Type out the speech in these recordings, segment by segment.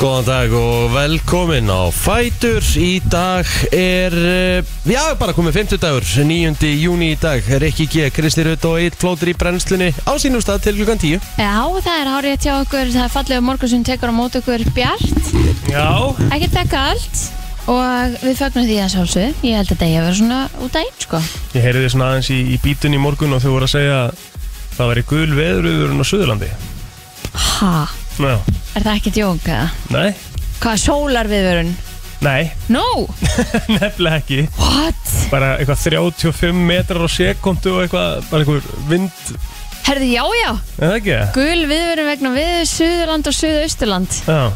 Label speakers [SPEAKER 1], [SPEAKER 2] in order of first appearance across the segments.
[SPEAKER 1] Góðan dag og velkomin á Fætur Í dag er, eh, já, bara komið 50 dagur 9. júni í dag Rikki G, Kristi Rutt og Eitt Flótur í brennslunni Á sínum stað til klukkan 10
[SPEAKER 2] Já, það er hárið hjá okkur, það er fallega morgun sem tekur á mót okkur bjart,
[SPEAKER 1] Já
[SPEAKER 2] ekki dekka allt og við fögnum því að sjálfsög, ég held að degja verið svona út að einn sko.
[SPEAKER 3] Ég heyrði þið svona aðeins í, í bítun í morgun og þau voru að segja að það væri gul veðuröðurinn á Suðurlandi.
[SPEAKER 2] Ha,
[SPEAKER 3] Já.
[SPEAKER 2] er það ekki djók eða?
[SPEAKER 3] Nei?
[SPEAKER 2] Hvað er sólarviðvörun?
[SPEAKER 3] Nei,
[SPEAKER 2] No,
[SPEAKER 3] nefnilega ekki.
[SPEAKER 2] what?
[SPEAKER 3] Bara eitthvað 35 metrar á sekundu og eitthvað, bara eitthvað vind,
[SPEAKER 2] Herði, já, já,
[SPEAKER 3] er það ekki? það?
[SPEAKER 2] gul viðvörun vegna við Suðurland og Suðausturland.
[SPEAKER 3] Já,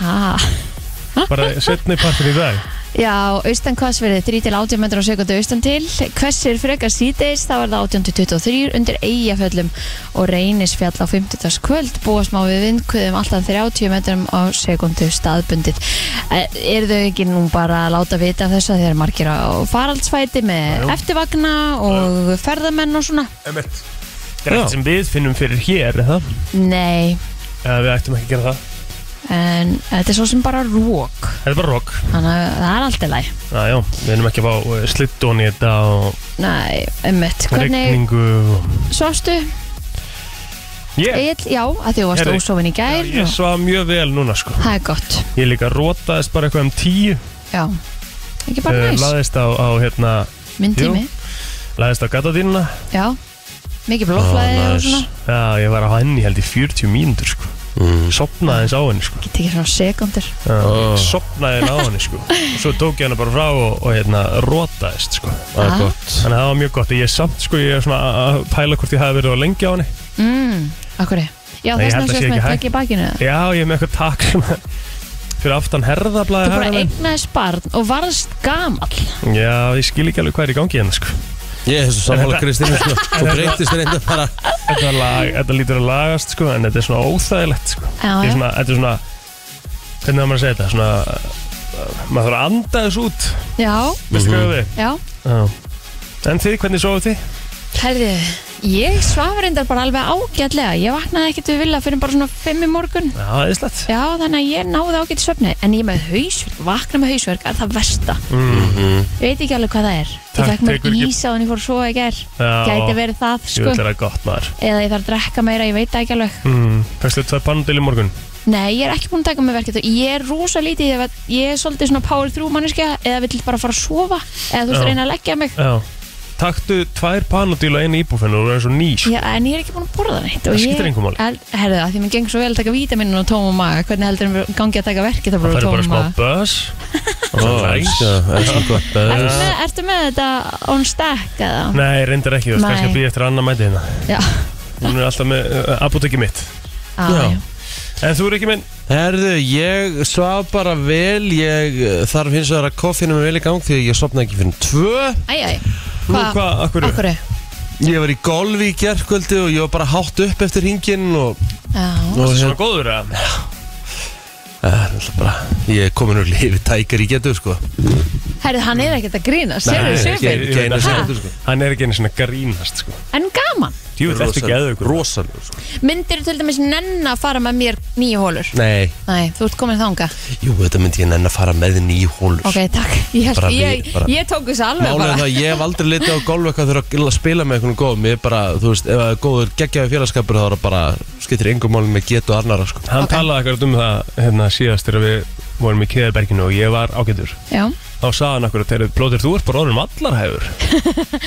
[SPEAKER 2] Ha,
[SPEAKER 3] bara setni partur í dag.
[SPEAKER 2] já, austan hvassverði, 3 til 18 metrar á sekundu austan til, hversir frekar síðdeis, þá er það 18 til 23 undir eigaföllum og reynisfjall á 50. kvöld, búast má við vindkvöðum alltaf 30 metrum á sekundu staðbundið. Eh, Eru þau ekki nú bara að láta vita af þessu að þeir eru margir á faraldsfæti með eftirvagna og ferðamenn og svona?
[SPEAKER 3] Emmett. Það er ekkert sem við finnum fyrir hér, er það?
[SPEAKER 2] Nei,
[SPEAKER 3] Eða við ættum ekki að gera það.
[SPEAKER 2] en þetta er svo sem bara rók,
[SPEAKER 3] Þetta er bara rock.
[SPEAKER 2] þannig að það er alltaf læg.
[SPEAKER 3] Já, já, við erum ekki að fá eh, slyddown í þetta og
[SPEAKER 2] Nei, ummitt, hvernig
[SPEAKER 3] regningu og...
[SPEAKER 2] svofstu?
[SPEAKER 3] Ég,
[SPEAKER 2] Egil, já, að því þú varst
[SPEAKER 3] Heyrðu,
[SPEAKER 2] ósofin í gær
[SPEAKER 3] ég
[SPEAKER 2] og
[SPEAKER 3] svaf mjög vel núna, sko.
[SPEAKER 2] það er gott,
[SPEAKER 3] Ég líka rótaðist bara eitthvað um tíu
[SPEAKER 2] já ekki bara
[SPEAKER 3] uh,
[SPEAKER 2] næs,
[SPEAKER 3] laðist á, á hérna
[SPEAKER 2] minn
[SPEAKER 3] jú.
[SPEAKER 2] tími
[SPEAKER 3] laðist á gatadínuna
[SPEAKER 2] já, mikið
[SPEAKER 3] Ah,
[SPEAKER 1] Ó,
[SPEAKER 2] blóflæði og
[SPEAKER 1] Ah, næs.
[SPEAKER 2] svona
[SPEAKER 3] já, ég var á henni held í 40 mínútur sko.
[SPEAKER 1] mm. Ah.
[SPEAKER 3] sopnaði eins á henni sko.
[SPEAKER 2] get ekki svona sekundur
[SPEAKER 3] uh,
[SPEAKER 1] Ó.
[SPEAKER 3] sopnaði eins á henni sko. svo tók ég henni bara frá og, og hérna rótaðist sko.
[SPEAKER 1] Það
[SPEAKER 2] Ah.
[SPEAKER 1] er gott
[SPEAKER 3] þannig að það var mjög gott ég er samt, sko, ég er svona að- að pæla hvort ég hafi verið á lengi á henni
[SPEAKER 2] mm, akkur ég já,
[SPEAKER 3] Nei, ég
[SPEAKER 2] þess
[SPEAKER 3] held að
[SPEAKER 2] vegna
[SPEAKER 3] sé
[SPEAKER 2] sést
[SPEAKER 3] ekki
[SPEAKER 2] með
[SPEAKER 3] hægt.
[SPEAKER 2] takk í bakinu eða?
[SPEAKER 3] já, ég er með eitthvað takk sem að- fyrir aftan herðablaði
[SPEAKER 2] þú bara
[SPEAKER 3] herðamenn.
[SPEAKER 2] eignaðist barn og varst gamall
[SPEAKER 3] já, ég skil ekki alveg hvað er í gangi hérna sko.
[SPEAKER 1] Ég er þessu sammála Kristínu sko. Þú breytist reynda bara
[SPEAKER 3] þetta, lag, þetta lítur að lagast sko, en þetta er svona óþægilegt sko.
[SPEAKER 2] já,
[SPEAKER 3] Ég er
[SPEAKER 2] já,
[SPEAKER 3] svona, þetta er svona hvernig á maður að segja þetta svona, uh, maður þarf að anda þessu út
[SPEAKER 2] já,
[SPEAKER 3] veistu hvað við
[SPEAKER 2] já
[SPEAKER 3] Já. en þið, hvernig sofið þið?
[SPEAKER 2] herði, ég svaf reyndar bara alveg ágætlega, ég vaknaði ekkert við vilja fyrir bara svona fimm í morgun
[SPEAKER 3] já, það er slett
[SPEAKER 2] Já, þannig að ég náði ágætt svefni En ég með hausverk, vakna með hausverk er það versta Ég veit ekki alveg hvað það er
[SPEAKER 3] Mhm. Takk,
[SPEAKER 2] Ég fekk mér
[SPEAKER 3] tekur ekki-
[SPEAKER 2] ís á hann ég fór að sofa í ger Gæti
[SPEAKER 3] já,
[SPEAKER 2] verið það,
[SPEAKER 3] ég
[SPEAKER 2] sko
[SPEAKER 3] vil vera gott maður
[SPEAKER 2] Eða ég þarf að drekka meira, ég veit það ekki alveg
[SPEAKER 3] mm. fæstu tvei pannudil í morgun
[SPEAKER 2] Nei, ég er ekki búin að taka með verkið Ég er rosa lítið, ef að- ég er svolítið svona power through manneskja Eða vill bara fara að sofa Eða þú veist
[SPEAKER 3] Já.
[SPEAKER 2] reyna að leggja mig
[SPEAKER 3] já. taktu tvær pannudil og einu íbúfennu og það er svo ný sko.
[SPEAKER 2] Já, en ég er ekki búin að borða neitt og
[SPEAKER 3] Það
[SPEAKER 2] ég-
[SPEAKER 3] skiptir engu máli.
[SPEAKER 2] Al- Herðu, að því mér gengur svo vel að taka vítaminin og tóma maga Hvernig heldur mér gangi að taka verkið það
[SPEAKER 3] það
[SPEAKER 2] bara
[SPEAKER 3] færi bara
[SPEAKER 2] tóma
[SPEAKER 3] smá
[SPEAKER 2] maga
[SPEAKER 3] buzz og
[SPEAKER 1] Ó,
[SPEAKER 3] það er næs
[SPEAKER 1] elsku, elsku gott
[SPEAKER 2] Ertu
[SPEAKER 1] Böss.
[SPEAKER 2] með- Ertu með þetta on stack eða?
[SPEAKER 3] Nei, reyndar ekki, þú veist,
[SPEAKER 2] Nei.
[SPEAKER 3] kannski að býja eftir að annað mæti hérna
[SPEAKER 2] Já.
[SPEAKER 3] Hún er alltaf með uh, apotekki mitt
[SPEAKER 2] Já,
[SPEAKER 1] Já.
[SPEAKER 2] já.
[SPEAKER 3] En þú er ekki minn
[SPEAKER 1] Herðu, ég svaf bara vel Ég eh, þarf hins vegar að koffinu mig vel í gang Því að ég sopna ekki fyrir tvö
[SPEAKER 2] Æ, æ,
[SPEAKER 3] Nú,
[SPEAKER 2] Hva-
[SPEAKER 3] hvað, akkur
[SPEAKER 2] okkur
[SPEAKER 1] Ég var í golfi í gerkvöldi og ég var bara hátt upp eftir hingin og,
[SPEAKER 2] Já,
[SPEAKER 1] og hérna,
[SPEAKER 3] Svona góður að
[SPEAKER 1] Eh, náttúrulega bara, ég er komin úr lífi tækar í getur sko
[SPEAKER 2] herrið, hann er ekkert að grína
[SPEAKER 1] Nei,
[SPEAKER 2] Sérðu
[SPEAKER 1] ekki-
[SPEAKER 2] sjöfinn,
[SPEAKER 1] ekki einu
[SPEAKER 3] Ha?
[SPEAKER 1] sekundu sko
[SPEAKER 3] Hann er ekki einu svona grínast sko
[SPEAKER 2] en gaman
[SPEAKER 3] Jú, þetta er geðugur
[SPEAKER 1] Rosalur sko
[SPEAKER 2] Myndir þú til dæmis nenn að fara með mér nýju hólur?
[SPEAKER 1] Nei,
[SPEAKER 2] Nei, þú ert komin þanga
[SPEAKER 1] jú, þetta myndi ég nenn að fara með þinn í hólur
[SPEAKER 2] Ok, takk, ég, held,
[SPEAKER 1] Bara við-
[SPEAKER 2] ég,
[SPEAKER 1] bara-
[SPEAKER 2] ég tók þessu alveg
[SPEAKER 1] Málega það,
[SPEAKER 2] bara
[SPEAKER 1] að ég hef aldrei litið á golf eitthvað þegar að spila með einhvern góðum Ég er bara, þú veist, ef það er góður geggjaði félagskapur þá er það bara, skiptir engum málum með getu annara sko
[SPEAKER 3] Hann
[SPEAKER 2] Ok.
[SPEAKER 3] talaði ekkert um það hérna síðast þegar við vorum í Keðarberginu og ég var ágætur
[SPEAKER 2] Já,
[SPEAKER 3] Þá sagði hann akkur að þeirri plótir þú ert bara um orðin vallarhæfur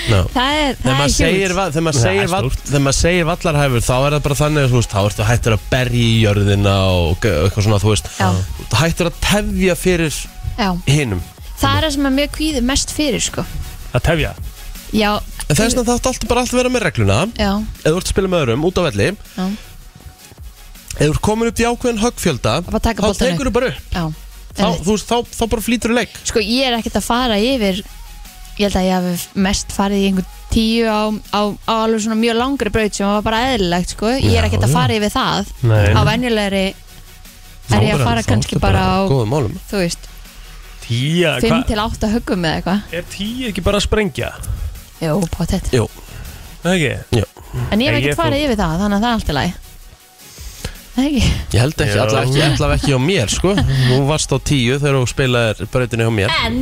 [SPEAKER 1] no.
[SPEAKER 2] það er,
[SPEAKER 1] Þegar
[SPEAKER 2] það
[SPEAKER 1] maður
[SPEAKER 2] er
[SPEAKER 1] segir,
[SPEAKER 2] hjúl
[SPEAKER 1] va- þegar maður
[SPEAKER 3] Það
[SPEAKER 1] segir,
[SPEAKER 3] er
[SPEAKER 1] va-
[SPEAKER 3] stórt.
[SPEAKER 1] þegar maður segir vallarhæfur þá er það bara þannig að þú veist, þá ertu hættur að berja í jörðina og ge- eitthvað svona, þú veist
[SPEAKER 2] Já.
[SPEAKER 1] Hættur að tefja fyrir
[SPEAKER 2] Já,
[SPEAKER 1] hinum
[SPEAKER 2] það er það sem að mér kvíði mest fyrir, sko
[SPEAKER 3] Að tefja
[SPEAKER 2] Já,
[SPEAKER 1] En þess vegna þáttu alltaf bara allt vera með regluna
[SPEAKER 2] já,
[SPEAKER 1] Ef þú ert að spila með öðrum út á velli
[SPEAKER 2] já,
[SPEAKER 1] Ef þú ert komin upp í ákveðin höggfjölda
[SPEAKER 2] Bara taka
[SPEAKER 1] Þá
[SPEAKER 2] boltann
[SPEAKER 1] tekur þú bara upp
[SPEAKER 2] já
[SPEAKER 1] Þá, þú veist, þá, þá bara flýtur þú leik
[SPEAKER 2] Sko, ég er ekkert að fara yfir Ég held að ég hafi mest farið í einhver tíu á, á, á alveg svona mjög langri braut sem var bara eðlilegt, sko Ég
[SPEAKER 1] Já,
[SPEAKER 2] er ekkert að
[SPEAKER 1] já.
[SPEAKER 2] fara yfir það
[SPEAKER 3] Nei,
[SPEAKER 2] á venjulegri er ég að fara kannski bara á,
[SPEAKER 1] Góðum málum
[SPEAKER 2] þú veist,
[SPEAKER 3] tíja
[SPEAKER 2] 5
[SPEAKER 3] hva,
[SPEAKER 2] til 8 höggum eða eitthvað
[SPEAKER 3] Er tíja ekki bara að sprengja?
[SPEAKER 2] Jú, pottet.
[SPEAKER 1] Jú,
[SPEAKER 3] Ekki?
[SPEAKER 2] En ég hef
[SPEAKER 3] Nei,
[SPEAKER 2] ekkert
[SPEAKER 3] ég fór-
[SPEAKER 2] farið yfir það, þannig að það er allt í lagi Það ekki?
[SPEAKER 1] Ég held ekki,
[SPEAKER 3] Já.
[SPEAKER 1] allavega ekki, allavega ekki á mér sko Þú varst á tíu þegar þú spilaðir brautinu hjá mér
[SPEAKER 2] En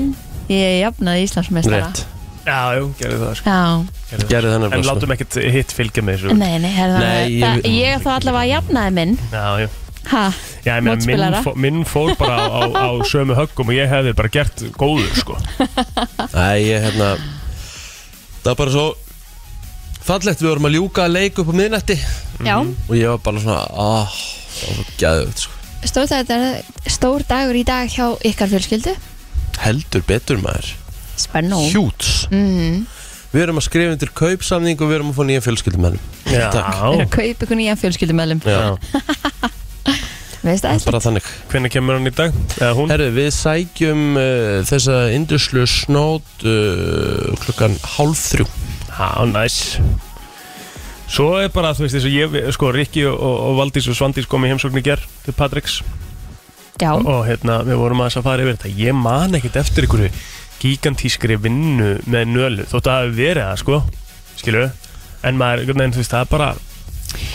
[SPEAKER 2] Ég jafnaði Íslandsmeistara
[SPEAKER 1] Rétt,
[SPEAKER 3] Já, jú, gerðu það sko
[SPEAKER 2] Já,
[SPEAKER 3] gerðu það.
[SPEAKER 1] gerði þannig
[SPEAKER 3] En látum ekkert hitt fylgja með þessu
[SPEAKER 2] nei, nei,
[SPEAKER 1] Nei,
[SPEAKER 2] herðu, nei
[SPEAKER 1] ég-
[SPEAKER 2] það, Ég þá allavega jafnaði minn
[SPEAKER 3] Já, já
[SPEAKER 2] Ha,
[SPEAKER 3] Já, ég meina, minn,
[SPEAKER 2] Mótspilara.
[SPEAKER 3] fó, minn fór bara á, á, á sömu höggum og ég hefði bara gert góður, sko.
[SPEAKER 1] Nei, ég hérna Það var bara svo Fallegt, við vorum að ljúka að leik upp á miðnætti
[SPEAKER 2] já
[SPEAKER 1] Og ég var bara svona ah, Það var gæðugt sko
[SPEAKER 2] stór, dagur- stór dagur í dag hjá ykkar fjölskyldu
[SPEAKER 1] Heldur betur maður
[SPEAKER 2] Spennu
[SPEAKER 1] Hjúts
[SPEAKER 2] mm.
[SPEAKER 1] Við erum að skrifa undir kaupsamning og við erum að fá nýja fjölskyldumennum
[SPEAKER 3] Já.
[SPEAKER 2] Er að kaupa ykkur nýjan fjölskyldumælum
[SPEAKER 1] Já,
[SPEAKER 2] Veist það?
[SPEAKER 1] bara þannig
[SPEAKER 3] Hvernig kemur hann í dag? Eða hún?
[SPEAKER 1] Herru, við sækjum uh, þessa induslu snót uh, klukkan hálf þrjú
[SPEAKER 3] Já, næs Svo er bara, þú veist, þess að ég, sko, Rikki og, og Valdís og Svandís kom í heimsókn í gerð til Patricks
[SPEAKER 2] Já,
[SPEAKER 3] og hérna, við vorum aðeins að fara yfir þetta Ég man ekkert eftir einhverju gigantískri vinnu með nölu þótt að það hafi verið það, sko skilu, en maður, einhvern veginn, þú veist, það er bara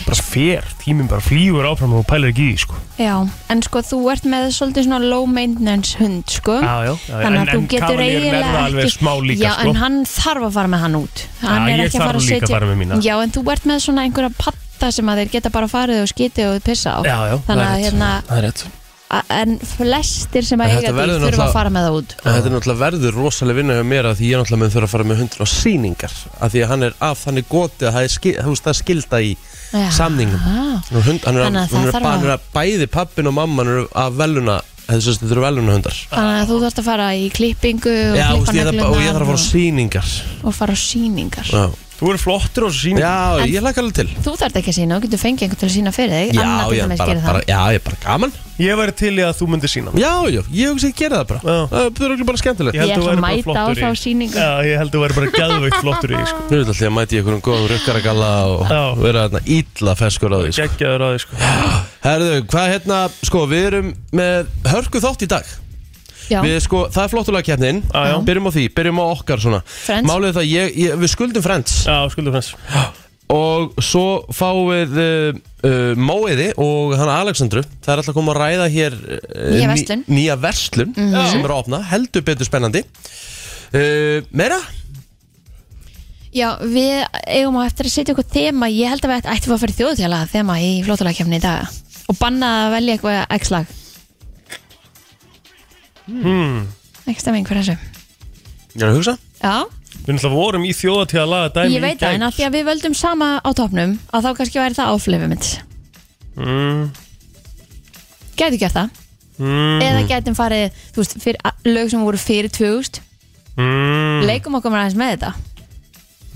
[SPEAKER 3] bara fer, tíminn bara flýgur áfram og þú pælir ekki í, því, sko
[SPEAKER 2] já En sko þú ert með svolítið svona low maintenance hund sko
[SPEAKER 3] Já, já, já,
[SPEAKER 2] Þannig að þú getur
[SPEAKER 3] En
[SPEAKER 2] eiginlega
[SPEAKER 3] Cavalier verða alveg
[SPEAKER 2] ekki-
[SPEAKER 3] smá líka,
[SPEAKER 2] já,
[SPEAKER 3] sko
[SPEAKER 2] en hann þarf að fara með hann út Hann
[SPEAKER 3] Já,
[SPEAKER 2] er
[SPEAKER 3] ég
[SPEAKER 2] ekki að fara
[SPEAKER 3] þarf
[SPEAKER 2] að
[SPEAKER 3] líka að
[SPEAKER 2] setja
[SPEAKER 3] fara með mína.
[SPEAKER 2] Já, en þú ert með svona einhverja patta sem að þeir geta bara farið og skitið og pissa á
[SPEAKER 3] Já, já, það
[SPEAKER 2] Þannig
[SPEAKER 3] er
[SPEAKER 2] að
[SPEAKER 3] rétt.
[SPEAKER 2] hérna,
[SPEAKER 3] það er rétt
[SPEAKER 2] a- en flestir sem
[SPEAKER 1] En
[SPEAKER 2] að
[SPEAKER 1] þetta
[SPEAKER 2] eiga dýr
[SPEAKER 1] verður
[SPEAKER 2] þurfa
[SPEAKER 1] náttúrulega-
[SPEAKER 2] að fara með það út
[SPEAKER 1] En þetta er náttúrulega verður rosalega vinna hjá mér að því ég náttúrulega mun þurfa að fara með hundur á síningar af því að hann er af þannig goti að það er, skil, veist, það er skilda í
[SPEAKER 2] Já.
[SPEAKER 1] samningum
[SPEAKER 2] Ah,
[SPEAKER 1] Nú, hund, hann, er, að,
[SPEAKER 2] Þannig að
[SPEAKER 1] hann,
[SPEAKER 2] það
[SPEAKER 1] er,
[SPEAKER 2] þarf
[SPEAKER 1] að...
[SPEAKER 2] að-
[SPEAKER 1] hann er að bæði pappin og mamman eru að veluna þessast þetta eru veluna hundar
[SPEAKER 2] Þannig að þú þarft að fara í klippingu og
[SPEAKER 1] Já, veist,
[SPEAKER 2] klippa
[SPEAKER 1] ég þarf, bara- og ég þarf að fara á
[SPEAKER 2] neglunar
[SPEAKER 1] síningar
[SPEAKER 2] og, og fara á síningar
[SPEAKER 1] Já,
[SPEAKER 3] Þú eru flottur á þessu síningu
[SPEAKER 1] já
[SPEAKER 2] En-
[SPEAKER 1] ég lakka alveg til
[SPEAKER 2] Þú þarft ekki að sína, þú getur fengið einhvern til að sína fyrir þig
[SPEAKER 1] Já,
[SPEAKER 2] Anna til
[SPEAKER 1] ég
[SPEAKER 2] dæmis
[SPEAKER 1] bara,
[SPEAKER 2] gerir það.
[SPEAKER 1] bara, já, ég er bara gaman
[SPEAKER 3] Ég væri til í að þú myndir sína
[SPEAKER 1] Já, já, ég hugsi að gera það bara
[SPEAKER 3] Já.
[SPEAKER 1] Það er örugglega bara skemmtilegt
[SPEAKER 3] Ég held
[SPEAKER 2] Ég
[SPEAKER 3] þú
[SPEAKER 2] ætla að
[SPEAKER 3] værir bara
[SPEAKER 2] mæta á
[SPEAKER 3] flottur
[SPEAKER 2] þá
[SPEAKER 3] í-
[SPEAKER 2] sýningu.
[SPEAKER 3] Já, ég held þú væri bara gæðveikt flottur í því,
[SPEAKER 1] Nú
[SPEAKER 3] sko
[SPEAKER 1] er þetta alltaf að mæti ykkur um góðum rukkaragalla og
[SPEAKER 3] Já.
[SPEAKER 1] vera þarna ítla feskur á því sko.
[SPEAKER 3] Geggjaður á því, sko
[SPEAKER 1] Herðu, hvað hérna, sko, við erum með hörku þátt í dag
[SPEAKER 2] Já,
[SPEAKER 1] Við, sko, það er flottulega keppnin
[SPEAKER 3] Já, já.
[SPEAKER 1] Byrjum á því, byrjum á okkar svona
[SPEAKER 2] Friends.
[SPEAKER 1] Málið er það, ég, ég, við skuldum Friends
[SPEAKER 3] Já, skuldum þess
[SPEAKER 1] Og svo fáum við uh, uh, Móiði og hann Aleksandru Það er alltaf að koma að ræða hér uh,
[SPEAKER 2] Nýja
[SPEAKER 1] ný-
[SPEAKER 2] verslun. Mhm.
[SPEAKER 1] Nýja verslun sem er að opna, heldur betur spennandi uh, Meira?
[SPEAKER 2] já við eigum að eftir að setja okkur þema Ég held að við ætt- ættum að fara í þjóðutjálega þema í flótulagkefni í dag og banna að velja eitthvað x-lag hmm. Ekki stemming fyrir þessu
[SPEAKER 1] Ég er að hugsa
[SPEAKER 2] Já,
[SPEAKER 3] Við náttúrulega vorum í þjóða til að laga dæmi
[SPEAKER 2] ég veit það en að því að við völdum sama á topnum að þá kannski væri það áflifið mitt
[SPEAKER 3] mm,
[SPEAKER 2] Gæti gert það
[SPEAKER 3] mm,
[SPEAKER 2] eða gætum farið, þú veist, fyrir, a- lög sem voru fyrir 2000
[SPEAKER 3] mm,
[SPEAKER 2] Leikum okkur aðeins með þetta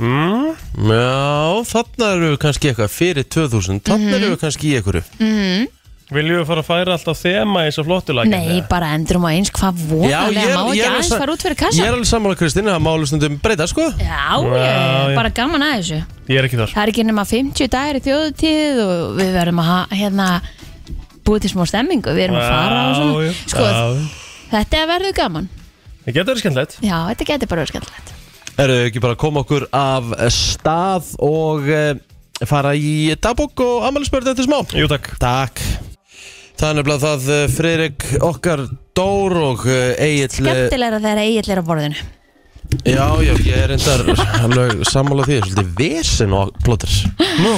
[SPEAKER 3] mm.
[SPEAKER 1] Já, þarna eru við kannski eitthvað fyrir 2000 Þarna
[SPEAKER 2] Mhm.
[SPEAKER 1] eru við kannski í einhverju
[SPEAKER 3] Viljum við fara að færa alltaf þema í þessu flottulag
[SPEAKER 2] Nei, bara endurum á eins hvað vonalega má ekki aðeins
[SPEAKER 1] sa-
[SPEAKER 2] fara út fyrir
[SPEAKER 1] ég
[SPEAKER 2] kassan
[SPEAKER 1] er alveg sammála Kristín Það má alveg stundum breyta sko
[SPEAKER 2] Já,
[SPEAKER 3] Já,
[SPEAKER 2] ég
[SPEAKER 3] já.
[SPEAKER 2] er bara gaman að þessu
[SPEAKER 3] Ég er ekki þar
[SPEAKER 2] Það er ekki nema 50 dagir í þjóðutíð og við verðum að ha- hérna búið til smá stemmingu, við erum að fara og svona
[SPEAKER 3] Já,
[SPEAKER 2] Sko,
[SPEAKER 3] já.
[SPEAKER 2] þetta verður gaman
[SPEAKER 3] Það getur verið skemmtilegt
[SPEAKER 2] Já, þetta getur bara verið skemmtilegt
[SPEAKER 1] Erum við ekki bara að koma okkur af stað Og eh, fara í dagbók og ammælisbörð eftir smá
[SPEAKER 3] Jú, takk
[SPEAKER 1] Takk Það er nefnilega það eh, Friðrik okkar Dór og eh, Egil
[SPEAKER 2] Skemmtilegra þegar eigill er á borðinu
[SPEAKER 1] Já, já, ég er endar alveg sammála því Svolítið vesen og plótir
[SPEAKER 3] Nú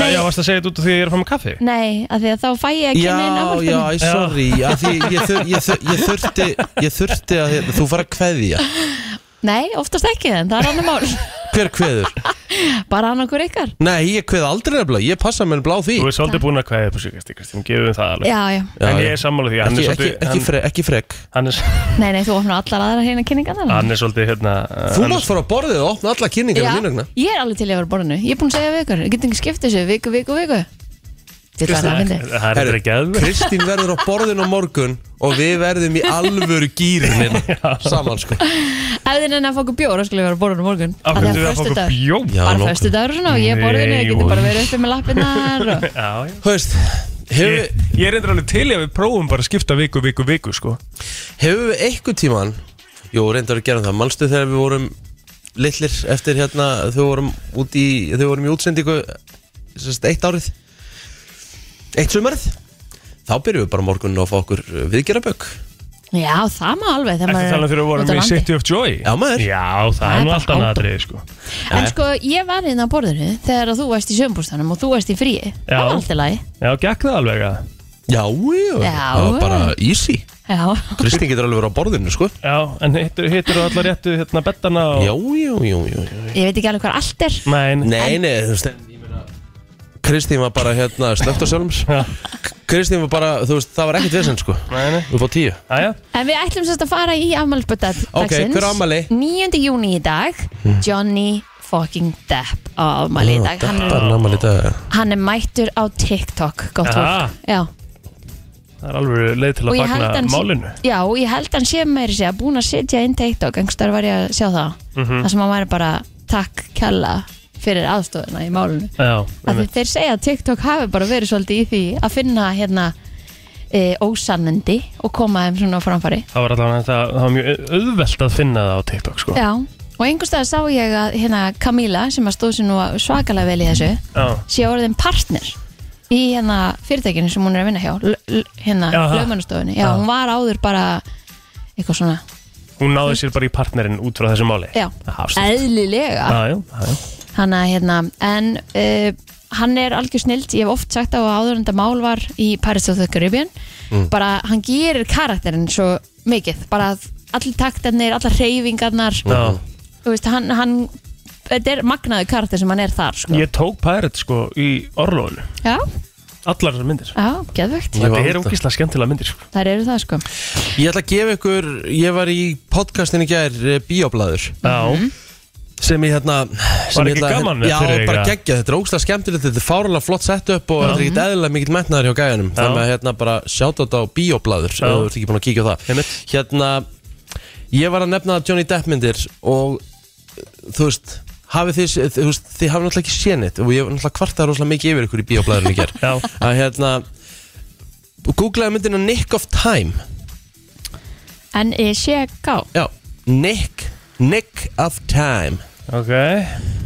[SPEAKER 3] Já, varst að segja þetta út af því að ég er að fá með kaffi
[SPEAKER 2] Nei, af því að þá fæ ég að kynna inn á
[SPEAKER 1] Já, já,
[SPEAKER 2] borðinu
[SPEAKER 1] æ, sorry já. Því, ég, þur, ég, þur, ég þurfti Ég þurfti að hérna, þú fara að kveðja
[SPEAKER 2] Nei, oftast ekki en það er annar mál
[SPEAKER 1] Hver kveður?
[SPEAKER 2] Bara hann okkur ykkar
[SPEAKER 1] Nei, ég kveð aldrei nefnilega, ég passa mér blá því
[SPEAKER 3] Þú er svolítið búin að kveðja upp á síkast Kristín, gefum það alveg
[SPEAKER 2] Já, já
[SPEAKER 1] Já,
[SPEAKER 3] En
[SPEAKER 1] já.
[SPEAKER 3] ég er sammála því hann
[SPEAKER 1] Ekki,
[SPEAKER 3] er
[SPEAKER 1] ekki,
[SPEAKER 3] svolítið-
[SPEAKER 1] ekki,
[SPEAKER 3] hann-
[SPEAKER 1] frek, ekki frek
[SPEAKER 3] Hann er
[SPEAKER 2] Nei, nei, þú opnar allar aðra hérna kynningarnar
[SPEAKER 3] hann er svolítið hérna uh,
[SPEAKER 1] Þú
[SPEAKER 3] hann er-
[SPEAKER 1] mátt fara á borðið og opna alla kynningar á mínugna
[SPEAKER 2] ég er alveg til í að vera á borðinu Ég er búin að segja við ykkur, ég get ekki skipt þessu Viku, viku, viku Þetta er það að finna
[SPEAKER 3] Það er
[SPEAKER 1] Herru,
[SPEAKER 3] ekki aðveg
[SPEAKER 1] Kristín verður á borðinu á morgun og við verðum í alvöru gýrin saman sko
[SPEAKER 2] Ef þið nenni að fá okkur bjór, þá skulle ég vera á borðinu á morgun
[SPEAKER 3] Af
[SPEAKER 2] Af því
[SPEAKER 3] hverju þið að fá
[SPEAKER 2] föstudagur-
[SPEAKER 3] okkur bjóð?
[SPEAKER 1] Já,
[SPEAKER 2] Bara
[SPEAKER 1] nokkuð.
[SPEAKER 2] fyrstu dagur og svona og ég er á borðinu Ég
[SPEAKER 3] Nei,
[SPEAKER 2] geti bara verið uppi með lappinnar og...
[SPEAKER 3] Já, já
[SPEAKER 1] Haust, hefur
[SPEAKER 3] Ég, ég er reyndar alveg til í að við prófum bara að skipta viku, viku, viku, sko
[SPEAKER 1] hefur við einhver tíman Jú, reyndar að gera það, manstu þegar við vorum litlir eftir hérna þau vorum út í, þau vorum í útsendingu sérst, eitt árið eitt sumarið þá byrjum við bara morgunin að fá okkur eh, viðgerabögg
[SPEAKER 2] Já, það má alveg þegar
[SPEAKER 3] Ertu
[SPEAKER 2] maður
[SPEAKER 3] að
[SPEAKER 2] er
[SPEAKER 3] tala fyrir að
[SPEAKER 2] úti
[SPEAKER 3] vorum
[SPEAKER 2] á
[SPEAKER 3] í
[SPEAKER 2] landi.
[SPEAKER 3] City of Joy?
[SPEAKER 1] Já, maður.
[SPEAKER 3] Já, það,
[SPEAKER 2] er
[SPEAKER 3] er nú
[SPEAKER 2] bara
[SPEAKER 3] alltaf
[SPEAKER 2] átta.
[SPEAKER 3] aðrið, sko
[SPEAKER 2] En sko, ég var hérna á borðinu þegar að þú varst í sömbústanum og þú varst í fríi Það var alltaf lagi
[SPEAKER 3] Já, gekk það alveg að
[SPEAKER 1] Já, já,
[SPEAKER 2] Já.
[SPEAKER 1] það var bara easy
[SPEAKER 2] Já,
[SPEAKER 1] Kristín getur alveg verið á borðinu, sko
[SPEAKER 3] Já, en hittir, hittir þú allar réttu hérna bettana og...
[SPEAKER 1] Já, já, já, já, já.
[SPEAKER 2] ég veit ekki alveg hvað allt er
[SPEAKER 3] Nein,
[SPEAKER 1] Nei, nei, þú veist en ég meina, Kristín var bara hérna slögt á sjálfum sér.
[SPEAKER 3] Já.
[SPEAKER 1] Kristín var bara, þú veist, það var ekkert vesend, sko
[SPEAKER 3] Nei, nei.
[SPEAKER 1] Upp á tíu
[SPEAKER 3] Æja,
[SPEAKER 2] En við ætlum sérst að fara í afmælspötta
[SPEAKER 1] Ok, hver á Hmm. afmæli?
[SPEAKER 2] 9. júni í dag Johnny fucking Depp á afmæli í dag Hann er,
[SPEAKER 1] Bara náma lítið
[SPEAKER 2] hann er mættur á TikTok, gott
[SPEAKER 3] Aha.
[SPEAKER 2] fólk Já,
[SPEAKER 3] það er alveg leið til
[SPEAKER 2] Og
[SPEAKER 3] að
[SPEAKER 2] ég held
[SPEAKER 3] fagna
[SPEAKER 2] hann sé-
[SPEAKER 3] málinu
[SPEAKER 2] já og ég held hann sé meiri sé að búin að setja inn TikTok Engstar var ég að sjá það mm
[SPEAKER 3] Mhm.
[SPEAKER 2] -hmm. Það sem hann væri bara takk kella fyrir aðstofuna í málinu
[SPEAKER 3] Já,
[SPEAKER 2] Af því
[SPEAKER 3] einmitt.
[SPEAKER 2] þeir segja að TikTok hafi bara verið svolítið í því að finna hérna e, ósannindi og koma þeim svona á framfæri
[SPEAKER 3] það var allavega það, það var mjög auðvelt að finna það á TikTok, sko
[SPEAKER 2] Já, og einhverstað sá ég að hérna Camila sem að stóð sér nú svakalega vel í þessu
[SPEAKER 3] Já,
[SPEAKER 2] sé orðin partner í hérna fyrirtækinu sem hún er að vinna hjá l- l- hérna
[SPEAKER 3] Jaha.
[SPEAKER 2] lögmannastofunni Já,
[SPEAKER 3] Já.
[SPEAKER 2] hún var áður bara eitthvað svona
[SPEAKER 3] hún náði sér bara í partnerinn út frá þessu máli
[SPEAKER 2] Já,
[SPEAKER 3] Hafstur.
[SPEAKER 2] eðlilega
[SPEAKER 3] Já, já, já,
[SPEAKER 2] hann að hérna en uh, hann er algjör snild ég hef oft sagt á að áður en þetta mál var í Paris of the Caribbean
[SPEAKER 3] Mm.
[SPEAKER 2] bara hann gerir karakterinn svo mikið bara að allir taktarnir, allar reyfingarnar
[SPEAKER 3] já.
[SPEAKER 1] Mhm.
[SPEAKER 2] þú veist, hann, hann þetta er magnaður karakter sem hann er þar sko.
[SPEAKER 3] Ég tók pærit, sko, í orlóinu
[SPEAKER 2] já,
[SPEAKER 3] Allar þessar myndir
[SPEAKER 2] já, geðvögt
[SPEAKER 1] Ég
[SPEAKER 3] Þetta
[SPEAKER 1] var
[SPEAKER 3] er
[SPEAKER 1] alltaf-
[SPEAKER 3] ógislega skemmtilega myndir, sko
[SPEAKER 2] þar eru það sko
[SPEAKER 1] Ég ætla að gefa ykkur, ég var í podcastin í gær eh, Bíóblaður
[SPEAKER 3] Já,
[SPEAKER 2] Mhm.
[SPEAKER 1] sem ég hérna sem ég
[SPEAKER 3] ekki
[SPEAKER 1] ætla-
[SPEAKER 3] gaman
[SPEAKER 1] Já,
[SPEAKER 3] fyrir þig,
[SPEAKER 1] bara
[SPEAKER 3] eða?
[SPEAKER 1] geggja, þetta er ógslag skemmtilegt þetta er fáralega flott sett upp og þetta er ekkert eðlilega mikill metnaður hjá gæjanum þannig að hérna bara sjáta þetta á Bíóblaður ef þú ert ekki búin að kíkja á það
[SPEAKER 3] Einmitt.
[SPEAKER 1] Hérna, ég var að nefna Johnny Depp myndir og þú veist hafið þið, þú veist, þið hafið náttúrulega ekki sénitt og ég hef náttúrulega kvartað rosalega mikið yfir ykkur í Bíóblaðurinn í ger
[SPEAKER 3] Já.
[SPEAKER 1] að hérna googlaði myndina Nick of Time
[SPEAKER 2] en ég sé gá
[SPEAKER 1] Já, Nick Nick of Time
[SPEAKER 3] ok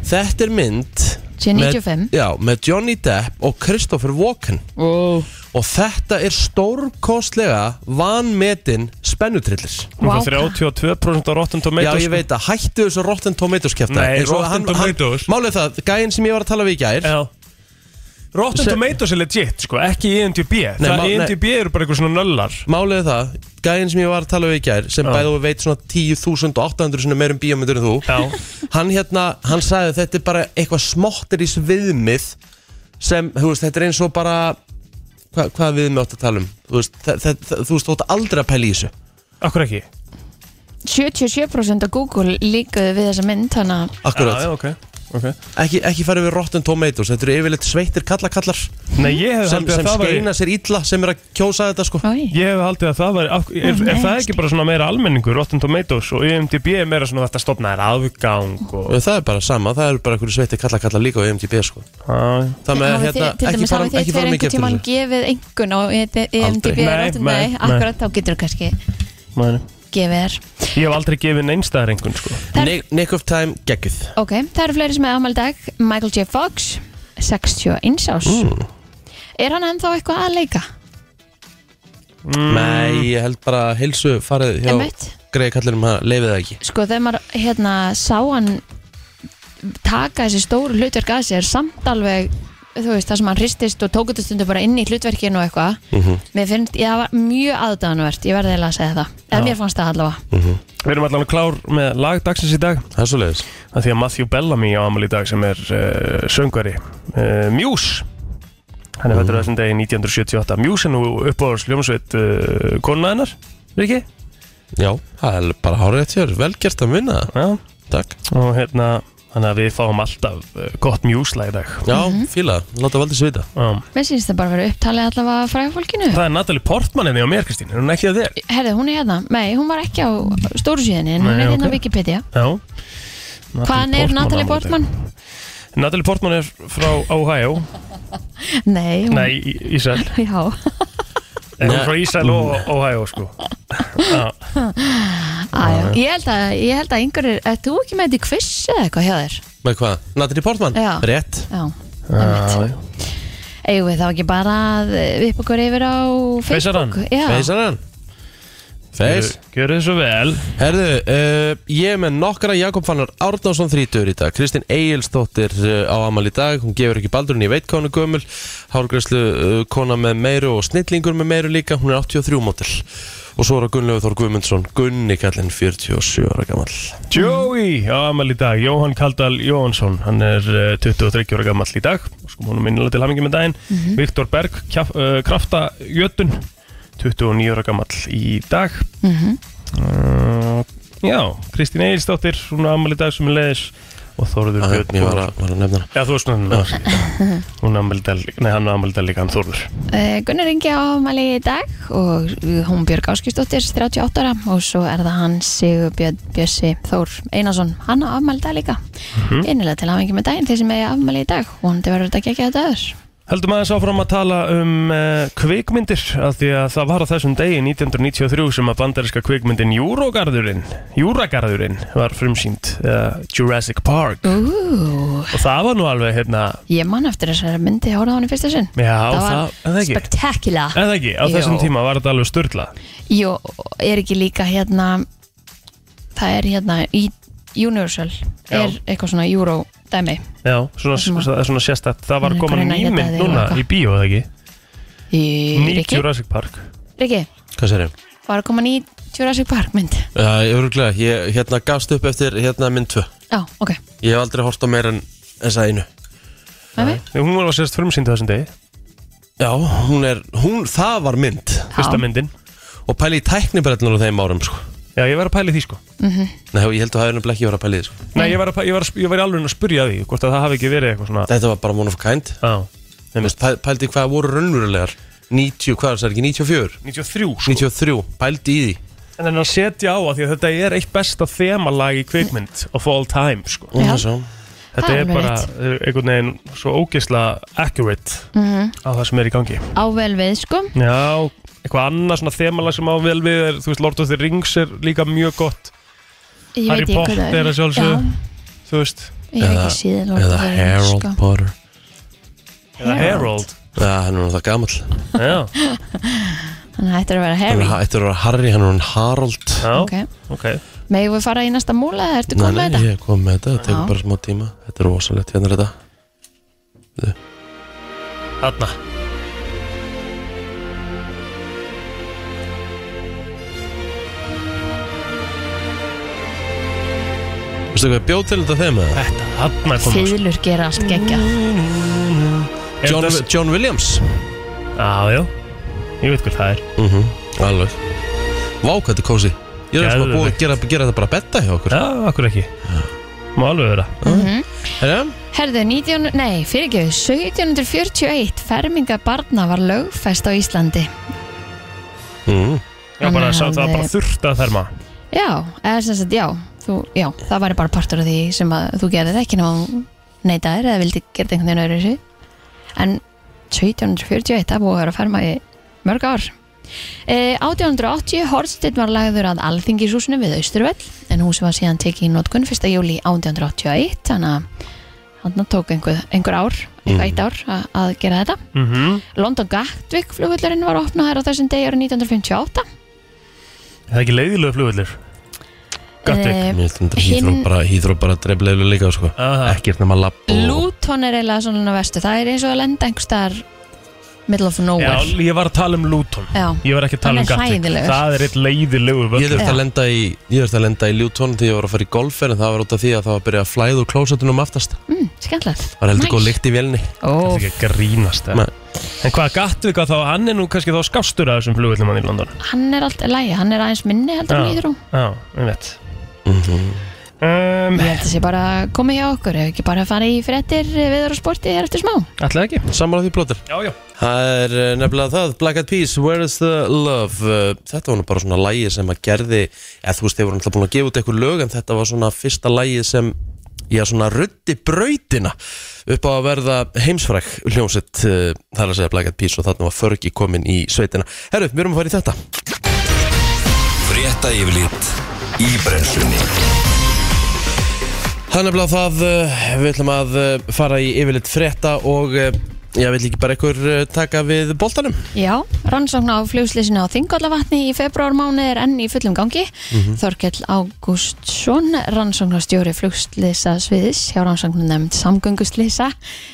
[SPEAKER 1] Þetta er mynd
[SPEAKER 2] Síðan
[SPEAKER 1] með-
[SPEAKER 2] 95.
[SPEAKER 1] Já, með Johnny Depp og Christopher Walken
[SPEAKER 2] wow.
[SPEAKER 1] Og þetta er stórkostlega vanmetin spennutrillis
[SPEAKER 3] Hún
[SPEAKER 2] Vá,
[SPEAKER 3] fær 32% á Rotten
[SPEAKER 1] Já,
[SPEAKER 3] Tomatoes
[SPEAKER 1] ég veit að hættu þessu Rotten Tomatoes kefta
[SPEAKER 3] Nei, Rotten Tomatoes.
[SPEAKER 1] Málið það, gæinn sem ég var að tala við í gær
[SPEAKER 3] Já Rotten
[SPEAKER 1] Se-
[SPEAKER 3] Tomatoes er legit, sko, ekki IMDb
[SPEAKER 1] Nei,
[SPEAKER 3] Það E
[SPEAKER 1] má- nei.
[SPEAKER 3] IMDb eru bara eitthvað svona nöllar
[SPEAKER 1] Málið það, gæinn sem ég var að tala við í gær sem
[SPEAKER 3] Já.
[SPEAKER 1] bæði og veit svona 10.800 sinni meirum bíómyndur um en þú
[SPEAKER 3] Já,
[SPEAKER 1] hann hérna, hann sagði að þetta er bara eitthvað smotterís viðmið sem, þú veist, þetta er eins og bara hva, hvað viðmið átt að tala um þú veist, þe- þe- þe- þú veist, þú átt aldrei að pæla í þessu
[SPEAKER 3] akkur ekki
[SPEAKER 2] 77% af Google líkaðu við þessa mynd þannig að
[SPEAKER 1] akkurat,
[SPEAKER 3] Já, já, ok, ok
[SPEAKER 1] ekki, ekki farið við Rotten Tomatoes, þetta eru yfirleitt sveittir kallakallar
[SPEAKER 3] Nei, ég hef
[SPEAKER 1] sem,
[SPEAKER 3] haldið
[SPEAKER 1] sem
[SPEAKER 3] að það væri
[SPEAKER 1] skeina sér illa sem er að kjósa þetta sko
[SPEAKER 2] Oj.
[SPEAKER 3] Ég hef haldið að það væri af- Er, er það ekki bara svona meira almenningur, Rotten Tomatoes og E IMDb er meira svona þetta stopnaðir afgang og
[SPEAKER 1] það er bara sama, það eru bara einhverju sveittir kallakallar líka á IMDb sko
[SPEAKER 3] Já,
[SPEAKER 1] það með
[SPEAKER 2] Hafið
[SPEAKER 1] hérna,
[SPEAKER 2] þið- til
[SPEAKER 1] ekki
[SPEAKER 2] dæmis
[SPEAKER 1] fara,
[SPEAKER 2] hafið þið
[SPEAKER 1] ekki
[SPEAKER 2] tveir
[SPEAKER 1] fara mikið eftir
[SPEAKER 2] einhvern tímann
[SPEAKER 1] þessu
[SPEAKER 2] gefið e, engun á EMDB
[SPEAKER 1] Aldrei.
[SPEAKER 3] Nei,
[SPEAKER 2] nei,
[SPEAKER 3] nei,
[SPEAKER 2] nei,
[SPEAKER 3] nei.
[SPEAKER 2] e, akkurat þá getur þú kannski
[SPEAKER 3] mæni
[SPEAKER 2] gefið þér
[SPEAKER 3] Ég hef aldrei gefið neinstæðar einhvern, sko
[SPEAKER 2] Það-
[SPEAKER 1] Nick, Nick of Time, geggjuð
[SPEAKER 2] ok, það eru fleiri sem er afmæli í dag Michael J. Fox, 61 árs er hann ennþá eitthvað að leika?
[SPEAKER 1] Nei, ég held bara að heilsu farið hjá
[SPEAKER 2] Mm. Einmitt.
[SPEAKER 1] greið kallinum að leifið það ekki
[SPEAKER 2] sko þegar maður hérna sá hann taka þessi stóru hlutverk að sér samt alveg þú veist það sem hann hristist og tók þetta stundu bara inn í hlutverkinu og eitthvað
[SPEAKER 3] Mhm.
[SPEAKER 2] mér finnst, ég það var mjög aðdæðanvert ég verði eiginlega að segja það, eða mér fannst það allavega
[SPEAKER 3] Við erum allavega klár með lagdagsins í dag
[SPEAKER 1] Það er svo leiðis
[SPEAKER 3] að því að Matthew Bellamy á amal í dag sem er uh, söngvari uh, Muse hann er fættur á þessum degi 1978 Muse er nú uppáðars hljómsveit uh, konunaðinnar, Riki
[SPEAKER 1] Já, það er bara hárið eftir, vel gert að vinna það.
[SPEAKER 3] Já.
[SPEAKER 1] Takk
[SPEAKER 3] og hérna þannig að við fáum alltaf uh, gott Muse-lag í dag
[SPEAKER 1] Já, fíla, láta valdið svita
[SPEAKER 3] um,
[SPEAKER 2] mér finnst það bara að vera upptalið allavega frá fólkinu
[SPEAKER 3] það er Natalie Portman enni á mér Kristín, er hún ekki að þér?
[SPEAKER 2] herðu hún er hérna, nei hún var ekki á stóru síðinni en hún
[SPEAKER 3] Nei,
[SPEAKER 2] er hérna
[SPEAKER 3] ok.
[SPEAKER 2] á Wikipedia
[SPEAKER 3] Já
[SPEAKER 2] hvaðan er Natalie
[SPEAKER 3] afmæli í dag.
[SPEAKER 2] Portman?
[SPEAKER 3] Natalie Portman er frá Ohio
[SPEAKER 2] nei, hún,
[SPEAKER 3] Nei, í- Ísrael
[SPEAKER 2] já
[SPEAKER 3] Er hún
[SPEAKER 1] Nei.
[SPEAKER 3] frá Ísrael og Ohio sko
[SPEAKER 2] Æjá, ég held að, ég held að einhverjir, er þú ekki með þetta í quiz eða eitthvað hjá þér?
[SPEAKER 1] Með hvað? Natalie Portman?
[SPEAKER 2] Já.
[SPEAKER 1] Rétt
[SPEAKER 2] Já, einmitt. eigum við þá ekki bara að vipp okkur yfir á
[SPEAKER 3] Feysarann.
[SPEAKER 2] Facebook Já,
[SPEAKER 1] Feysarann Feys
[SPEAKER 3] Gjör þið svo vel
[SPEAKER 1] Herðu, uh, ég er með nokkra Jakob Fannar Árnánsson þrítur í dag Kristinn Egilsdóttir uh, á amal í dag Hún gefur ekki baldur en ég veit hvað hún er gömul Hárgræslu uh, kona með meiru og snillingur með meiru líka Hún er 83 mótil Og svo er það Gunnlegu Þór Guðmundsson Gunni kallinn 47 ára gammal
[SPEAKER 3] Joey á amal í dag, Jóhann Kaldal Jóhansson, hann er eh, 23 ára gammal í dag, sko hún er minnilega til hamingi með daginn, Viktor Berg, kjaf, uh, Krafta Jötun, 29 ára gammal í dag, uh, já, Kristín Egilsdóttir, hún á amal í dag sem er leiðis og Þorður
[SPEAKER 1] Það er
[SPEAKER 3] Björn
[SPEAKER 1] mér var að, var að nefna hana.
[SPEAKER 3] Já, þú veist hann, hún er amal í dag, nei hann er amal í dag líka, hann Þorður.
[SPEAKER 2] Eh, Gunnar Ingi á ámali í dag og hún Björg Áskistóttir 38 ára og svo er það hann Sigur Björn Bjössi Þór Einarsson hann á afmæli í dag líka innilega til áhengi með daginn þeir sem er afmæli í dag og hann til verður þetta ekki ekki að þetta öður
[SPEAKER 3] Heldum aðeins áfram að tala um uh, kvikmyndir af því að það var á þessum degi 1993 sem að bandaríska kvikmyndin Júrógarðurinn Júragarðurinn var frumsýnd uh, Jurassic Park
[SPEAKER 2] Ú,
[SPEAKER 3] og það var nú alveg hérna
[SPEAKER 2] ég man eftir þessari myndi ég horfði á hann í fyrsta sinn
[SPEAKER 3] Já, það,
[SPEAKER 2] það
[SPEAKER 3] það,
[SPEAKER 2] var
[SPEAKER 3] eða ekki,
[SPEAKER 2] spektakular
[SPEAKER 3] eða ekki á þessum
[SPEAKER 2] Jú.
[SPEAKER 3] tíma var þetta alveg störla
[SPEAKER 2] Jó, er ekki líka hérna það er hérna í Universal
[SPEAKER 3] Já.
[SPEAKER 2] er eitthvað svona Euro dæmi
[SPEAKER 3] Já, svona,
[SPEAKER 2] Þessum að-
[SPEAKER 3] svona, svona sérstætt það var
[SPEAKER 2] Hún er
[SPEAKER 3] að koma
[SPEAKER 2] að reyna að geta
[SPEAKER 3] nýmynd
[SPEAKER 2] þig og
[SPEAKER 3] núna
[SPEAKER 2] eitthvað.
[SPEAKER 3] í bíó, eða ekki
[SPEAKER 2] Í-
[SPEAKER 3] Ný
[SPEAKER 2] Rikki,
[SPEAKER 3] Jurassic Park
[SPEAKER 2] Rikki,
[SPEAKER 1] Hvað sér ég?
[SPEAKER 2] var að koma ný Jurassic Park mynd
[SPEAKER 1] Uh, ég, örugglega, ég hérna gafst upp eftir hérna mynd 2
[SPEAKER 2] Já, ok,
[SPEAKER 1] Ég hef aldrei hort á meir en þessa einu
[SPEAKER 2] með mig
[SPEAKER 3] Þegar Hún var sérst frumsýnd á þessum degi,
[SPEAKER 1] Já, hún er, hún, það var mynd
[SPEAKER 3] fyrsta myndin
[SPEAKER 1] Og pæli í tæknibrellunar á þeim árum sko.
[SPEAKER 3] Já, ég var að pæli því sko
[SPEAKER 1] Nei, ég held að það er nefnilega ekki verið að pæli því sko.
[SPEAKER 3] Nei, ég var, að, pæ- ég var, að- ég var í alveg að spyrja því hvort að það hafi ekki verið eitthvað svona
[SPEAKER 1] Þetta var bara one of a kind
[SPEAKER 3] Já,
[SPEAKER 1] Þú veist, pæ- Pældi hvað voru raunverulegar 90, hvað er það ekki, 94?
[SPEAKER 3] 93 sko
[SPEAKER 1] 93, pældi í því
[SPEAKER 3] En þannig að setja á að því að þetta er eitt besta themalag í kvikmynd of all time sko
[SPEAKER 1] Og
[SPEAKER 2] Já.
[SPEAKER 1] það sá.
[SPEAKER 3] Þetta
[SPEAKER 2] Það er
[SPEAKER 3] er
[SPEAKER 2] alveg
[SPEAKER 3] bara eh, einhvern veginn svo ógeðsla accurate á það sem er í gangi
[SPEAKER 2] Mhm. Á vel við, sko
[SPEAKER 3] Já, eitthvað annað svona themalag sem á vel við er, þú veist, Lord of the Rings er líka mjög gott
[SPEAKER 2] Ég
[SPEAKER 3] Harry
[SPEAKER 2] veit ekki hvað það
[SPEAKER 3] Potter að sjálfsögðu. þú veist
[SPEAKER 2] Já, ég hef
[SPEAKER 1] Eða-
[SPEAKER 2] ekki síðan Lord
[SPEAKER 1] Eða
[SPEAKER 2] of the Rings,
[SPEAKER 1] Harold
[SPEAKER 2] sko.
[SPEAKER 1] Potter
[SPEAKER 3] Eða Harold
[SPEAKER 1] Já, hann er það gamall
[SPEAKER 3] Já,
[SPEAKER 2] Hann hættir að vera
[SPEAKER 1] Hann
[SPEAKER 2] Harry
[SPEAKER 1] er ha- Þetta er að vera Harry, hann er hann Harold
[SPEAKER 3] já,
[SPEAKER 2] Ok,
[SPEAKER 3] ok,
[SPEAKER 2] megum við fara í næsta múla eða ertu komið
[SPEAKER 1] Nei, nei,
[SPEAKER 2] með þetta?
[SPEAKER 1] ég kom með þetta, þetta
[SPEAKER 2] Já.
[SPEAKER 1] tekur bara smá tíma Þetta er rosalegt, hérna er þetta
[SPEAKER 3] Þarna
[SPEAKER 1] Veistu hvað, bjóð til þetta þeim eða?
[SPEAKER 3] Þetta, þarna kom það, sko.
[SPEAKER 2] Fiðlur gera allt geggja
[SPEAKER 3] Er
[SPEAKER 1] John,
[SPEAKER 3] þetta-
[SPEAKER 1] John Williams
[SPEAKER 3] Já, já, ég veit hvað það er
[SPEAKER 1] mm Alveg Vá, hvað þetta er kósi Ég er alltaf að búið að gera, gera þetta bara betta hjá okkur
[SPEAKER 3] Já, akkur ekki Má alveg vera
[SPEAKER 1] Herra,
[SPEAKER 2] Herðu, 19, nei, fyrirgefið, 1741 ferminga barna var lögfest á Íslandi
[SPEAKER 1] mm.
[SPEAKER 3] Já, bara,
[SPEAKER 2] Þannig
[SPEAKER 3] sá,
[SPEAKER 2] að
[SPEAKER 3] það
[SPEAKER 2] við-
[SPEAKER 3] bara þurft að þerma
[SPEAKER 2] Já, eða sem sagt, já, þú, já það væri bara partur af því sem að þú gerðið ekki nema neitaðir eða vildi gera einhvern veginn öðru þessu en 1741, það er búið að vera að ferma í mörg ár Eh, 1880 Hortsteinn var lagður að Alþingishúsinu við Austurvell en húsi var síðan tekið í notkun 1. júli 1881 þannig að hann tók einhver, einhver ár, eitthvað eitt ár að, að gera þetta
[SPEAKER 3] mm
[SPEAKER 2] London Gatwick flugullurinn var opnað á þessum degi árið 1958
[SPEAKER 3] Það er ekki leiðilegu flugvöldur Gatwick.
[SPEAKER 2] Eh,
[SPEAKER 1] Mér finnst þetta
[SPEAKER 2] Hinn-
[SPEAKER 1] hýþró bara, hýþró bara dreifleilu líka sko.
[SPEAKER 3] Aha.
[SPEAKER 1] Ekkert nema lapp og
[SPEAKER 2] Luton er eiginlega svona vestu það er eins og að lenda einhverstar middle of
[SPEAKER 3] Já,
[SPEAKER 2] nowhere
[SPEAKER 3] ég var að tala um Luton
[SPEAKER 2] Já.
[SPEAKER 3] Ég var ekki að
[SPEAKER 2] Hann
[SPEAKER 3] tala
[SPEAKER 2] er
[SPEAKER 3] um Gatwick
[SPEAKER 2] hræðilegur.
[SPEAKER 3] Það er eitt leiðilegu
[SPEAKER 1] Ég
[SPEAKER 3] völd
[SPEAKER 1] þurfti
[SPEAKER 2] Já.
[SPEAKER 1] að lenda í Ég þurfti að lenda í Ljúton því ég var að fara í golfer en það var út af því að það var að byrja að flæða úr klósetunum aftast Það
[SPEAKER 2] mm, skemmtilegt
[SPEAKER 1] var heldur
[SPEAKER 2] Nice.
[SPEAKER 1] góð lykt í vélni
[SPEAKER 3] Það
[SPEAKER 2] Ó,
[SPEAKER 3] er ekki að grínast eða?
[SPEAKER 1] um Nei.
[SPEAKER 3] En hvað Gatwick að þá, hann er nú kannski þá skástur að þessum flugvöldum hann í London
[SPEAKER 2] hann er alltaf lægi, hann er aðeins minni heldur
[SPEAKER 3] Já.
[SPEAKER 2] en nýður
[SPEAKER 3] Já, ég veit
[SPEAKER 1] mm
[SPEAKER 3] um,
[SPEAKER 2] ég held að sé bara komið hjá okkur ef ekki bara að fara í frettir viður og sporti er eftir smá
[SPEAKER 3] Ætlaði ekki
[SPEAKER 1] Sammála því plótir
[SPEAKER 3] Já, já
[SPEAKER 1] Það er eh, nefnilega það, Black Eyed Peas, Where is the Love Eh, Þetta var nú bara svona lægi sem að gerði eða þú veist, þeir voru náttúrulega búin að gefa út eitthvað lög en þetta var svona fyrsta lægi sem já, svona ruddi brautina upp á að verða heimsfræk hljómsett, eh, það er að segja Black Eyed Peas og þarna var Fergie komin í sveitina Herru, við erum að fara í þetta
[SPEAKER 4] Frétta yfirlit í brennslunni
[SPEAKER 1] Það er nefnilega það, eh, við ætlum að eh, fara í yfirleitt frétta og eh, Ég vil ekki bara ykkur eh, taka við boltanum
[SPEAKER 2] Já, rannsókn á fljóðslýsinu á Þingallavatni í februarmáni er enn í fullum gangi. Þorkell Ágústsson, rannsóknarstjóri fljóðslýsa sviðis hjá rannsóknum nefnd samgönguslýsa,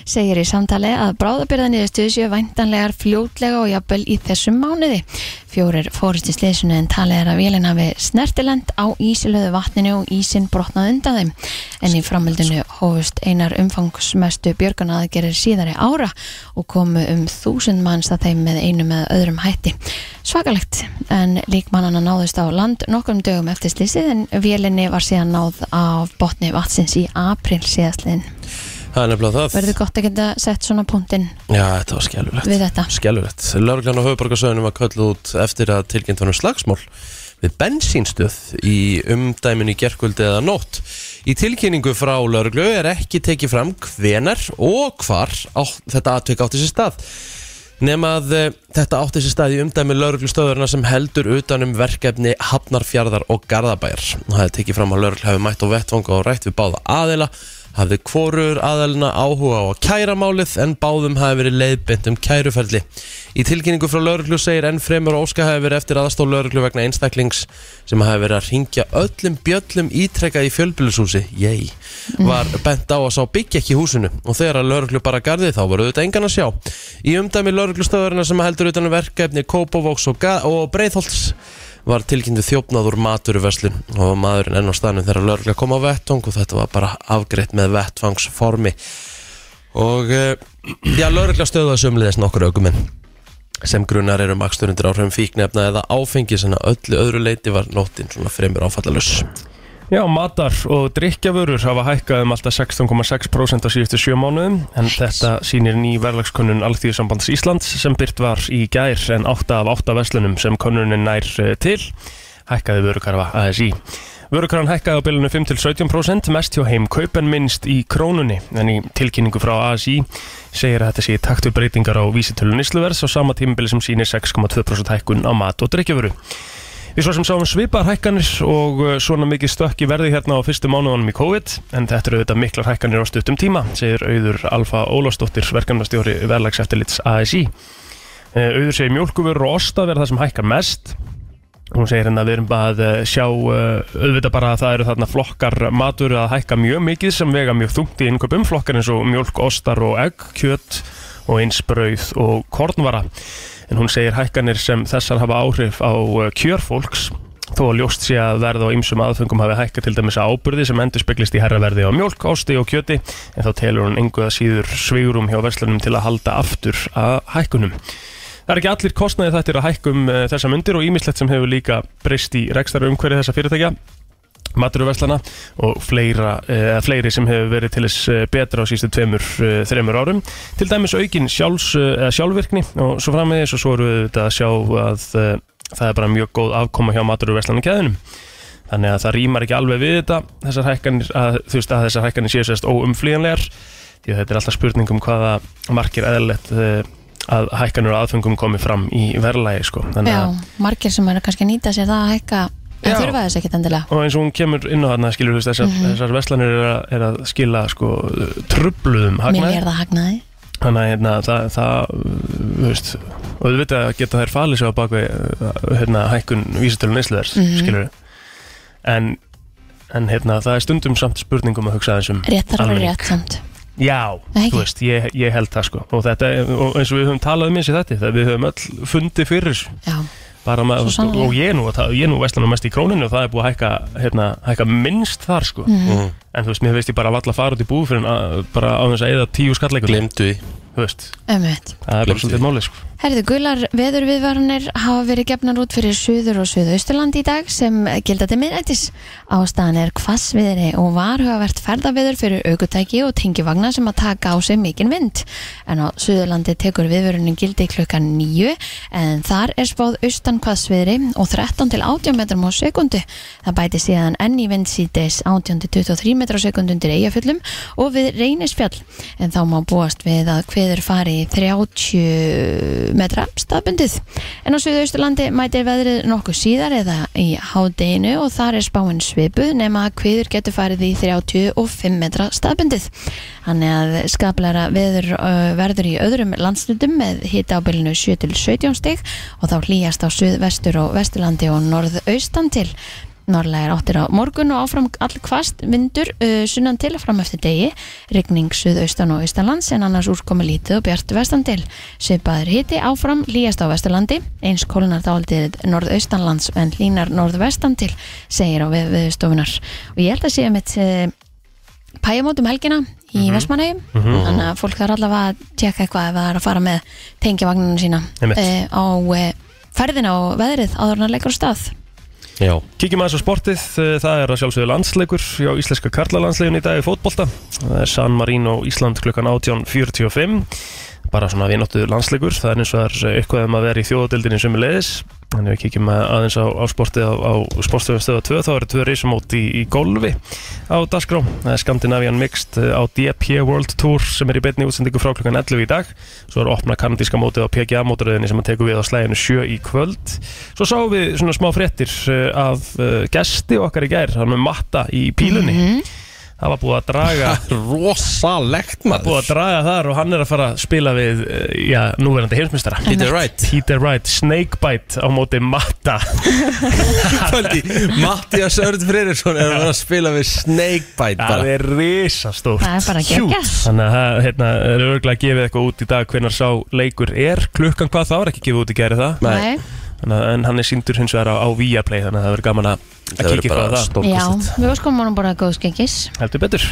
[SPEAKER 2] segir í samtali að bráðabyrða niðurstöðu séu væntanlegar fljótlega og jafnvel í þessum mánuði. Fjórir fórist í slýsinu en talið er að vélina við snertilend á ísilöðu vatninu og ísin brotnað undan þeim. En í framöldinu hófust einar umfangsmestu björgunaraðgerir síðari ára og komu um þúsund manns að þeim með einu með öðrum hætti. Svakalegt, en líkmannana náðust á land nokkrum dögum eftir slýsið en vélinni var síðan náð af botni vatsins í april síðastliðin.
[SPEAKER 1] Það er nefnilega það
[SPEAKER 2] Verður gott að geta sett svona punktinn
[SPEAKER 1] Já, þetta var skelvilegt
[SPEAKER 2] við þetta.
[SPEAKER 1] Skelvilegt Lörglan á höfuborgarsöðunum var kölluð út eftir að tilkynnt var um slagsmál við bensínstöð í umdæminu í gerkvöldi eða nótt Í tilkynningu frá lörglu er ekki tekið fram hvenar og hvar á, þetta atvik átti sér stað Nefn að eh, þetta átti sér stað í umdæmi lauruglustöðurna sem heldur utanum verkefni Hafnarfjarðar og Garðabæjar. Það er tekið fram að laurugl hefur mætt á vettvang og rætt við báða aðila, hafði kvorur aðilina áhuga á að kæra málið en báðum hafi verið leiðbynd um kæruferli. Í tilkynningu frá lauruglu segir enn fremur að Óska hafi verið eftir aðstó lauruglu vegna einstaklings sem hafi verið að ringja öllum bjöllum ítrekka í fjölbýlishúsi, jæj, var bent á að sá byggja ekki í húsinu og þegar að lauruglu bara garði þá voru þetta engan að sjá. Í umdæmi lauruglustöðurina sem heldur utan um verkefni Kópavóks og, Ga- og Breitholtz var tilkynntu þjófnaður maturverslun og maðurinn enn á stanum þegar laurugla kom á vettvang og þetta var bara afgreitt með vettvangsformi og eh, já, laurugla stöðuða sömulegis nokkur aukuminn sem grunar eru makstur undir áhrifum fíknefna eða áfengis en að öllu öðru leiti var nóttin svona fremur áfallalus
[SPEAKER 3] Já, matar og drikkjavörur hafa hækkað um alltaf 16,6% á síðustu sjö mánuðum en þetta sýnir ný verðlagskönnun Alþýðusambands Íslands sem byrt var í gær en 8 af 8 verslunum sem könnunin nær eh, til hækkaði vörukarfa ASI. Vörukarfan hækkaði á bylunu 5-17% mest hjá heim kaup en minnst í krónunni en í tilkynningu frá ASI segir að þetta sé í takt við breytingar á vísitölu nýsluvers á sama tímabili sem sýnir 6,2% hækkun á mat og drikkjavöru. Við svo sem sáum svipar hækkanir og uh, svona mikið stökk í verði hérna á fyrstu mánuðanum í COVID en þetta eru auðvitað miklar hækkanir á stuttum tíma segir auður Alfa Ólafsdóttir verkefnastjóri verðlags eftirlits ASI Uh, auður segir mjólkuvörur og osta verða það sem hækkar mest hún segir hérna að við erum bara að uh, sjá uh, auðvitað bara að það eru þarna flokkar matur að hækka mjög mikið sem vega mjög þungt í innkaupum flokkar eins og mjólk, ostar og egg, kjöt og eins brauð og kornvara en hún segir hækkanir sem þessar hafa áhrif á uh, kjörfólks þó að ljóst sé að verð á ymsum aðfengum hafi hækkað til dæmis að ábyrði sem endur speglist í herraverði á mjólk, osti og kjöti en þá telur hún engu að síður svigurum hjá verslunum til að halda aftur að hækkunum. Það er ekki allir kostnaði þetta er að hækkum uh, þessa myndir og ýmislegt sem hefur líka breyst í rekstara umhverju þessa fyrirtækja maturverslana og fleira, uh, fleiri sem hefur verið til þess eh, betra á sístu tveimur, uh, þreimur árum til dæmis aukin sjálfs, uh, sjálfvirkni og svo framvegis og svo eru við auðvitað að sjá að uh, það er bara mjög góð afkoma hjá maturverslana keðinum þannig að það rýmar ekki alveg við þetta þessar hækkanir, að, þú veist að þessar hækkanir séu sérst óumflýjanlegar því að þetta er alltaf spurning um hvaða markir eðalett að hækkanir og aðfengum komi fram í verðlægi sko. Þannig að-
[SPEAKER 2] Já, margir sem eru kannski að nýta sér það að hækka en
[SPEAKER 3] Já.
[SPEAKER 2] þurfa þess ekkit endilega.
[SPEAKER 3] og eins og hún kemur inn á þarna skilur þú veist þessar,
[SPEAKER 2] Mhm.
[SPEAKER 3] þessar veslanir er að, er að skila sko trubluðum
[SPEAKER 2] Mér
[SPEAKER 3] hagnaði
[SPEAKER 2] er það hagnaði.
[SPEAKER 3] þannig að hérna, það, það uh, þú veist, og þú veit að geta þær falið sér á bakveg uh, hérna, hækkun vísitölu neysluðar mm
[SPEAKER 2] Mhm.
[SPEAKER 3] skilur en, en hérna, það er stundum samt spurningum að hugsa þessum
[SPEAKER 2] Rétt þarf að vera
[SPEAKER 3] Almenning.
[SPEAKER 2] rétt samt.
[SPEAKER 3] Já,
[SPEAKER 2] Nei, ekki?
[SPEAKER 3] þú veist, ég, ég held það sko og, þetta, er- og eins og við höfum talað um eins í þetta það við höfum öll fundið fyrir þessu
[SPEAKER 2] Já,
[SPEAKER 3] bara
[SPEAKER 2] Svo
[SPEAKER 3] maður, þú veist,
[SPEAKER 2] sannarlega.
[SPEAKER 3] og ég er nú, að ta- ég er nú veslanum mest í króninu og það er búið að hækka, hérna, hækka minnst þar sko
[SPEAKER 1] mm.
[SPEAKER 3] en þú veist, mér veist ég bara að valla fara út í búð fyrir að, bara á þess að eða tíu skalleikur
[SPEAKER 1] Glemdu því
[SPEAKER 3] þú veist,
[SPEAKER 2] ömmið.
[SPEAKER 3] það er bara
[SPEAKER 1] Gleymdu
[SPEAKER 3] svolítið málið sko
[SPEAKER 2] Herðu, gular veðurviðvaranir hafa verið gefnar út fyrir suður og suðausturland í dag sem gildandi minnættis. Ástæðan er hvassviðri og varhugavert ferðaviður fyrir aukutæki og tengivagna sem að taka á sig mikinn vind. En á suðurlandi tekur viðvörunin gildi klukkan nýju en þar er spáð austan hvassviðri og 13 til 18 metrum á sekundu. Það bæti síðan enn í vind síðdeis 18 til 23 metrum á sekundu undir eigafjöllum og við reynisfjall. En þá má búast við að hviður fari í 30 metra staðbundið. En á Suðausturlandi mætir veðrið nokkuð síðar eða í hádeginu og þar er spáin svipuð nema að kviður getur farið í 35 metra staðbundið. Þannig að skaplara veður ö, verður í öðrum landslutum með hita á bylunu 7-17 stig og þá hlýjast á Suðvestur og Vesturlandi og Norðaustan til. Norðlegar áttir á morgun og áfram allkvast vindur uh, sunnan til fram eftir degi, rigning suðaustan og austanlands en annars úrkomi lítið og bjart vestan til. Svipaður hiti áfram líjast á vesturlandi, eins kólunar dálitið norðaustanlands en línar norðvestan til, segir á við, viðstofunar. Og ég held að sé mitt uh, pæjamótum helgina í mm þannig að fólk þarf allavega að tjekka eitthvað ef það er að fara með tengjavagninu sína
[SPEAKER 3] Einmitt.
[SPEAKER 2] uh, á uh, ferðina og veðrið áður en að leikur á stað.
[SPEAKER 1] Já,
[SPEAKER 3] Kíkjum aðeins á sportið, eh, það er að sjálfsögðu landsleikur á íslenska karlalandsleikun í dag í fótbolta það er San Marino Ísland klukkan 18.45 bara svona vinóttu landsleikur, það er eins og það er eitthvað um að vera í þjóðadeildinni sem er leiðis þannig við kíkjum aðeins á, á sportið á, á sportstöðum stöða 2, þá eru tvö reisamót í, í golfi á Dasgró það er Skandinavian Mixed eh, á DP World Tour sem er í beinni útsendingu frá klukkan 11 í dag svo er opna kanadíska mótið á PGA mótaröðinni sem að tekur við á slæðinu 7 í kvöld Svo sáum við svona smá fréttir eh, af eh, gesti okkar í gær, hann með matta í pílunni
[SPEAKER 2] Mhm.
[SPEAKER 3] Það var búið að draga
[SPEAKER 1] rosalegt
[SPEAKER 3] búið að draga þar og hann er að fara að spila við, eh, já, núverandi heimsmyndstara
[SPEAKER 1] Peter Wright
[SPEAKER 3] Peter Wright, Snakebite á móti matta
[SPEAKER 1] Kvöldi, Mattias Örd Freyriksson er að vera að spila við Snakebite
[SPEAKER 3] Það
[SPEAKER 1] bara
[SPEAKER 3] er risastórt
[SPEAKER 2] Það er bara geggjað.
[SPEAKER 3] Huge. Þannig að það hérna, er örgulega að gefa eitthvað út í dag hvernar sá leikur er klukkan hvað það var ekki gefið út í gæri það
[SPEAKER 1] Nei,
[SPEAKER 3] Þannig að- en hann er síndur hins vegar á, á Viaplay þannig að það verður gaman að, að
[SPEAKER 1] það
[SPEAKER 3] kíkja
[SPEAKER 1] verður
[SPEAKER 3] eitthvað að
[SPEAKER 1] bara
[SPEAKER 3] það
[SPEAKER 2] Já,
[SPEAKER 1] stórkostlegt
[SPEAKER 2] við óskum honum bara góðs gengis
[SPEAKER 3] heldur betur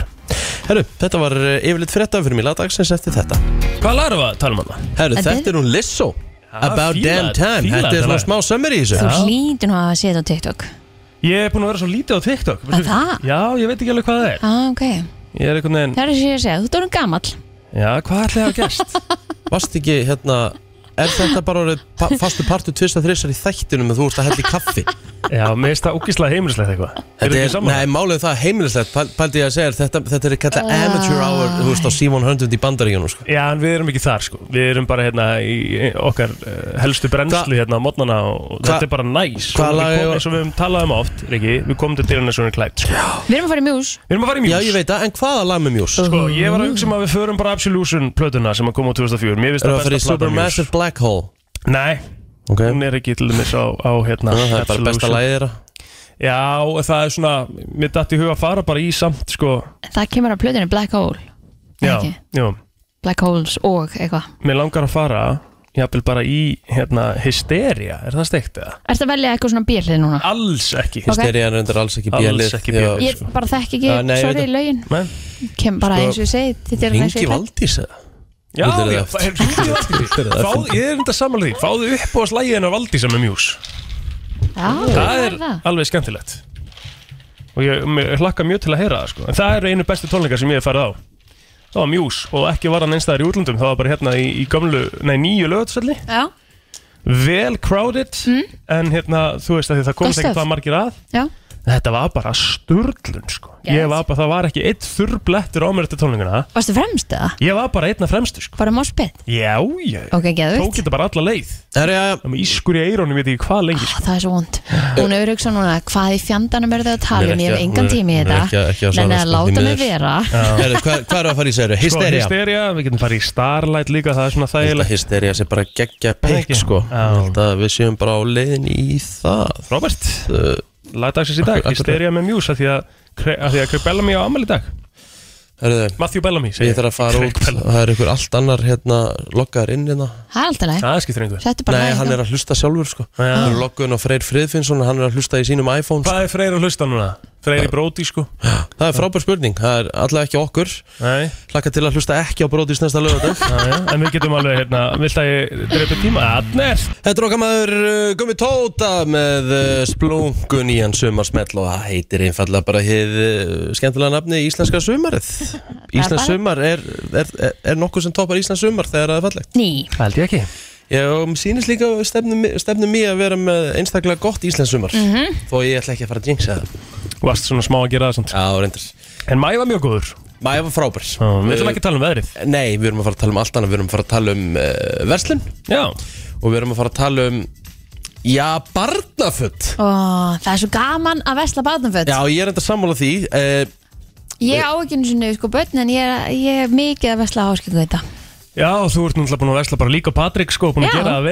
[SPEAKER 1] Herru, þetta var eh, yfirleitt frétta fyrir mig lagdagsins eftir þetta
[SPEAKER 3] Hvað larum við að tala um hann?
[SPEAKER 1] Herru,
[SPEAKER 2] Þetta
[SPEAKER 1] þetta er hún Lizzo About
[SPEAKER 3] fíla-
[SPEAKER 1] damn time
[SPEAKER 3] fíla
[SPEAKER 1] Ah, Þetta
[SPEAKER 3] þetta
[SPEAKER 1] er svona
[SPEAKER 3] lag.
[SPEAKER 1] smá sömmer í þessu
[SPEAKER 2] Þú hlýtur nú að hafa séð á TikTok
[SPEAKER 3] Ég er búin að vera svo lítið á TikTok
[SPEAKER 2] Að það?
[SPEAKER 3] Já, ég veit ekki alveg hvað það er
[SPEAKER 2] ah, ok,
[SPEAKER 3] Ég er einhvern veginn
[SPEAKER 2] það er sér að segja, þú ert orðin gamall
[SPEAKER 3] Já, hvað ætlaði að hafa gerst?
[SPEAKER 1] Vast ekki, hérna Er þetta bara orðið pa fastu partur tvista þrissar í þættinum og þú ert að hella í kaffi?
[SPEAKER 3] Já, mér finnst það úkislega heimilislegt eitthvað Er
[SPEAKER 1] Þetta
[SPEAKER 3] þetta
[SPEAKER 1] er,
[SPEAKER 3] saman?
[SPEAKER 1] nei, málið er það heimilislegt, pæl- pældi ég að segja, þér, þetta, þetta er
[SPEAKER 2] Ah.
[SPEAKER 1] kallað amateur hour, þú veist, á Simon Hundund í bandaríunum, sko.
[SPEAKER 3] Já, en við erum ekki þar sko Við erum bara hérna í okkar uh, helstu brennslu hérna á modnana og
[SPEAKER 1] Hva-
[SPEAKER 3] þetta er bara næs
[SPEAKER 1] Hvaða lag er-
[SPEAKER 3] Svo við höfum talað um oft, Riki Við komum til dyrunni svona klætt sko.
[SPEAKER 2] Við erum að fara í mjús
[SPEAKER 3] Við erum að fara í
[SPEAKER 1] Já,
[SPEAKER 3] mjús
[SPEAKER 1] ég veit það, en hvaða lag með mjús?
[SPEAKER 3] Sko, ég var að hugsa um að við förum bara Absolution plötuna sem að koma á 2004 Mér finnst
[SPEAKER 1] Erum við
[SPEAKER 3] það
[SPEAKER 1] að fara í
[SPEAKER 3] besta plata mjús
[SPEAKER 1] Supermassive Black Hole?
[SPEAKER 3] Nei,
[SPEAKER 1] Ok,
[SPEAKER 3] hún er ekki til dæmis á, á hérna
[SPEAKER 1] það er bara besta
[SPEAKER 3] Absolution.
[SPEAKER 1] lagið þeirra.
[SPEAKER 3] Já, það er svona, mér dætti í huga að fara bara í samt, sko
[SPEAKER 2] Það kemur á plöðinu Black Hole
[SPEAKER 3] Já,
[SPEAKER 2] Ekki.
[SPEAKER 3] já,
[SPEAKER 2] Black Holes og eitthvað
[SPEAKER 3] mér langar að fara jafnvel bara í, hérna, hysteria er það steikt eða?
[SPEAKER 2] Ertu að velja eitthvað svona bílið núna?
[SPEAKER 3] Alls ekki
[SPEAKER 2] Ok.
[SPEAKER 1] Hysteria er undir alls ekki
[SPEAKER 3] Alls
[SPEAKER 1] bjölið.
[SPEAKER 3] ekki B-lið.
[SPEAKER 2] Ég
[SPEAKER 3] sko.
[SPEAKER 2] bara þekk ekki,
[SPEAKER 1] Já, Uh, nei, ég
[SPEAKER 2] sorry,
[SPEAKER 1] veit
[SPEAKER 2] lögin
[SPEAKER 3] Nei.
[SPEAKER 2] Kem bara
[SPEAKER 1] Sko,
[SPEAKER 2] eins og ég segi Þetta er eins og
[SPEAKER 1] Ringi
[SPEAKER 2] ég klætt
[SPEAKER 1] Valdís eða?
[SPEAKER 3] Já,
[SPEAKER 1] Út er
[SPEAKER 3] já,
[SPEAKER 1] það eftir.
[SPEAKER 3] hef hluti valdi Fáð, ég er enda samanlega því, fáðu upp á slægin af valdi sem er mjús
[SPEAKER 2] Já,
[SPEAKER 3] Það er
[SPEAKER 2] það
[SPEAKER 3] alveg skemmtilegt Og ég mér hlakka mjög til að heyra það, sko En það eru einu bestu tónleikar sem ég hef farið á Það var mjús og ekki var hann einstæðar í útlöndum Það var bara hérna í, í gamlu, nei, nýju lögutsvelli
[SPEAKER 2] Já,
[SPEAKER 3] Vel crowded En hérna, þú veist að það
[SPEAKER 2] Hmm? Gott
[SPEAKER 3] komst ekkert
[SPEAKER 2] stöf.
[SPEAKER 3] það margir að
[SPEAKER 2] já,
[SPEAKER 3] Þetta var bara sturglun sko
[SPEAKER 2] Yes.
[SPEAKER 3] Ég var bara, það var ekki eitt þurrblettur á mér eftir tónlinguna
[SPEAKER 2] varstu fremst eða?
[SPEAKER 3] Ég var bara einna fremstu sko
[SPEAKER 2] Bara máspið?
[SPEAKER 3] Já, ég
[SPEAKER 2] Ok,
[SPEAKER 3] tók
[SPEAKER 2] geðvitt
[SPEAKER 3] þetta bara alla leið
[SPEAKER 1] Herra, já,
[SPEAKER 3] Það með ískur í eirónum, ég veit ekki hvað lengi sko.
[SPEAKER 2] Ah, Það er svo vond Hún er auðvitað núna, hvað í fjandanum eru þau að tala um Ég hef engan tími í
[SPEAKER 1] Hún er ekki- ekki
[SPEAKER 2] þetta
[SPEAKER 1] að svara,
[SPEAKER 2] Nei, nei,
[SPEAKER 1] sko, því
[SPEAKER 2] láta mig
[SPEAKER 1] miður.
[SPEAKER 2] vera
[SPEAKER 1] herra, hvað hvað eru að fara í séru?
[SPEAKER 3] Sko,
[SPEAKER 1] Hysteria?
[SPEAKER 3] Hysteria, við getum farið í Starlight líka Það er svona
[SPEAKER 1] Ég held að
[SPEAKER 3] þægilegt
[SPEAKER 1] Hysteria sé bara geggja
[SPEAKER 3] Það er
[SPEAKER 1] pikk,
[SPEAKER 3] ekki.
[SPEAKER 1] sko.
[SPEAKER 3] Já.
[SPEAKER 1] Ég held að við séum bara á leiðin í það.
[SPEAKER 3] Robert,
[SPEAKER 1] Uh,
[SPEAKER 3] lagdagsins í dag
[SPEAKER 1] Akkur- akkur-
[SPEAKER 3] Hysteria með Muse, af því að Cra- af því að Craig Bellamy á amal í dag
[SPEAKER 1] Herðu,
[SPEAKER 3] Matthew Bellamy,
[SPEAKER 1] ég
[SPEAKER 3] segir
[SPEAKER 1] þarf að fara
[SPEAKER 3] Craig
[SPEAKER 1] út.
[SPEAKER 3] Bellamy.
[SPEAKER 1] Það er ykkur allt annar, hérna, lokkaður inn hérna.
[SPEAKER 2] Það er alltaf leið
[SPEAKER 3] Það skiptir einhver
[SPEAKER 2] Þetta er bara hérna?
[SPEAKER 1] Nei, hann
[SPEAKER 2] lagið.
[SPEAKER 1] er að hlusta sjálfur, sko. Hann er lokkuðin á Freyr Friðfinnsson og hann er að hlusta í sínum iPhone. sko.
[SPEAKER 3] Hvað er Freyr að hlusta núna? Freyr í bróti sko
[SPEAKER 1] Það er frábær spurning. Það er allavega ekki okkur.
[SPEAKER 3] Nei,
[SPEAKER 1] Hlakka til að hlusta ekki á Brodís næsta lögadag.
[SPEAKER 3] já, já. en við getum alveg hérna Vilt að ég dreipa tíma? Adner
[SPEAKER 1] Þetta er okkar maður uh, Gummi Tóta með uh, splungun í hann sumarsmell og það heitir einfallega bara hér uh, skemmtilega nafni Íslenska sumarið. Íslensk
[SPEAKER 2] bara-
[SPEAKER 1] sumar er, er, er, er nokkuð sem toppar Íslensk sumar þegar það er fallegt.
[SPEAKER 2] Ný,
[SPEAKER 3] Held ég ekki
[SPEAKER 1] Ég og mér sýnist líka stefnum, stefnum mér að vera með einstaklega gott Íslensk sumar þó ég ætla ekki að fara að jinxa það.
[SPEAKER 3] Vast svona smá að gera það samt
[SPEAKER 1] Já, reyndar.
[SPEAKER 3] En mæ var mjög góður
[SPEAKER 1] Mæja var frábær Eh,
[SPEAKER 3] Við ætlum ekki að tala um veðrið
[SPEAKER 1] Nei, við erum að fara að tala um allt annað Við erum að fara að tala um uh, verslun
[SPEAKER 3] Já,
[SPEAKER 1] Og við erum að fara að tala um Já, barnaföld
[SPEAKER 2] Ó, það er svo gaman að vesla barnaföld
[SPEAKER 1] Já, ég er enda sammála því uh,
[SPEAKER 2] Ég á ekki einu sinni sko börn en ég er, ég er mikið að vesla áskilgu þetta
[SPEAKER 3] já þú ert náttúrulega búin að vesla bara líka á Patrik sko, búin að
[SPEAKER 2] Já.
[SPEAKER 3] gera það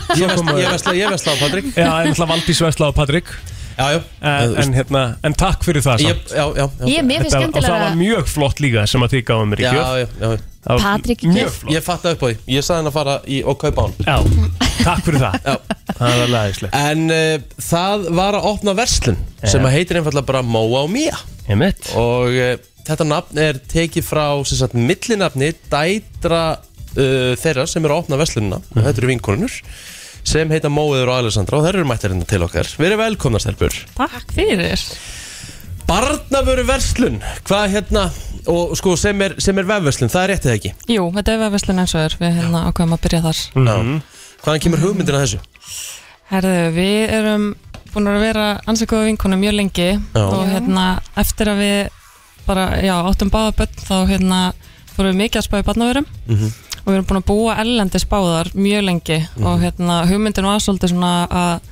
[SPEAKER 3] vel
[SPEAKER 1] Ég vesla, ég vesla, ég vesla á Patrik
[SPEAKER 3] Já, en náttúrulega Valdís vesla á Patrik
[SPEAKER 1] Já, já
[SPEAKER 3] en, en, hérna, en takk fyrir það
[SPEAKER 1] ég,
[SPEAKER 3] samt.
[SPEAKER 1] já, já, já.
[SPEAKER 2] Ég, mér finnst
[SPEAKER 3] Þetta- Og það
[SPEAKER 2] skemmtilega
[SPEAKER 3] var mjög flott líka sem að þið gáðum mér í
[SPEAKER 1] Já,
[SPEAKER 3] gjöf
[SPEAKER 1] já, já,
[SPEAKER 3] Það var
[SPEAKER 2] Patrik í
[SPEAKER 3] Mjög
[SPEAKER 2] gjöf.
[SPEAKER 3] flott
[SPEAKER 1] Ég fatta upp á því Ég saði hann að fara í og kaupa hann
[SPEAKER 3] Já, takk fyrir það Það var leðislegt
[SPEAKER 1] En uh, það var að opna verslun sem að heitir einfallega bara Móa og Mía
[SPEAKER 3] Emmett
[SPEAKER 1] og uh, þetta nafn er tekið frá sem sagt millinafni dætra uh, þeirra sem eru að opna verslunina og þetta eru vinkonunur sem heita Móiður og Alessandra og þeir eru mættarinn til okkar Við erum velkomna stelpur
[SPEAKER 5] Takk fyrir
[SPEAKER 1] Barnavöru verslun, hvað hérna og sko sem er, sem er vefverslun, það er réttið ekki
[SPEAKER 5] Jú, þetta er vefverslun eins og er Við hérna ákveðum að byrja þar
[SPEAKER 1] mm. Hvaðan kemur hugmyndin að þessu?
[SPEAKER 5] Herðu, við erum búin að vera ansækkuða vinkonu mjög lengi
[SPEAKER 1] Já.
[SPEAKER 5] og hérna, eftir að við bara, já, áttum báða börn þá hérna, fórum við mikið að spá í barnaverum
[SPEAKER 1] Mhm.
[SPEAKER 5] og við erum búin að búa ellendis báðar mjög lengi og hérna, hugmyndin var svolítið svona að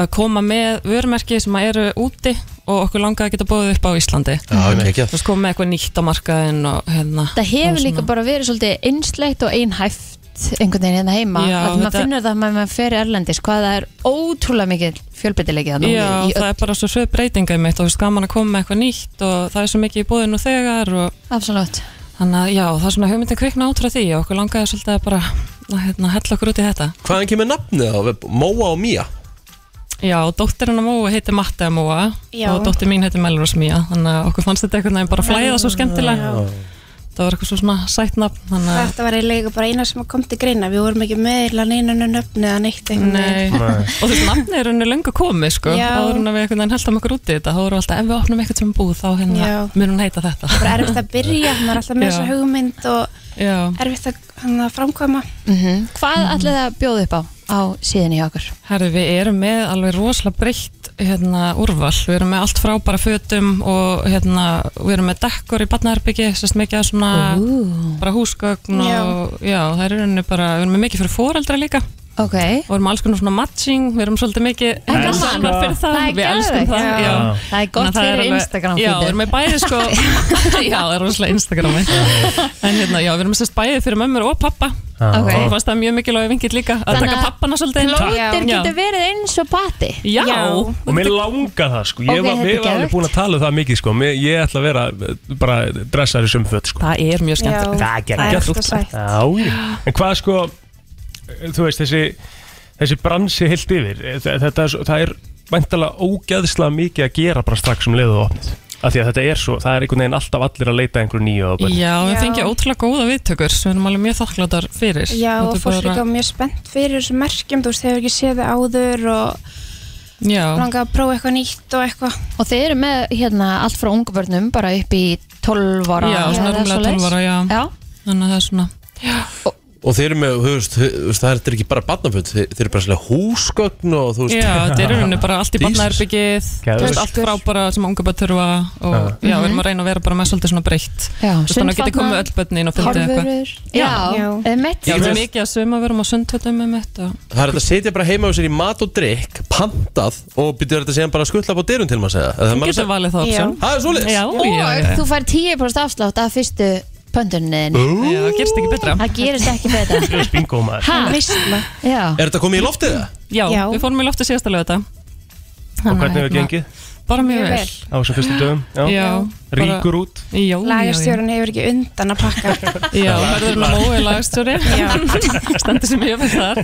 [SPEAKER 5] að koma með vörumerki sem að eru úti og okkur langaði að geta búið upp á Íslandi
[SPEAKER 1] Já, ekki
[SPEAKER 5] þú veist, koma með eitthvað nýtt á markaðin og hérna
[SPEAKER 2] Það
[SPEAKER 5] og
[SPEAKER 2] hefur
[SPEAKER 5] svona.
[SPEAKER 2] líka bara verið svolítið einsleitt og einhæft einhvern veginn hérna heima
[SPEAKER 5] Já,
[SPEAKER 2] að maður
[SPEAKER 5] þetta-
[SPEAKER 2] finnur það að maður fer erlendis hvað það er ótrúlega mikið fjölbreytilegi þannig
[SPEAKER 5] Já,
[SPEAKER 2] í
[SPEAKER 5] það er bara svo sög breytinga í mitt og þú veist, gaman að koma með eitthvað nýtt og það er svo mikið í bóðinu þegar og
[SPEAKER 2] öll absolutt
[SPEAKER 5] þannig að já, það er svona hugmyndin kvikna átra því og okkur langaði svolítið að bara að hérna, hella okkur út í þetta.
[SPEAKER 1] Hvaðan kemur nafnið á Móa og Mía?
[SPEAKER 5] Já, dóttirinn að Móa heitir Matta að Móa
[SPEAKER 2] Já.
[SPEAKER 5] og dóttir mín heitir Melrose Mía þannig að okkur fannst þetta einhvern veginn bara flæða svo skemmtilega það var eitthvað svo svona sætt nafn þannig að
[SPEAKER 6] Þetta var eiginlega bara eina sem kom til greina Við vorum ekki meðla neynunum nöfni eða neitt einhvern veginn.
[SPEAKER 5] Nei. og þessi nafni er henni löngu komið sko,
[SPEAKER 6] Já.
[SPEAKER 5] áður en að við einhvern veginn heldum okkur út í þetta þá vorum við alltaf, ef við opnum eitthvað sem búð þá hérna,
[SPEAKER 6] Já.
[SPEAKER 5] mun hún heita þetta
[SPEAKER 6] Bara erfitt að byrja, maður er alltaf með
[SPEAKER 5] Já.
[SPEAKER 6] þessa hugmynd og
[SPEAKER 5] Já.
[SPEAKER 6] erfitt að hann að framkvæma
[SPEAKER 2] Hvað mm ætlaði það að bjóða upp á á síðan í okkur?
[SPEAKER 5] Herði, við erum með alveg rosalega breytt hérna, úrval, við erum með allt frá bara fötum og hérna, við erum með dekkur í barnaherbyggi, sérst mikið af svona bara húsgögn
[SPEAKER 6] Já.
[SPEAKER 5] og já, það er í rauninni bara, við erum með mikið fyrir foreldra líka og
[SPEAKER 2] Ok,
[SPEAKER 5] við erum alls konar svona matching, við erum svolítið mikið
[SPEAKER 2] gaman.
[SPEAKER 5] Elskan fyrir það,
[SPEAKER 2] Það er
[SPEAKER 5] við elskum
[SPEAKER 2] geðveikt.
[SPEAKER 5] það
[SPEAKER 6] Já.
[SPEAKER 2] það er gott
[SPEAKER 5] Þannig að það er
[SPEAKER 2] fyrir
[SPEAKER 5] alveg-
[SPEAKER 2] Instagram
[SPEAKER 5] Já, við erum með bæði sko Já, það er rosalega Instagrami En hérna, já, við erum sérst bæði fyrir mömmur og pappa
[SPEAKER 2] Ok.
[SPEAKER 5] Og fannst það mjög mikilvæg vingill líka Að
[SPEAKER 2] Þannig
[SPEAKER 5] taka
[SPEAKER 2] að
[SPEAKER 5] pappana svolítið inn.
[SPEAKER 2] Plóter
[SPEAKER 5] Já.
[SPEAKER 2] getur verið eins og pati
[SPEAKER 5] Já,
[SPEAKER 6] Já.
[SPEAKER 3] Og mér langar það sko, ég
[SPEAKER 2] Ok,
[SPEAKER 3] var,
[SPEAKER 2] þetta er
[SPEAKER 3] við var alveg
[SPEAKER 2] geðveikt.
[SPEAKER 3] búin að tala um það mikið sko, mér, ég ætla að vera eh, bara dressar í sumföt sko.
[SPEAKER 5] það er mjög skemmt
[SPEAKER 6] Já,
[SPEAKER 3] Það er
[SPEAKER 6] það er
[SPEAKER 3] geggjað.
[SPEAKER 6] alltaf sætt
[SPEAKER 3] Já, já. en hvað sko, þú veist þessi, þessi bransi heilt yfir, eh, þe- þetta er, svo- það er væntalega ógeðslega mikið að gera bara strax um leiðu opnið. Af því að þetta er svo, það er einhvern veginn alltaf allir að leita að einhverju nýju og bara,
[SPEAKER 5] Já, við
[SPEAKER 6] Já.
[SPEAKER 5] fengið ótrúlega góða viðtökur sem við erum alveg mjög þakkláttar fyrir
[SPEAKER 6] Já,
[SPEAKER 5] Þetta
[SPEAKER 6] og
[SPEAKER 5] er
[SPEAKER 6] fólk
[SPEAKER 5] bara-
[SPEAKER 6] líka mjög spennt fyrir þessu merkjum, þú veist, hefur ekki séð það áður og
[SPEAKER 5] Já,
[SPEAKER 6] langað að prófa eitthvað nýtt og eitthvað
[SPEAKER 2] Og þeir eru með hérna allt frá ungu börnum bara upp í 12 ára
[SPEAKER 5] Já,
[SPEAKER 2] eða
[SPEAKER 5] svona rúmlega
[SPEAKER 2] svoleiðis.
[SPEAKER 5] 12 ára, já. þannig að það er svona
[SPEAKER 1] Og þeir eru með, þú veist, þú veist, það er ekki bara barnaföld, þeir, þeir eru bara svolítið húsgögn og þú veist
[SPEAKER 5] Já, þetta er í rauninni bara allt í
[SPEAKER 1] Jesus.
[SPEAKER 5] barnaherbyggið
[SPEAKER 3] Geðveikt.
[SPEAKER 5] þú veist, Allt frá bara sem unga börn þurfa og já, við
[SPEAKER 6] Mhm.
[SPEAKER 5] erum að reyna að vera bara með svolítið svona breytt
[SPEAKER 2] Já,
[SPEAKER 5] Þú veist, Þannig að geti
[SPEAKER 2] sundfatnað,
[SPEAKER 5] komið öll börnin og fundið eitthvað
[SPEAKER 2] Horfurur Já,
[SPEAKER 6] Já.
[SPEAKER 2] emitt
[SPEAKER 5] Já,
[SPEAKER 1] Ég veit-
[SPEAKER 5] við erum mikið að svöma verum á sundvöldum með mitt og
[SPEAKER 1] Það er þetta að setja bara heima á sér í mat og drikk, pantað og byrjar þetta síðan bara að skuttla upp á dyrum til maður að segja Það
[SPEAKER 5] Þú getur valið það option
[SPEAKER 1] Það er svolítið
[SPEAKER 5] Já,
[SPEAKER 2] Og
[SPEAKER 5] já, já.
[SPEAKER 2] þú fær 10% afslátt af fyrstu pöntunin
[SPEAKER 5] já, gerst ekki betra
[SPEAKER 2] Það gerist ekki betra
[SPEAKER 3] þú veist, bingo maður.
[SPEAKER 2] Ha,
[SPEAKER 6] Veistla
[SPEAKER 2] já
[SPEAKER 1] Er þetta komið í loftið það?
[SPEAKER 5] Já,
[SPEAKER 6] Já. hérna.
[SPEAKER 5] við fórum í lofti síðasta lögða
[SPEAKER 3] Og hvernig hefur gengið
[SPEAKER 5] Bara mjög
[SPEAKER 6] Mjög
[SPEAKER 5] vel
[SPEAKER 6] vel.
[SPEAKER 3] á þessum fyrstu dögum? Já.
[SPEAKER 5] Já, bara-
[SPEAKER 3] Ríkur út?
[SPEAKER 5] Já, já, já.
[SPEAKER 6] Lagarstjórun hefur ekki undan að pakka
[SPEAKER 5] Já, verður Mói lagstjóri Stendur sem ég fyrir þar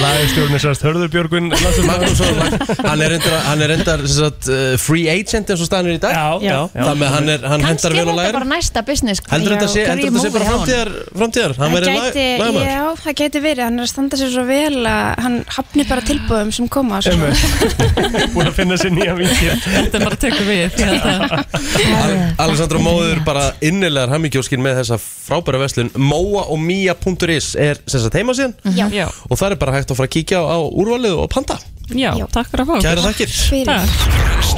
[SPEAKER 3] Læðistjórnir sérst Hörðurbjörgun
[SPEAKER 1] Magnús Óla, hann er endar, hann er endar sagt, uh, free agent eins og staðan er í dag
[SPEAKER 3] Já, já, já.
[SPEAKER 1] Þannig að hann, er, hann
[SPEAKER 2] Kannski
[SPEAKER 1] hendar
[SPEAKER 2] er
[SPEAKER 1] vel og
[SPEAKER 2] þetta
[SPEAKER 1] lægir
[SPEAKER 2] bara næsta business
[SPEAKER 1] Heldur þetta
[SPEAKER 6] Já,
[SPEAKER 1] sé, heldur þetta sé bara
[SPEAKER 2] Grímói,
[SPEAKER 1] framtíðar, framtíðar Hann
[SPEAKER 6] Það
[SPEAKER 1] verður
[SPEAKER 6] gæti,
[SPEAKER 1] lagmaður
[SPEAKER 6] já, það gæti verið, hann er að standa sér svo vel að hann hafni bara tilbúðum sem koma svo.
[SPEAKER 3] Búin að finna sér nýja vinkil
[SPEAKER 5] Þetta bara tekur við ég held að-
[SPEAKER 1] Alessandra Móður bara innilegar hammingjóskin með þessa frábæra veslun Móa og Mía.is er sem sagt heima síðan
[SPEAKER 7] Mm.
[SPEAKER 5] Já,
[SPEAKER 1] og það er bara hægt að fara að kíkja á, á úrvalið og panta
[SPEAKER 5] já, takk fyrir að fá okkur.
[SPEAKER 1] Kæra þakkir
[SPEAKER 6] Fyrir.
[SPEAKER 5] Takk.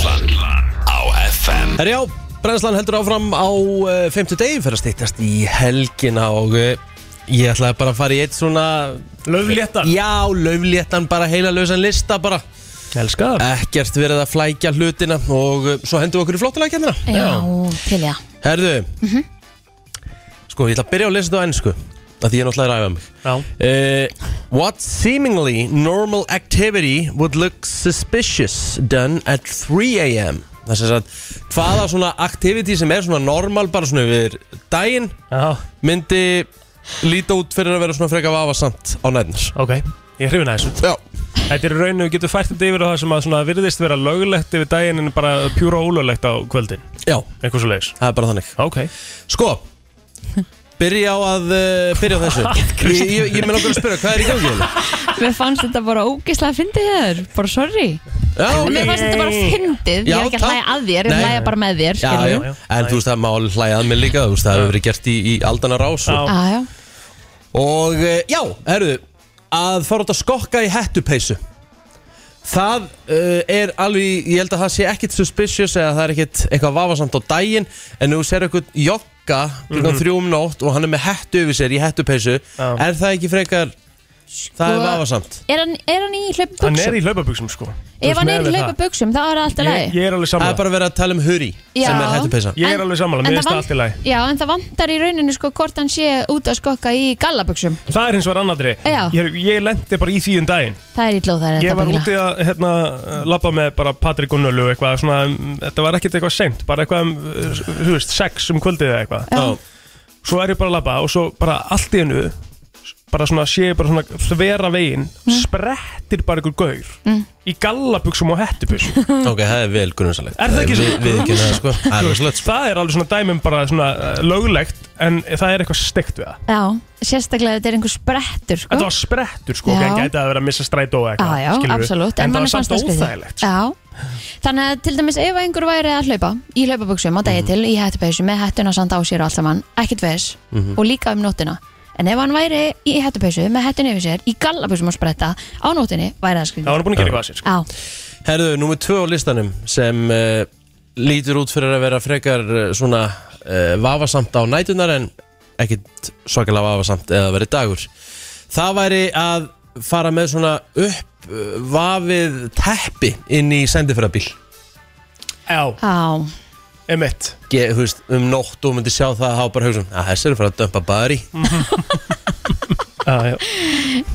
[SPEAKER 4] Brennslan á FM
[SPEAKER 1] Herjá, Brennslan heldur áfram á uh, 50 degi fyrir að stýttast í helgina og uh, ég ætlaði bara að fara í eitt svona
[SPEAKER 3] Löflétta
[SPEAKER 1] Já, laufléttan bara heila lausan lista bara
[SPEAKER 3] Elska það
[SPEAKER 1] Ekkert verið að flækja hlutina og uh, svo hendum við okkur í flottulega kemina
[SPEAKER 2] Já, til ég
[SPEAKER 1] Herðu Sko, ég ætla að byrja að lesa þetta á ennsku af því ég er náttúrulega að ræfa mig
[SPEAKER 3] Já
[SPEAKER 1] Uh, what seemingly normal activity would look suspicious done at 3 a.m. Það er sem sagt, hvaða svona activity sem er svona normal bara svona yfir daginn
[SPEAKER 3] Já,
[SPEAKER 1] myndi líta út fyrir að vera svona frekar vafasamt á nætnar.
[SPEAKER 3] ok Ég er hrifin að þessu
[SPEAKER 1] Já.
[SPEAKER 3] Þetta er í rauninu, við getum fært þetta yfir á það sem að svona virðist vera löglegt yfir daginn en bara pjúra ólöglegt á kvöldin
[SPEAKER 1] Já,
[SPEAKER 3] Eitthvað svo leiðis
[SPEAKER 1] það er bara þannig.
[SPEAKER 3] Ok
[SPEAKER 1] Sko, byrja á að, uh, byrja á þessu. ég, ég, ég með langar að spyrja, hvað er í gangi? hérna? Óli?
[SPEAKER 2] Mér fannst þetta bara ógislega fyndið þér Bara sorry
[SPEAKER 1] Já,
[SPEAKER 2] Mér
[SPEAKER 1] ok.
[SPEAKER 2] fannst þetta bara fyndið Ég
[SPEAKER 1] Já,
[SPEAKER 2] er ekki að
[SPEAKER 1] takk.
[SPEAKER 2] hlæja að þér, ég
[SPEAKER 1] Nei.
[SPEAKER 2] hlæja bara með
[SPEAKER 1] Já,
[SPEAKER 2] þér
[SPEAKER 1] já,
[SPEAKER 2] skilurðu.
[SPEAKER 1] en þú veist það má alveg hlæja að mig líka, þú veist það hefur verið gert í, í aldana rás og
[SPEAKER 3] Já.
[SPEAKER 2] Já, Ah, já.
[SPEAKER 1] Og eh, já, herruðu Að fara út að skokka í hettupeysu Það uh, er alveg Ég held að það sé ekkit suspicious Eða það er ekkit eitthvað vafasamt á daginn En ef þú sér eitthvað jogga Klukkan þrjú um nótt og hann er með hettu yfir sér Í hettupeysu,
[SPEAKER 3] Já.
[SPEAKER 1] er það ekki frekar Það
[SPEAKER 3] Sko-
[SPEAKER 1] er vafasamt
[SPEAKER 2] Er, hann, er hann í
[SPEAKER 3] Hann er
[SPEAKER 2] hlaupabuxum?
[SPEAKER 3] í hlaupabuxum sko Þú
[SPEAKER 2] Ef hann er
[SPEAKER 3] veist,
[SPEAKER 2] í
[SPEAKER 3] með það.
[SPEAKER 2] hlaupabuxum, þá er það alltaf
[SPEAKER 3] Ég,
[SPEAKER 2] leið
[SPEAKER 3] ég er alveg
[SPEAKER 1] Það
[SPEAKER 3] sammála
[SPEAKER 1] er bara verið að tala um hurri
[SPEAKER 2] Já.
[SPEAKER 1] Sem er hettupeysa
[SPEAKER 3] Ég er alveg sammála, mér finnst það allt í lagi
[SPEAKER 2] Já, en það vantar í rauninu sko hvort hann sé út að skokka í gallabuxum
[SPEAKER 3] Það er hins vegar annadri
[SPEAKER 2] Já.
[SPEAKER 3] Ég, ég lendi bara í því um daginn
[SPEAKER 2] Það er ítlóð þar
[SPEAKER 3] Ég var úti að hérna, labba með bara Patrik Gunnölu og eitthvað svona, um, Þetta var ekkert eitthvað seint Bara eitthvað um, uh, þú veist, sex um kvöldið eða eitthvað
[SPEAKER 2] Já.
[SPEAKER 3] Svo er ég bara að labba og svo bara allt í hennu Bara svona sé ég bara svona þvera veginn
[SPEAKER 2] Mm.
[SPEAKER 3] Sprettir bara einhver gaur Í gallabuxum og hettubus
[SPEAKER 1] Ok, það er vel grunnsalegt
[SPEAKER 3] Er það ekki
[SPEAKER 1] við,
[SPEAKER 3] svo?
[SPEAKER 1] við ekki það sko Það er alveg slött sko
[SPEAKER 3] Það er alveg svona dæmum bara svona uh, löglegt En það er eitthvað steikt við það
[SPEAKER 2] Já, sérstaklega ef þetta er einhver sprettur sko
[SPEAKER 3] Þetta var sprettur sko,
[SPEAKER 2] Já. Ah,
[SPEAKER 3] en gæti að vera að missa strætó eða
[SPEAKER 2] Já, já,
[SPEAKER 3] skilurðu.
[SPEAKER 2] absolutt,
[SPEAKER 3] En það
[SPEAKER 2] manni
[SPEAKER 3] var
[SPEAKER 2] fannst
[SPEAKER 3] samt
[SPEAKER 2] skrítið.
[SPEAKER 3] óþægilegt sko.
[SPEAKER 2] Já, þannig að til dæmis ef einhver væri að hlaupa í hlaupabuxum á
[SPEAKER 3] Mhm.
[SPEAKER 2] degi til í hættupeysu með hættuna samt á sér og allt saman, ekkert veðs
[SPEAKER 3] Mhm.
[SPEAKER 2] og líka um nóttina en ef hann væri í hættupeysu með hættuna yfir sér í gallabuxum og spretta á nóttinni væri það
[SPEAKER 3] Það
[SPEAKER 2] skrýðið
[SPEAKER 3] var búin að gera eitthvað að sér sko.
[SPEAKER 2] Já,
[SPEAKER 1] Herðu, númer tvö á listanum sem uh, lítur út fyrir að vera frekar uh, svona uh, vafasamt á nætunar en ekkit svakalega vafasamt eða verið dagur. Það væri að fara með svona upp uh, vafið teppi inn í sendiförðabíl.
[SPEAKER 3] Já,
[SPEAKER 2] já,
[SPEAKER 3] emitt
[SPEAKER 1] Ég, þú veist, um nótt og myndi sjá það að hafa bara hugsun að þessi er að fara að dömpa bari.
[SPEAKER 3] Ah, Já, já.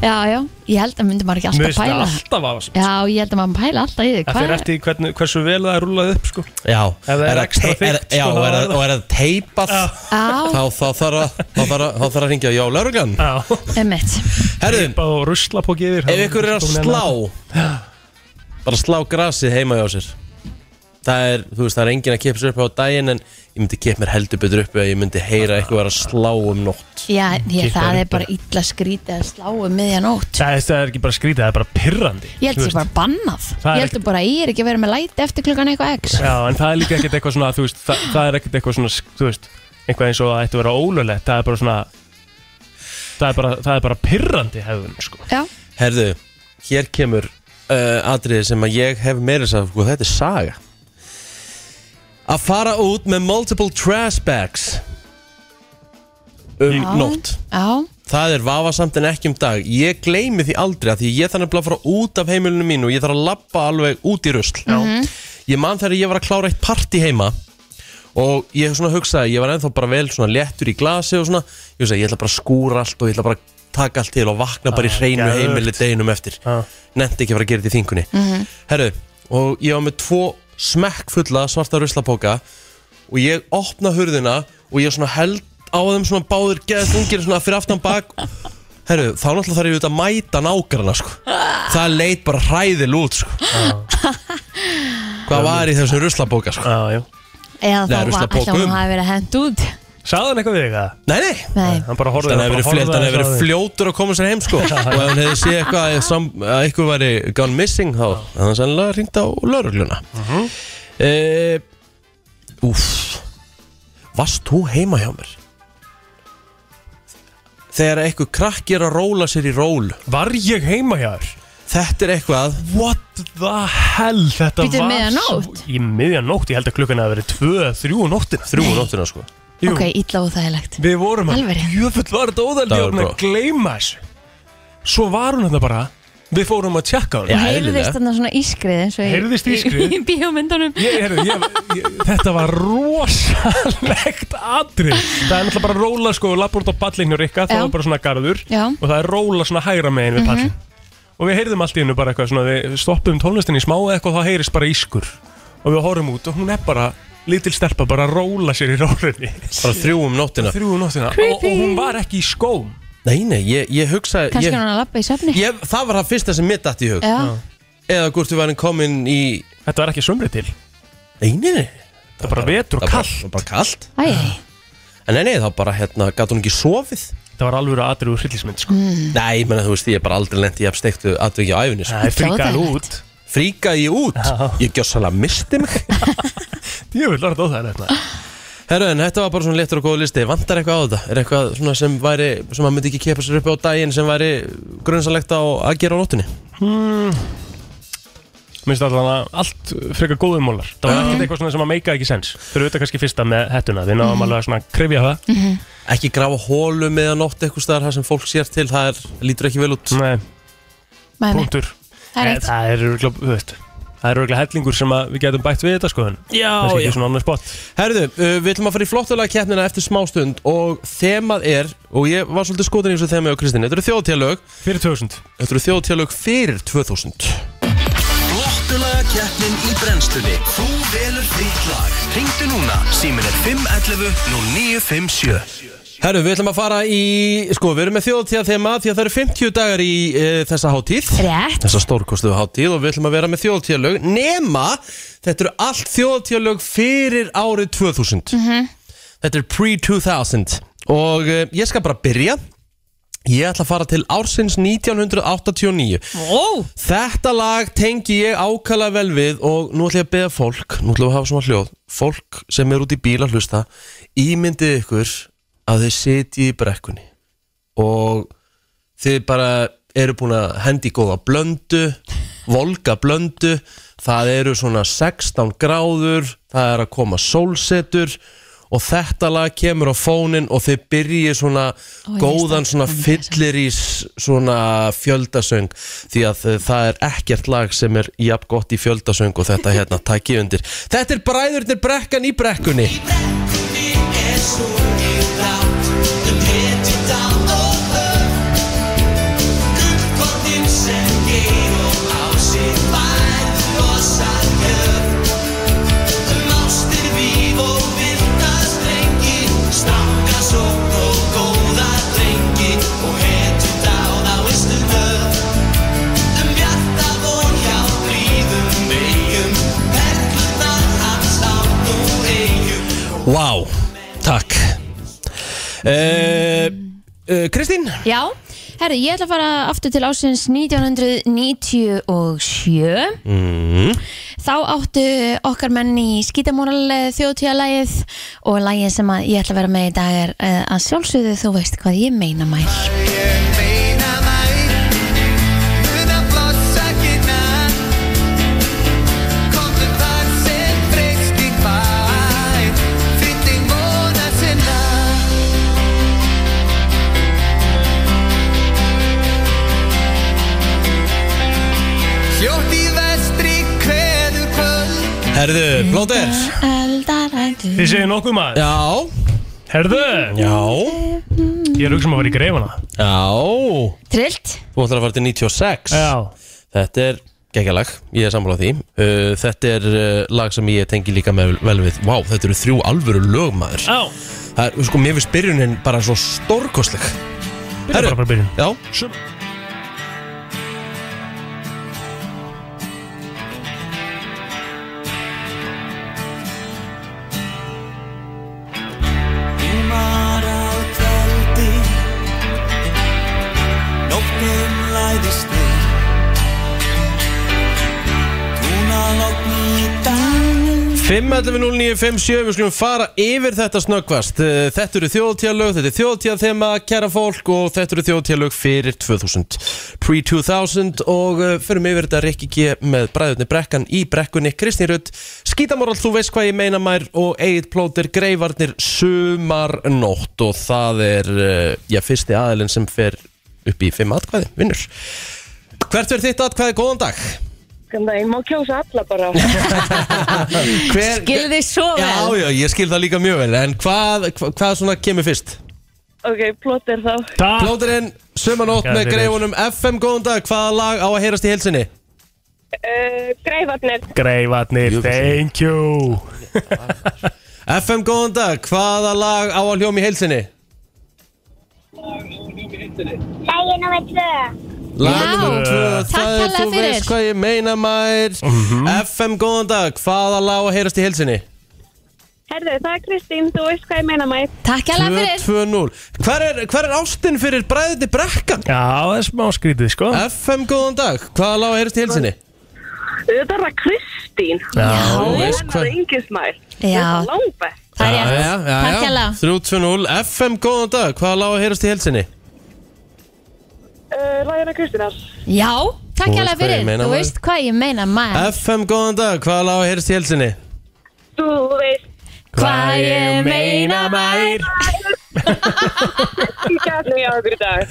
[SPEAKER 2] já, já ég held að myndi maður ekki alltaf
[SPEAKER 3] Mér finnst það
[SPEAKER 2] pæla
[SPEAKER 3] alltaf af þessu
[SPEAKER 2] Já, ég held að maður pæla alltaf í því
[SPEAKER 3] Það
[SPEAKER 2] Hvað-
[SPEAKER 3] fyrir eftir hvern, hversu vel það er rúlað upp sko.
[SPEAKER 1] Já,
[SPEAKER 3] það er extra
[SPEAKER 1] te- er,
[SPEAKER 3] þykkt,
[SPEAKER 1] já,
[SPEAKER 3] sko,
[SPEAKER 1] og
[SPEAKER 3] þá
[SPEAKER 1] er
[SPEAKER 3] er
[SPEAKER 1] það-
[SPEAKER 3] það-
[SPEAKER 1] og er það teipað þá,
[SPEAKER 2] Já,
[SPEAKER 1] þá þarf að, þá þarf að, þá þarf að ringja já, lauruglan.
[SPEAKER 3] Já,
[SPEAKER 2] emmitt
[SPEAKER 1] Herðu,
[SPEAKER 3] bara og rusla på gefir
[SPEAKER 1] Ef ykkur er að slá Bara slá grasið heima hjá sér Það er, þú veist, það er enginn að kippa sér upp á daginn En ég myndi kippa mér heldur betur upp Eða ég myndi heyra eitthvað vera að slá um nótt
[SPEAKER 2] Já, ég,
[SPEAKER 3] Kippa
[SPEAKER 2] það
[SPEAKER 3] þér
[SPEAKER 2] er
[SPEAKER 3] upp
[SPEAKER 2] bara illa skrítið að slá um miðjanótt
[SPEAKER 3] Það er- það er ekki bara skrítið, það er bara pirrandi
[SPEAKER 2] Ég held sér
[SPEAKER 3] þú veist.
[SPEAKER 2] bara bannað
[SPEAKER 3] Það er
[SPEAKER 2] Ég held bara að ég er ekki að vera með læti eftir klukkan eitthvað x
[SPEAKER 3] Já, en það er líka ekkert eitthvað svona þú veist, það, það er ekkert eitthvað svona þú veist, eitthvað eins og að þetta vera ólulegt það er bara svona það er bara, það er bara pirrandi hefðun sko.
[SPEAKER 2] Já,
[SPEAKER 1] Herðu, hér kemur uh, Atriði sem að ég hef meira sá sko, Þetta er saga Að fara út með multiple trash bags Um
[SPEAKER 2] Já.
[SPEAKER 1] nótt
[SPEAKER 2] já,
[SPEAKER 1] Það er vafasamt en ekki um dag Ég gleymi því aldrei að því ég þannig að fara út af heimilinu mínu og ég þarf að lappa alveg út í rusl Já. Ég man þegar ég var að klára eitt party heima og ég svona hugsaði ég var ennþá bara vel svona léttur í glasi og svona, ég hugsaði ég ætla bara að skúra allt og ég ætla bara að taka allt til og vakna bara í
[SPEAKER 3] Ah,
[SPEAKER 1] hreinu
[SPEAKER 3] geðveikt.
[SPEAKER 1] heimili deginum eftir
[SPEAKER 3] Já.
[SPEAKER 1] nefndi ekki að fara að gera þetta í þingunni Herru, og ég var með tvo smekkfulla svarta ruslapóka og ég opna hurðina og ég svona held á þeim svona báður geðast ungir svona fyrir aftan bak Herru, þá náttúrulega þarf ég auðvitað að mæta nágrana sko. Það leit bara hræðil út sko. Hvað var í þessum ruslapóka sko?
[SPEAKER 3] Já, já
[SPEAKER 1] Nei,
[SPEAKER 2] eða þá var
[SPEAKER 1] ruslapokum.
[SPEAKER 2] alltaf
[SPEAKER 3] um.
[SPEAKER 2] hún hafi verið hent út
[SPEAKER 3] Sagði hann eitthvað við þig að?
[SPEAKER 1] Nei, nei
[SPEAKER 2] Nei,
[SPEAKER 3] Hann bara horfði
[SPEAKER 1] Þannig að hefur verið, hef verið
[SPEAKER 3] fljóð
[SPEAKER 1] fljótur að koma sér heim sko. og ef hann hefði séð eitthvað að, sam, að eitthvað væri gone missing þá þannig að hann sannlega ringt á laurugluna uh Úff Varst þú heima hjá mér? Þegar eitthvað krakk er að róla sér í ról
[SPEAKER 3] Var ég heima hjá þér?
[SPEAKER 1] Þetta er eitthvað
[SPEAKER 3] What the hell Þetta
[SPEAKER 2] Býtu,
[SPEAKER 3] var
[SPEAKER 2] miðjanótt?
[SPEAKER 3] svo- Í miðjanótt, ég held að klukkan hafi verið tvö, þrjú nóttina
[SPEAKER 1] Þrjú á nóttina sko
[SPEAKER 3] Jú.
[SPEAKER 2] Ok, illa og þægilegt
[SPEAKER 3] Við vorum að
[SPEAKER 2] Alveg rétt.
[SPEAKER 3] Jöfull var þetta óðald
[SPEAKER 1] Það
[SPEAKER 3] Ég
[SPEAKER 1] var
[SPEAKER 3] var með að
[SPEAKER 1] gott.
[SPEAKER 3] gleyma þessu Svo var hún þetta bara Við fórum að tjekka hún
[SPEAKER 1] Já,
[SPEAKER 2] Hún heyrðist
[SPEAKER 1] eðlilega.
[SPEAKER 2] þarna svona ískrið eins og í-
[SPEAKER 3] Heyrðist ískrið?
[SPEAKER 2] Í, í bíómyndunum
[SPEAKER 3] ég, heru, ég, ég, Þetta var rosalegt atrið Það er náttúrulega bara róla sko Lapp út á pallinu rikka
[SPEAKER 2] Já.
[SPEAKER 3] Það var bara svona garður
[SPEAKER 2] Já. Mhm.
[SPEAKER 3] Og það er róla svona hægra megin við pallin Og við heyrðum allt í hennu bara eitthvað svona Við stoppum tónlistinni í smá eitthvað Og það heyrist bara ískur Og við horfum út og hún er bara Lítil stelpa bara að róla sér í rólinni
[SPEAKER 1] Bara þrjú um nóttina
[SPEAKER 3] Þrjú nóttina og, og hún var ekki í skóm
[SPEAKER 1] Nei, nei, ég, ég hugsa
[SPEAKER 2] Kannski Eh.
[SPEAKER 1] ég,
[SPEAKER 2] hann að lappa í söfni
[SPEAKER 1] ég, Það var það fyrsta sem mér datt í hug
[SPEAKER 2] Já,
[SPEAKER 1] Eða hvort við varum komin í
[SPEAKER 3] Þetta var ekki sumri til
[SPEAKER 1] Nei, nei, nei
[SPEAKER 3] Það er bara vetur og
[SPEAKER 1] Það var
[SPEAKER 3] kall
[SPEAKER 1] bara, bara kallt
[SPEAKER 2] æ,
[SPEAKER 1] En nei, nei, þá bara hérna Gat hún ekki sofið
[SPEAKER 3] Það var alveg aðrið úr hryllismynd sko.
[SPEAKER 2] Mm,
[SPEAKER 1] Nei, menn að þú veist Ég er bara aldrei lent í afstektu Atviki á æfinni sko.
[SPEAKER 3] Það er fríkað
[SPEAKER 2] Óþægilegt.
[SPEAKER 3] út
[SPEAKER 1] Fríkaði ég út
[SPEAKER 3] Já.
[SPEAKER 1] Ég gjössalega misti mig
[SPEAKER 3] Ég vil hérna. orða á það þetta
[SPEAKER 1] Herru, en þetta var bara svona léttur og góð listi Vantar eitthvað á þetta? Er eitthvað svona sem væri Sem maður myndi ekki kepa sér upp á daginn Sem væri grunsalegt á að gera á nóttunni?
[SPEAKER 3] Minnst allan að allt frekar góðum mólar Það var ekkert eitthvað svona sem að meika ekki sens Fyrir auðvitað kannski fyrsta með hettuna Við
[SPEAKER 2] Mm.
[SPEAKER 3] náðum alveg að svona krifja það
[SPEAKER 1] Ekki grafa hólu meðan nótt eitthvað staðar Það sem fólk sér til, það er, lítur ekki vel út
[SPEAKER 3] Nei,
[SPEAKER 2] maður minn
[SPEAKER 3] punktur
[SPEAKER 2] Það er
[SPEAKER 3] Eh,
[SPEAKER 2] rétt
[SPEAKER 3] Það er örugglega- þú veist, það er örgulega hellingur sem að við getum bætt við þetta sko en
[SPEAKER 1] Já,
[SPEAKER 3] kannski ekki svona annars spott
[SPEAKER 1] Herðu, uh, við ætlum að fara í flottulega keppnina eftir smástund og þemað er, og ég var svolítið skotin í þessu þemað á Kristín, þetta eru þjóðtélög
[SPEAKER 3] Fyrir 2000
[SPEAKER 1] Þetta eru þjóðtélög fyrir 2000
[SPEAKER 4] Flottulega keppnin í brennstunni Þú velur þitt lag Ringdu núna, símin er 511 0957
[SPEAKER 1] Herru, við ætlum að fara í, sko, við erum með þjóðtíða þema því að það eru 50 dagar í e, þessa hátíð
[SPEAKER 2] Rétt.
[SPEAKER 1] Þessa stórkostuðu hátíð og við ætlum að vera með þjóðtíðalög Nema, þetta eru allt þjóðtíðalög fyrir árið 2000 Þetta er pre-2000 Og e, ég skal bara byrja Ég ætla að fara til ársins 1989
[SPEAKER 5] Ó,
[SPEAKER 1] Þetta lag tengi ég ákala vel við og nú ætlum ég að beða fólk, nú ætlum við að hafa svona hljóð, fólk sem er út í bíl að hlusta, ímyndið ykkur að þið sitji í brekkunni og þið bara eru búin að hendi í góða blöndu, volga blöndu, það eru svona 16 gráður, það er að koma sólsetur og þetta lag kemur á fónin og þið byrjið svona
[SPEAKER 2] ég
[SPEAKER 1] góðan
[SPEAKER 2] stakk
[SPEAKER 1] svona
[SPEAKER 2] fram í
[SPEAKER 1] fyll allir í s- svona fjöldasöng því að eh, það er ekkert lag sem er jafn gott í fjöldasöng og þetta hérna takk ég undir Þetta er bræðurnir brekkan í brekkunni Vá, takk Eh, eh, Kristín,
[SPEAKER 2] Já, herru, ég ætla að fara aftur til ásins 1997 Þá áttu okkar menn í skítamóral þjóðtíðalægið og lægið sem að ég ætla að vera með í dag er eh, að sjálfsögðu þú veist hvað ég meina mæl
[SPEAKER 1] herðu, plóter
[SPEAKER 3] Þið segir nokkuð maður
[SPEAKER 1] Já,
[SPEAKER 3] Herðu,
[SPEAKER 1] já,
[SPEAKER 3] ég er hugsa um að fara í greifana
[SPEAKER 1] já
[SPEAKER 2] Trillt,
[SPEAKER 1] Þú ætlar að fara til 96
[SPEAKER 3] Já,
[SPEAKER 1] Þetta er geggjalag, ég er sammála því uh, Þetta er uh, lag sem ég tengi líka með vel við Vá, þetta eru þrjú alvöru lögmaður
[SPEAKER 3] já
[SPEAKER 1] Það er, sko, mér finnst byrjunin bara svo stórkostleg
[SPEAKER 3] Byrja bara frá byrjun
[SPEAKER 1] Já, 511957, við skulum fara yfir þetta snöggvast Eh, Þetta eru þjóðtíðalög, þetta er þjóðtíðathema, kæra fólk og þetta eru þjóðtíðalög fyrir 2000 Pre-2000 og eh, förum yfir þetta Rikki G með bræðutni brekkan í brekkunni Kristín Rutt, skítamorall, þú veist hvað ég meina mær og Egil Plóter, greifarnir sumarnótt og það er, eh, já, fyrsti aðilinn sem fer upp í fimm atkvæði, vinnur Hvert verð þitt atkvæði, góðan dag?
[SPEAKER 8] Þannig að ég má kjósa alla bara.
[SPEAKER 1] Hver,
[SPEAKER 2] Skilði þið svo
[SPEAKER 1] Já,
[SPEAKER 2] vel
[SPEAKER 1] já, ég skil það líka mjög vel En hvað, hvað, hvað svona kemur fyrst?
[SPEAKER 8] ok, plott er þá.
[SPEAKER 2] Ah.
[SPEAKER 3] Takk
[SPEAKER 1] Plóterinn, sömanótt
[SPEAKER 3] Takk
[SPEAKER 1] með
[SPEAKER 3] fyrir.
[SPEAKER 1] greifunum FM, góðan dag, hvaða lag á að heyrast í helsinni?
[SPEAKER 8] Uh, Greifarnir,
[SPEAKER 3] Greifarnir, thank you
[SPEAKER 1] FM, góðan dag, hvaða lag á að hljóma í helsinni?
[SPEAKER 9] Lægin á með tvö.
[SPEAKER 1] Lag
[SPEAKER 2] Já,
[SPEAKER 1] númer tvö,
[SPEAKER 2] takk
[SPEAKER 1] það er
[SPEAKER 2] kærlega
[SPEAKER 1] þú
[SPEAKER 2] fyrir.
[SPEAKER 1] veist hvað ég meina mær FM, góðan dag, hvaða lag á að heyrast í helsinni?
[SPEAKER 8] herðu, það er Kristín, þú veist hvað ég meina mæ.
[SPEAKER 2] Takk alveg fyrir
[SPEAKER 1] 2-0 Hver er, hver er ástin fyrir bræðinni brekkan?
[SPEAKER 3] Já, það er smá skrítið, sko
[SPEAKER 1] FM, góðan dag, hvaða lag á að heyrast í helsinni?
[SPEAKER 8] Þetta er það Kristín.
[SPEAKER 3] Já,
[SPEAKER 1] Þú veist
[SPEAKER 8] Hennar
[SPEAKER 1] hvað-
[SPEAKER 8] er yngið smæl.
[SPEAKER 2] Já.
[SPEAKER 8] Langbætt.
[SPEAKER 2] Það er
[SPEAKER 1] já, já,
[SPEAKER 2] Takk
[SPEAKER 1] já,
[SPEAKER 2] hérlega.
[SPEAKER 1] 3-2-0 FM, góðan dag, hvaða lág að heyrast í helsinni?
[SPEAKER 8] Uh, Lægina Kristínar.
[SPEAKER 2] Já,
[SPEAKER 1] Þú
[SPEAKER 2] takk
[SPEAKER 1] veist
[SPEAKER 2] alveg
[SPEAKER 1] hvað ég
[SPEAKER 2] fyrir
[SPEAKER 1] meina,
[SPEAKER 2] Þú
[SPEAKER 1] maður.
[SPEAKER 2] veist hvað ég meina maður
[SPEAKER 1] FM, góðan dag, hvaða lág að heyrast í helsinni?
[SPEAKER 8] Þú veist
[SPEAKER 2] Hvað ég meina mær
[SPEAKER 8] ekki að nýja okkur í dag.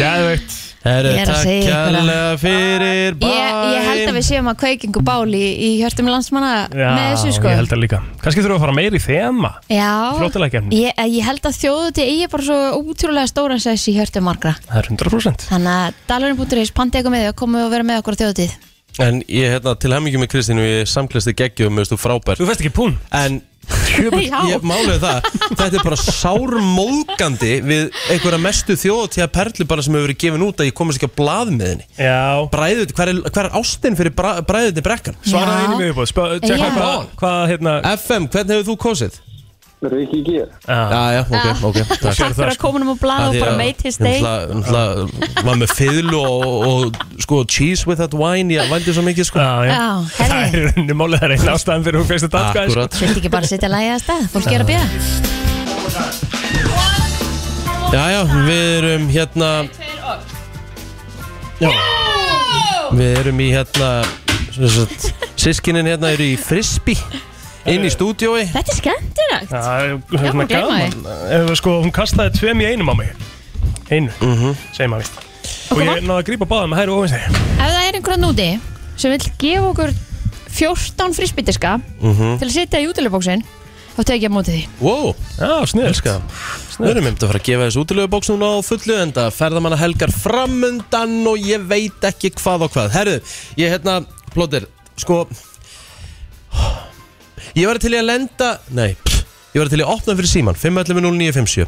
[SPEAKER 3] Gæðvegt
[SPEAKER 1] Herru,
[SPEAKER 2] Ég er að
[SPEAKER 1] takk
[SPEAKER 2] segja ykkur að-
[SPEAKER 1] kærlega fyrir bæ
[SPEAKER 2] Ég, ég held að við séum að kveikingu báli í, í hjörtum landsmanna
[SPEAKER 3] Já,
[SPEAKER 2] með þessu sko
[SPEAKER 3] ég held það líka Kannski þurfum við að fara meir í þema
[SPEAKER 2] Já,
[SPEAKER 3] Flottulega keppni.
[SPEAKER 2] ég, eh, ég held að þjóðuti eigi bara svo útrúlega stóran sess í hjörtum margra
[SPEAKER 3] Það er 100%
[SPEAKER 2] Þannig að dalurinn.is pandi eitthvað með því að koma og vera með okkur á þjóðutíð
[SPEAKER 1] En ég, hérna, til hemmingjum með Kristínu, ég samklæsti geggjum, veist þú frábær
[SPEAKER 3] Þú veist ekki pún
[SPEAKER 1] En Jöfull,
[SPEAKER 2] Já.
[SPEAKER 1] ég málið það Þetta er bara sármóðgandi við einhverja mestu þjóðtíða perlu bara sem hefur verið gefin út að ég komast ekki á blað með henni
[SPEAKER 3] Já
[SPEAKER 1] Bræðut, hver er, hver er ástin fyrir bræðutni brekkan?
[SPEAKER 2] Já.
[SPEAKER 3] Svaraði einu við upp á
[SPEAKER 2] Já.
[SPEAKER 3] Tjekka hvað, hvað hérna
[SPEAKER 1] FM, hvernig hefur þú kosið?
[SPEAKER 10] Rikki G
[SPEAKER 3] Já,
[SPEAKER 1] Já, já, ok, ok, takk
[SPEAKER 2] Takk fyrir
[SPEAKER 3] sko.
[SPEAKER 2] að koma um og blaða og bara meitist
[SPEAKER 1] Ég
[SPEAKER 2] þeir
[SPEAKER 1] náttúrulega- náttúrulega var með fiðlu og, og sko cheese with that wine ég vandi svo mikið sko
[SPEAKER 3] já
[SPEAKER 2] Já,
[SPEAKER 3] Það er
[SPEAKER 2] herri,
[SPEAKER 3] rauninni málið Það er einn ástæðan fyrir hún fyrst að datka
[SPEAKER 1] Akkurat
[SPEAKER 2] vildi ekki bara setja lægi að stað, fólk er að bíða
[SPEAKER 1] Já, já, við erum hérna Já Við erum í hérna sem sagt, Sískinin hérna eru í frisbee inn í stúdiói
[SPEAKER 2] Þetta er skemmtilegt
[SPEAKER 3] Það er
[SPEAKER 2] má
[SPEAKER 3] hérna
[SPEAKER 2] gleyma
[SPEAKER 3] gaman Ef Sko, hún kastaði tveim í einum á mig Einu,
[SPEAKER 2] Mhm.
[SPEAKER 3] segir maður vist Og ég náði að grípa báða með hæru og ofinstegi
[SPEAKER 2] Ef það er einhverja núti sem vil gefa okkur 14 frisbytiska
[SPEAKER 3] Mhm.
[SPEAKER 2] til að setja í útilegbóksin þá tek ég á móti því
[SPEAKER 1] Wow,
[SPEAKER 3] Já, sniður
[SPEAKER 1] elska það Við erum einmitt að fara að gefa þessu útilegu bóks núna á fullu en það ferðamanna helgar framundan og ég veit ekki hvað og hvað Herðu, ég hérna, Plóter, sko Ég var til í að lenda, nei, pff, ég var til í að opna fyrir síman 511-0957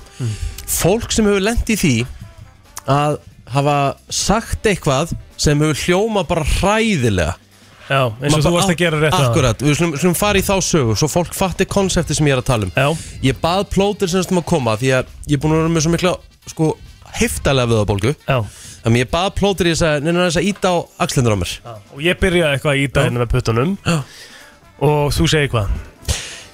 [SPEAKER 1] Fólk sem hefur lent í því að hafa sagt eitthvað sem hefur hljóma bara hræðilega
[SPEAKER 3] Já, eins og
[SPEAKER 1] Maður
[SPEAKER 3] þú
[SPEAKER 1] bara
[SPEAKER 3] varst að
[SPEAKER 1] á-
[SPEAKER 3] gera rétt áðan.
[SPEAKER 1] Akkurat, við slum, slum fara í þá sögu Svo fólk fatti konsepti sem ég er að tala um
[SPEAKER 3] Já.
[SPEAKER 1] Ég bað plótir sem sem að koma Því að ég er búin að vera með svo mikla sko, Heftalega viðabólgu
[SPEAKER 3] Já,
[SPEAKER 1] Þannig ég bað plótir í þess að Neina þess að íta á axlendur á mér
[SPEAKER 3] Já, og ég byrjaði eitthvað að íta henni með puttunum
[SPEAKER 1] Já.
[SPEAKER 3] og þú segir hvað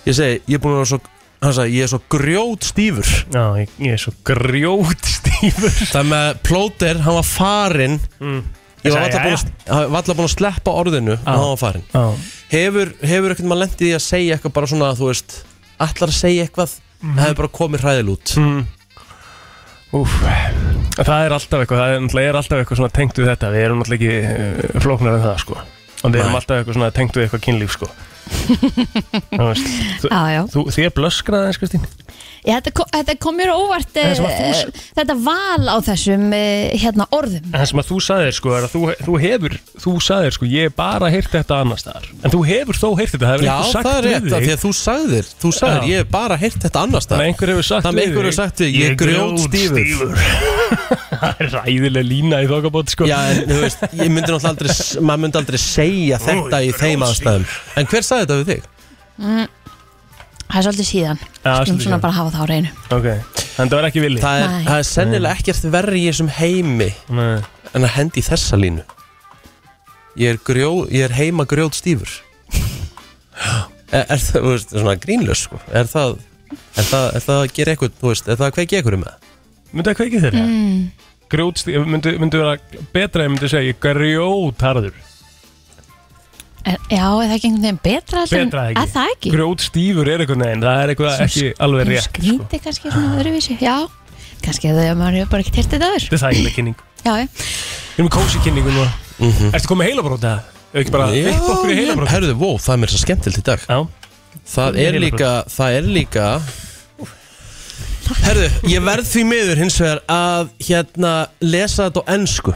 [SPEAKER 1] Ég segi, ég er búin að vera svo Hann sagði, ég er svo grjót stífur
[SPEAKER 3] já, ég, ég er svo grjót stífur
[SPEAKER 1] Þannig að plótir, hann var farinn Ég var
[SPEAKER 3] Mm. Ég sagði,
[SPEAKER 1] alltaf búin, að- hann var varla búin að sleppa orðinu Og hann var farinn
[SPEAKER 3] já,
[SPEAKER 1] Hefur, hefur ekkert maður lendið í því að segja eitthvað Bara svona, þú veist, allar að segja eitthvað
[SPEAKER 3] Mhm.
[SPEAKER 1] mm. Hefur bara komið hræðil út
[SPEAKER 3] úf það er alltaf eitthvað, það er, náttúrulega er alltaf eitthvað svona tengt við þetta, við erum náttúrulega ekki uh, flóknar en það sko, en við erum
[SPEAKER 1] Nei.
[SPEAKER 3] alltaf eitthvað svona tengt við eitthvað kynlíf sko þú veist, þú,
[SPEAKER 2] Já, já.
[SPEAKER 3] þú, þér blöskraði eins Kristín
[SPEAKER 2] Ég, þetta, kom, þetta kom mér á óvart
[SPEAKER 3] En sem að þú
[SPEAKER 2] eh,
[SPEAKER 3] s-
[SPEAKER 2] þetta val á þessum eh, hérna orðum
[SPEAKER 3] en það sem að þú sagðir sko, er að þú, þú hefur þú sagðir sko, ég hef bara heyrt þetta annars staðar, en þú hefur þó heyrt þetta það hefur
[SPEAKER 1] Já,
[SPEAKER 3] einhver sagt
[SPEAKER 1] það er
[SPEAKER 3] við
[SPEAKER 1] rétt,
[SPEAKER 3] þig.
[SPEAKER 1] af því að þú sagðir Þú sagðir,
[SPEAKER 3] Já.
[SPEAKER 1] ég hef bara heyrt þetta annars
[SPEAKER 3] Þannig að einhver hefur sagt
[SPEAKER 1] Þannig að einhver hefur sagt við, ég er grjótstífur
[SPEAKER 3] Það er ræðileg lína í þokkabót sko
[SPEAKER 1] Já, en þú veist, ég myndi náttúrulega aldrei s- Maður myndi aldrei segja þetta í þeim aðstæðum En hver sagði þetta við þig?
[SPEAKER 2] Það er svolítið síðan
[SPEAKER 3] Já,
[SPEAKER 2] Skulum svona
[SPEAKER 3] svolítið síðan.
[SPEAKER 2] bara hafa það á reynu
[SPEAKER 3] Ok, en það var ekki villi
[SPEAKER 1] Það er,
[SPEAKER 2] Nei.
[SPEAKER 1] það er sennilega ekkert verri í þessum heimi
[SPEAKER 3] Nei.
[SPEAKER 1] En að hendi í þessa línu Ég er, grjó, ég er heima grjótstífur er, er það, þú veist, svona grínlös sko. er, það, er, það, er það að gera eitthvað þú veist, er það að kveikja eitthvað um það
[SPEAKER 3] Myndi það kveikið þeirra? Mm. Grjótstíð, myndi, myndi vera betra ef ég myndi segja ég grjótarður
[SPEAKER 2] En, já, er það ekki einhvern veginn betra heldur en-
[SPEAKER 3] Betra eða ekki?
[SPEAKER 2] Er það ekki?
[SPEAKER 3] Grjótstífur er eitthvað neginn, það er eitthvað ekki alveg rétt sko.
[SPEAKER 2] Skríti kannski svona öðruvísi, já Kannski að það er maður hefur bara ekki tert þetta aður
[SPEAKER 3] Þetta er það ekki kynning
[SPEAKER 2] Já, já
[SPEAKER 3] Við erum með kósi kynningu nú Ertu komið heilabrót eða? Ef Ekki bara
[SPEAKER 1] Mhm. Já,
[SPEAKER 3] upp okkur í
[SPEAKER 1] ég-
[SPEAKER 3] heilabrót
[SPEAKER 1] Herðu, wow, það er mér svo skemmtilt í dag
[SPEAKER 3] Já,
[SPEAKER 1] Það er líka, það er líka Herðu, ég verð því miður hins vegar að hérna lesa þetta á ennsku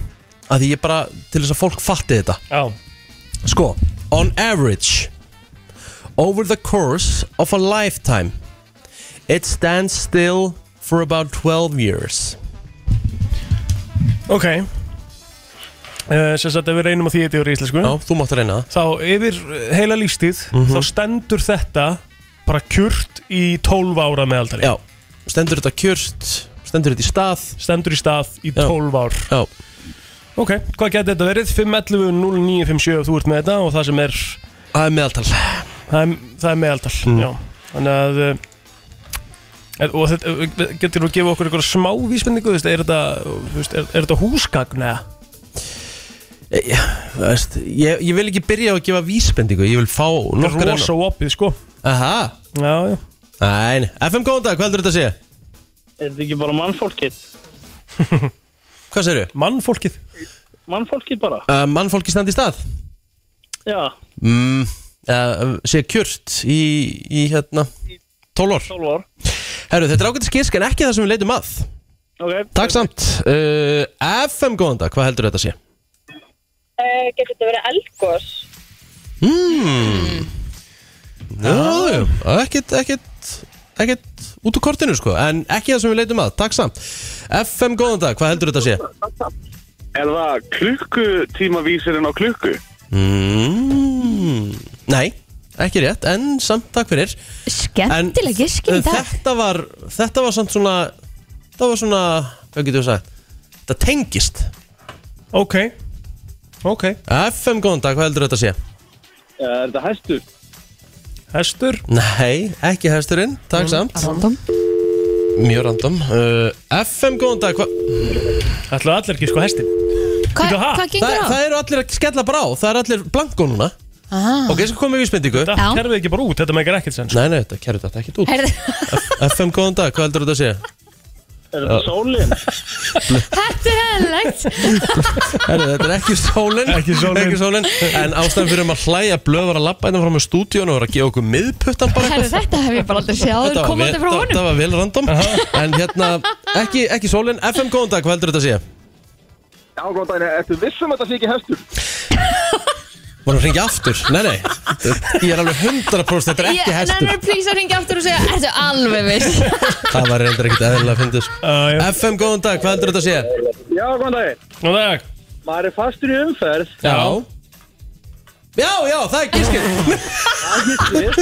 [SPEAKER 1] að því ég bara, til þess að fólk fatti þetta
[SPEAKER 3] já
[SPEAKER 1] Sko, on average over the course of a lifetime it stands still for about 12 years
[SPEAKER 3] Ok uh, Sess að ef við reynum að því þetta úr íslensku
[SPEAKER 1] Já, þú mátt reyna það
[SPEAKER 3] Þá yfir eh, heila lífstíð Þá stendur þetta bara kjurt í 12 ára meðaldari
[SPEAKER 1] Já, stendur þetta kjörst stendur þetta í stað
[SPEAKER 3] Stendur í stað í
[SPEAKER 1] Já.
[SPEAKER 3] 12 ár
[SPEAKER 1] Já,
[SPEAKER 3] Ok, hvað getur þetta verið? 511 0957 þú ert með þetta og það sem er
[SPEAKER 1] það er meðaltal
[SPEAKER 3] það er, það er meðaldal
[SPEAKER 1] Mm.
[SPEAKER 3] Já, þannig að eh, er- og þetta, eh, getur þú að gefa okkur einhverja smá vísbendingu, þú veist, er þetta þú veist, er, er þetta húsgagn eða?
[SPEAKER 1] Þú veist, ég, ég vil ekki byrja á að gefa vísbendingu ég vil fá
[SPEAKER 3] Þetta
[SPEAKER 1] nokkur
[SPEAKER 3] er rosa opið, sko
[SPEAKER 1] Aha,
[SPEAKER 3] Já, já
[SPEAKER 1] næn, FM góðan dag, hvað heldur þetta að segja?
[SPEAKER 10] Er þetta ekki bara mannfólkið?
[SPEAKER 1] Hvað segirðu?
[SPEAKER 3] Mannfólkið
[SPEAKER 10] Mannfólkið bara?
[SPEAKER 1] Uh, mannfólki standi í stað?
[SPEAKER 10] Já,
[SPEAKER 1] Mm, uh, sé kjört í, í hérna 12 ár
[SPEAKER 10] 12 ár.
[SPEAKER 1] Herru, þetta er ágætt skísk en ekki það sem við leitum að
[SPEAKER 10] Ok.
[SPEAKER 1] Takk samt uh, FM góðan dag, hvað heldur þetta að sé?
[SPEAKER 8] Uh, getur þetta verið eldgós?
[SPEAKER 1] Jájú, ekkert, ekkert ekkert út úr kortinu sko en ekki það sem við leitum að, takk samt FM góðan dag, hvað heldur þetta að sé?
[SPEAKER 11] Er það klukkutímavísirinn á klukku?
[SPEAKER 1] Mm, nei, ekki rétt en samt takk fyrir En uh,
[SPEAKER 2] Skemmtileg giskin í dag
[SPEAKER 1] Þetta var, þetta var samt svona það var svona, hvað getur við sagt þetta tengist
[SPEAKER 3] Ok, ok
[SPEAKER 1] FM góðan dag, hvað heldur þetta að sé?
[SPEAKER 10] Er þetta hæstu?
[SPEAKER 3] Hestur
[SPEAKER 1] Nei, ekki hesturinn, takk samt
[SPEAKER 2] Random
[SPEAKER 1] Mjög random uh, FM, góðan dag hva,
[SPEAKER 3] Ætlaðu allir ekki sko hestin
[SPEAKER 2] Hva,
[SPEAKER 3] Bíddu, ha?
[SPEAKER 2] Hvað
[SPEAKER 1] það,
[SPEAKER 2] gengur á?
[SPEAKER 1] það eru allir að skella bara á Það eru allir blanko núna
[SPEAKER 2] Ah.
[SPEAKER 1] Ok, ég skal koma með vísbendingu Nei,
[SPEAKER 3] Þetta
[SPEAKER 2] Já.
[SPEAKER 3] kerfið ekki bara út, þetta megar ekkert sens
[SPEAKER 1] nei, þetta kerur þetta ekki út
[SPEAKER 2] Heyrðu,
[SPEAKER 1] FM, góðan dag, hvað heldur þetta að segja?
[SPEAKER 10] Er þetta sólinn?
[SPEAKER 2] Þetta er eðlilegt
[SPEAKER 1] Herru, þetta er ekki sólin
[SPEAKER 3] Ekki sólin.
[SPEAKER 1] En ástæðan fyrir um að hlæja blöð var að labba hérna innan frá með stúdíun og var að gefa okkur miðputtan bara
[SPEAKER 2] Herðu,
[SPEAKER 1] eitthvað
[SPEAKER 2] Þetta hef ég bara aldrei séð áður
[SPEAKER 1] vel,
[SPEAKER 2] komandi frá
[SPEAKER 1] þetta-
[SPEAKER 2] honum
[SPEAKER 1] þetta var vel random En hérna, ekki, ekki sólin FM, góðan dag, hvað heldur þetta að segja?
[SPEAKER 11] Já, góðan daginn, ertu vissum að þetta sé ekki hestur?
[SPEAKER 1] Var að ringja aftur? Nei, nei Ég er alveg 100% þetta er ekki hestur
[SPEAKER 2] Nennur plís að ringja aftur og segja Ertu alveg viss
[SPEAKER 3] Mm.
[SPEAKER 1] Það var reyndar ekkert eðlilega að fyndið sko.
[SPEAKER 3] Uh, Já, já.
[SPEAKER 1] FM, góðan dag, hvað heldur þetta að sé?
[SPEAKER 10] Já, góðan daginn.
[SPEAKER 3] Nú þegar
[SPEAKER 10] Maður er fastur í umferð.
[SPEAKER 1] Já Já, já, það er giskin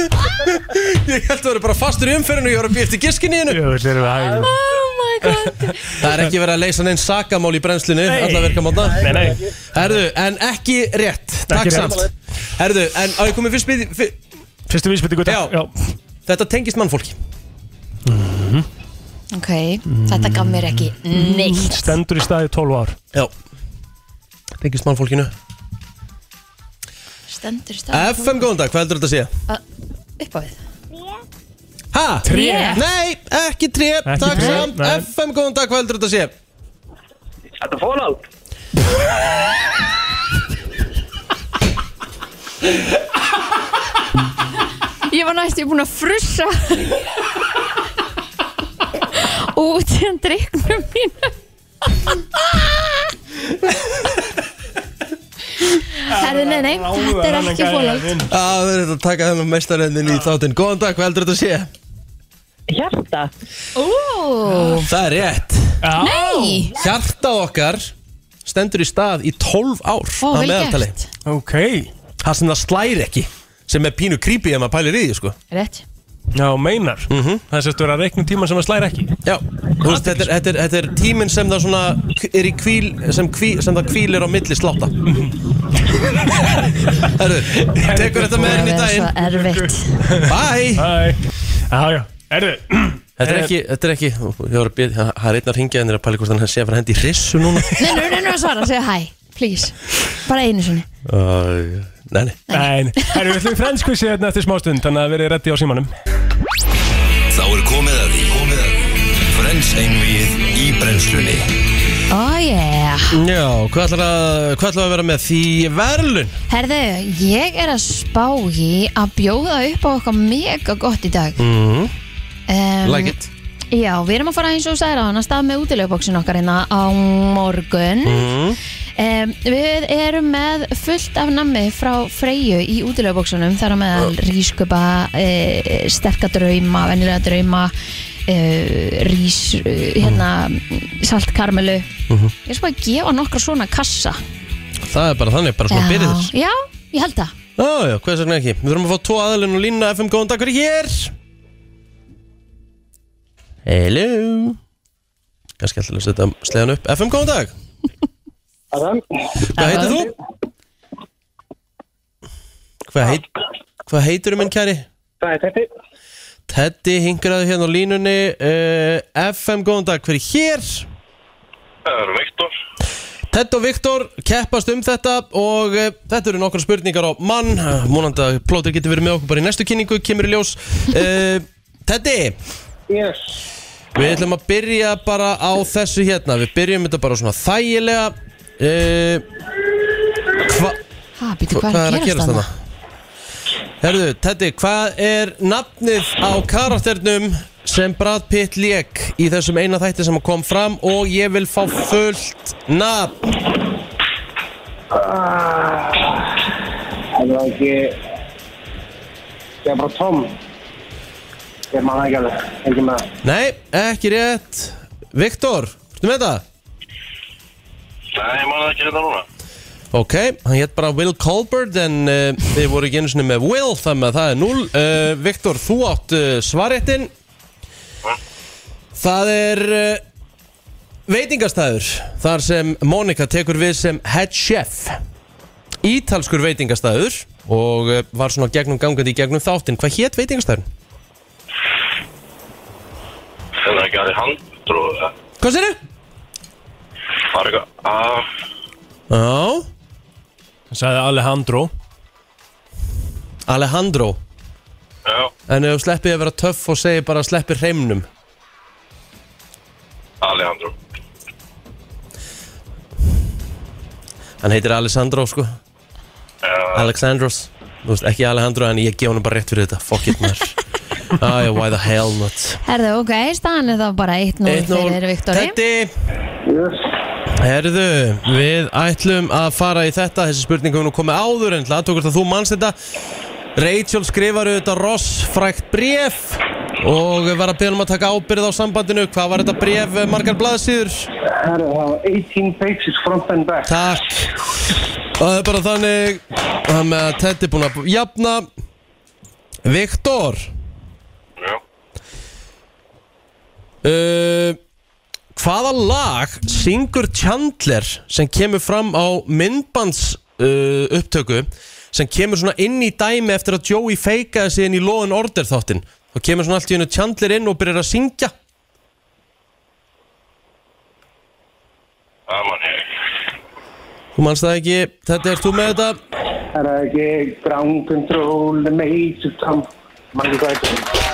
[SPEAKER 1] Ég held að vera bara fastur í umferðinu og ég var að býja eftir giskin í hennu
[SPEAKER 3] Jöfull erum við hægum
[SPEAKER 2] Oh my god
[SPEAKER 1] Það er ekki verið að leysa neinn sakamál í brennslinu
[SPEAKER 3] Nei.
[SPEAKER 1] Alla verka mátna
[SPEAKER 3] Nei, nei
[SPEAKER 1] Herðu, en ekki rétt, takk
[SPEAKER 3] rétt.
[SPEAKER 1] samt Herðu, en á ég komið fyrst byrði fyr,
[SPEAKER 3] Fyrstu vísbyttingu
[SPEAKER 1] Já. Þetta tengist mannfólki
[SPEAKER 2] Ok, þetta gaf mér ekki neitt
[SPEAKER 3] Stendur í staði 12 ár
[SPEAKER 1] Já Tengist mannfólkinu
[SPEAKER 2] Stendur stað
[SPEAKER 1] FM, góðan dag, hvað heldur þetta að sé? Eh?
[SPEAKER 2] Upp á við
[SPEAKER 1] Ha?
[SPEAKER 3] Tré.
[SPEAKER 1] Nei, ekki tré,
[SPEAKER 3] Ekki
[SPEAKER 1] takk
[SPEAKER 3] tré,
[SPEAKER 1] samt
[SPEAKER 3] nei.
[SPEAKER 1] FM, góðan dag, hvað heldur þetta að sé?
[SPEAKER 10] Þetta fólald.
[SPEAKER 2] Ég var næstu búin að frussa út í hann dreiknum mínu Herðu, nei, nei, þetta er ekki fólöld
[SPEAKER 1] Já, það er þetta að taka þennan mestarendin í þáttinn Góðan dag, hvað heldur þetta að sé?
[SPEAKER 8] Hjarta.
[SPEAKER 2] Ó,
[SPEAKER 1] Það er rétt
[SPEAKER 2] nei
[SPEAKER 1] Hjartað okkar stendur í stað í 12 ár
[SPEAKER 2] Ó,
[SPEAKER 1] að
[SPEAKER 2] vel
[SPEAKER 1] meðaltali.
[SPEAKER 2] gert
[SPEAKER 3] Ok
[SPEAKER 1] Það sem það slæri ekki sem er pínu creepy ef maður pælir í því sko.
[SPEAKER 2] Rétt
[SPEAKER 3] Já, meinar
[SPEAKER 1] Mhm.
[SPEAKER 3] Það sést vera að reikna tíma sem að slæra ekki
[SPEAKER 1] Já, þú veist, þetta er, þetta, er, þetta er tíminn sem það svona er í kvíl sem, kví, sem það kvílir á milli sláta Herru, tekur þetta með henni í daginn
[SPEAKER 2] Það er svo erfitt
[SPEAKER 1] Bye
[SPEAKER 3] Bye Já, já, erðu
[SPEAKER 1] Þetta er ekki, þetta er ekki Ég var að byrja, það er einn að ringja henni að pæli hvort hann sé að fara hendi í rissu núna
[SPEAKER 2] Nei, nú reynum að svara, segja hæ, please Bara einu sinni
[SPEAKER 1] Æ, Nei, nei
[SPEAKER 3] Nein, herru, við ætlum í franskvissi hérna eftir smástund Þannig að verið reddi á símanum
[SPEAKER 4] Þá er komið að því Komið að því Frens einvið í brennslunni
[SPEAKER 2] Oh yeah
[SPEAKER 1] Já, hvað ætlar að, hvað ætlar að vera með því verðlun?
[SPEAKER 2] Herðu, ég er að spá í að bjóða upp á eitthvað mega gott í dag
[SPEAKER 1] Mm.
[SPEAKER 2] um,
[SPEAKER 1] Like it
[SPEAKER 2] Já, við erum að fara eins og þú sagðir á hann að stað með útileguboksin okkar hérna á morgun
[SPEAKER 1] mm.
[SPEAKER 2] Um, við erum með fullt af nammi frá Freyju í útileguboksunum þar á meðal rískupa uh, sterka drauma, venjulega drauma uh, rís uh, hérna, saltkarmelu ég er svo að gefa nokkra svona kassa
[SPEAKER 1] Það er bara þannig, bara svona byrðir
[SPEAKER 2] Já, já, ég held það
[SPEAKER 1] Já, já, hvað er ekki? Við þurfum að fá tvo aðalinn og lína FM, góðan dag, hver er hér? Hello Kannski ætla að setja sleðan upp FM, góðan dag
[SPEAKER 10] Adam.
[SPEAKER 1] Hvað heitir þú? Hvað, heit, hvað heitir þú minn kæri?
[SPEAKER 10] Það er þetta.
[SPEAKER 1] Teddy hingraði hérna á línunni uh, FM, góðan dag, hver er hér?
[SPEAKER 11] Það er Viktor.
[SPEAKER 1] Tedd og Viktor keppast um þetta og uh, þetta eru nokkra spurningar á mann múnandi að plótir getur verið með okkur bara í næstu kynningu, kemur í ljós uh, Teddy,
[SPEAKER 10] Yes.
[SPEAKER 1] við ætlum að byrja bara á þessu hérna, við byrjum þetta bara svona þægilega uh, hva,
[SPEAKER 2] Ha, býtu,
[SPEAKER 1] hva,
[SPEAKER 2] hvað er að gerast
[SPEAKER 1] þarna?
[SPEAKER 2] þannig?
[SPEAKER 1] Herðu, Teddy, hvað er nafnið á karakternum sem Brad Pitt lék í þessum eina þætti sem kom fram og ég vil fá fullt nafn
[SPEAKER 10] Ah, Það var ekki... Það er bara Tom. Ég man það ekki alveg. Ekki með það.
[SPEAKER 1] Nei, ekki rétt Viktor, ertu með þetta?
[SPEAKER 11] Nei, ég man ekki hérna núna.
[SPEAKER 1] Ok, hann hétt bara Will Colbert en uh, þið voru ekki einu sinni með Will þannig að það er 0 uh, Viktor, þú átt uh, svaréttin Það er uh, veitingastæður þar sem Monika tekur við sem head chef Ítalskur veitingastæður og uh, var svona gegnum gangandi í gegnum þáttinn Hvað hétt veitingastæðurinn?
[SPEAKER 11] Það er ekki aðri handrú.
[SPEAKER 1] Hvað sér þið?
[SPEAKER 11] Það er eitthvað. Ah,
[SPEAKER 1] Já,
[SPEAKER 3] Hann sagði Alejandro
[SPEAKER 1] Alejandro
[SPEAKER 11] já.
[SPEAKER 1] En ef þú sleppið að vera töff og segir bara sleppið hreimnum
[SPEAKER 11] Alejandro.
[SPEAKER 1] Hann heitir Alessandro sko
[SPEAKER 11] Já.
[SPEAKER 1] Alexandros Þú veist ekki Alejandro en ég gef hann bara rétt fyrir þetta Fuck it maður Ah, yeah, why the hell not
[SPEAKER 2] Herðu, ok, staðan er þá bara 1-0 fyrir Viktori
[SPEAKER 1] Teddy
[SPEAKER 10] Yes.
[SPEAKER 1] Herðu, við ætlum að fara í þetta Þessi spurning hefur nú komið áður en Það tókur þetta þú manns þetta Rachel skrifar auðvitað rossfrækt bréf Og var að beða um að taka ábyrð á sambandinu Hvað var þetta bréf margar blaðsýður?
[SPEAKER 10] Herru, það var 18 pages front and back.
[SPEAKER 1] Takk Og það er bara þannig Það með að Teddy er búin að jafna Viktor
[SPEAKER 11] Já.
[SPEAKER 1] Uh, hvaða lag syngur Chandler sem kemur fram á myndbands uh, upptöku sem kemur svona inn í dæmi eftir að Joey feikaði sig inn í Law and Order þáttinn og kemur svona allt í hennu Chandler inn og byrjar að syngja
[SPEAKER 11] Það man ég ekki.
[SPEAKER 1] þú manst það ekki, þetta er þú með þetta
[SPEAKER 10] Það er ekki ground control, the major Tom. Man ekki hvað þetta er.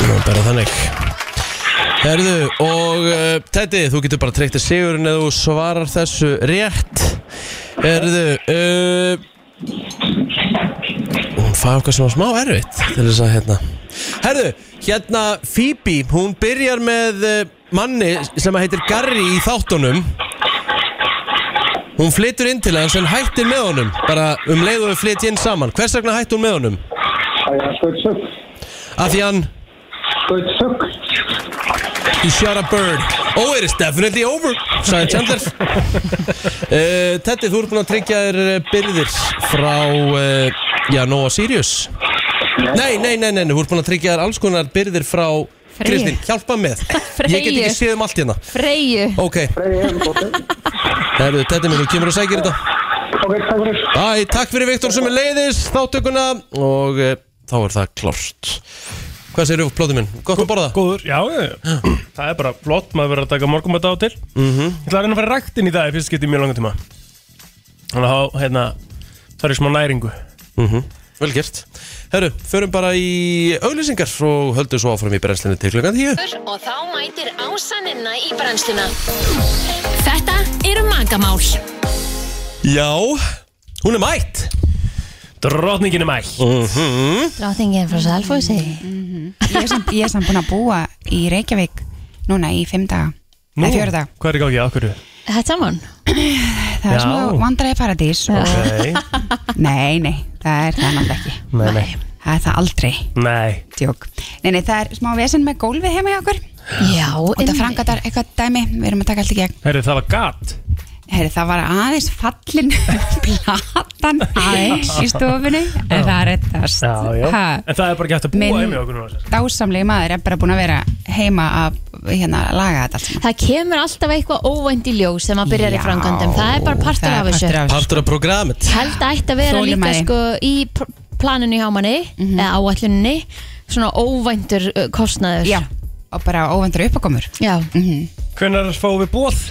[SPEAKER 1] Nú, bara þannig Herðu, og uh, Teddy, þú getur bara treykt að sigurinn eða þú svarar þessu rétt Herðu, uh, hún fæði okkar sem var smá erfitt til þess að hérna Herðu, hérna Phoebe, hún byrjar með uh, manni sem að heitir Garri í þáttunum Hún flytur inn til hans en hættir með honum bara um leið og við flytja inn saman Hvers vegna hætti hún með honum?
[SPEAKER 10] Það er good suck.
[SPEAKER 1] Af því hann
[SPEAKER 10] Good suck.
[SPEAKER 1] He shot a bird Oh, it is definitely over Sæði Chandler uh, Teddy, þú ert búinn að tryggja þér eh, byrðir Frá, uh, já, Noah Sirius Nei, nei, nei, nei, nei Þú ert búinn að tryggja þér alls konar byrðir frá
[SPEAKER 2] Freyju.
[SPEAKER 1] Kristín, hjálpa með Ég get
[SPEAKER 2] Freyju.
[SPEAKER 1] ekki séð um allt hérna
[SPEAKER 2] Freyju
[SPEAKER 1] Ok,
[SPEAKER 10] Það er ekki
[SPEAKER 1] herru, Teddy minn, þú kemur og sækir þetta
[SPEAKER 10] Ok, takk fyrir.
[SPEAKER 1] Æ, takk fyrir Viktor sem er leiðis þáttökuna og e, þá er það klart Hvað segir þú, plóti minn? Gott að borða?
[SPEAKER 3] Góður, já, já, já. það er bara flott, maður verður að taka morgumata á til
[SPEAKER 1] Mm
[SPEAKER 3] Ég ætla að reyna að fara ræktin í dag, í fyrst getið mjög langan tíma Þannig að þá, hérna, það er smá næringu
[SPEAKER 1] Mhm. Vel gert Herru, förum bara í auglýsingar og höldum svo áfram í brennslinni til klukkan 10
[SPEAKER 12] Og þá mætir ásaninna í brennsluna Þetta eru magamál
[SPEAKER 1] Já, hún er mætt
[SPEAKER 3] Drottningin er mætt
[SPEAKER 1] mm -hmm.
[SPEAKER 2] Drátingin frá Salfósi
[SPEAKER 7] Ég er samt, ég er samt búin að búa í Reykjavík núna í fimm daga Nú? Nei, fjóra daga
[SPEAKER 3] Hvað er í gangi, af hverju?
[SPEAKER 2] Þetta saman
[SPEAKER 7] Það er
[SPEAKER 3] Já.
[SPEAKER 7] smá vandræði paradís Nei, nei, það er það náttúrulega ekki
[SPEAKER 3] Nei, nei
[SPEAKER 7] Það er það aldrei
[SPEAKER 3] Nei
[SPEAKER 7] Tjók Nei, nei, það er smá vesen með gólfið heima hjá okkur
[SPEAKER 2] Já,
[SPEAKER 7] Og það frangatar eitthvað dæmi Við erum að taka allt í gegn
[SPEAKER 3] Herri, það var gat
[SPEAKER 7] Heyri, það var aðeins fallin platan aðeins í stofunni en það er rettast
[SPEAKER 3] Já, já
[SPEAKER 7] Ha.
[SPEAKER 3] En það er bara gett að búa
[SPEAKER 7] Minn-
[SPEAKER 3] heim í okkur núna
[SPEAKER 7] dásamlegi maður er bara búin að vera heima að hérna, laga þetta allt saman.
[SPEAKER 2] Það kemur alltaf eitthvað óvænt í ljós þegar maður byrjar í frangandum Það er bara partur af þessu
[SPEAKER 1] Partur af programmet
[SPEAKER 2] Held að ætti að vera líka
[SPEAKER 1] Þolinmæði.
[SPEAKER 2] sko, í pr- planinu hjá manni eða áalluninni svona óvæntur uh, kostnaður Já, Mhm.
[SPEAKER 7] og bara óvæntur uppakomur
[SPEAKER 2] Já
[SPEAKER 3] Hvenær fáum við bóð?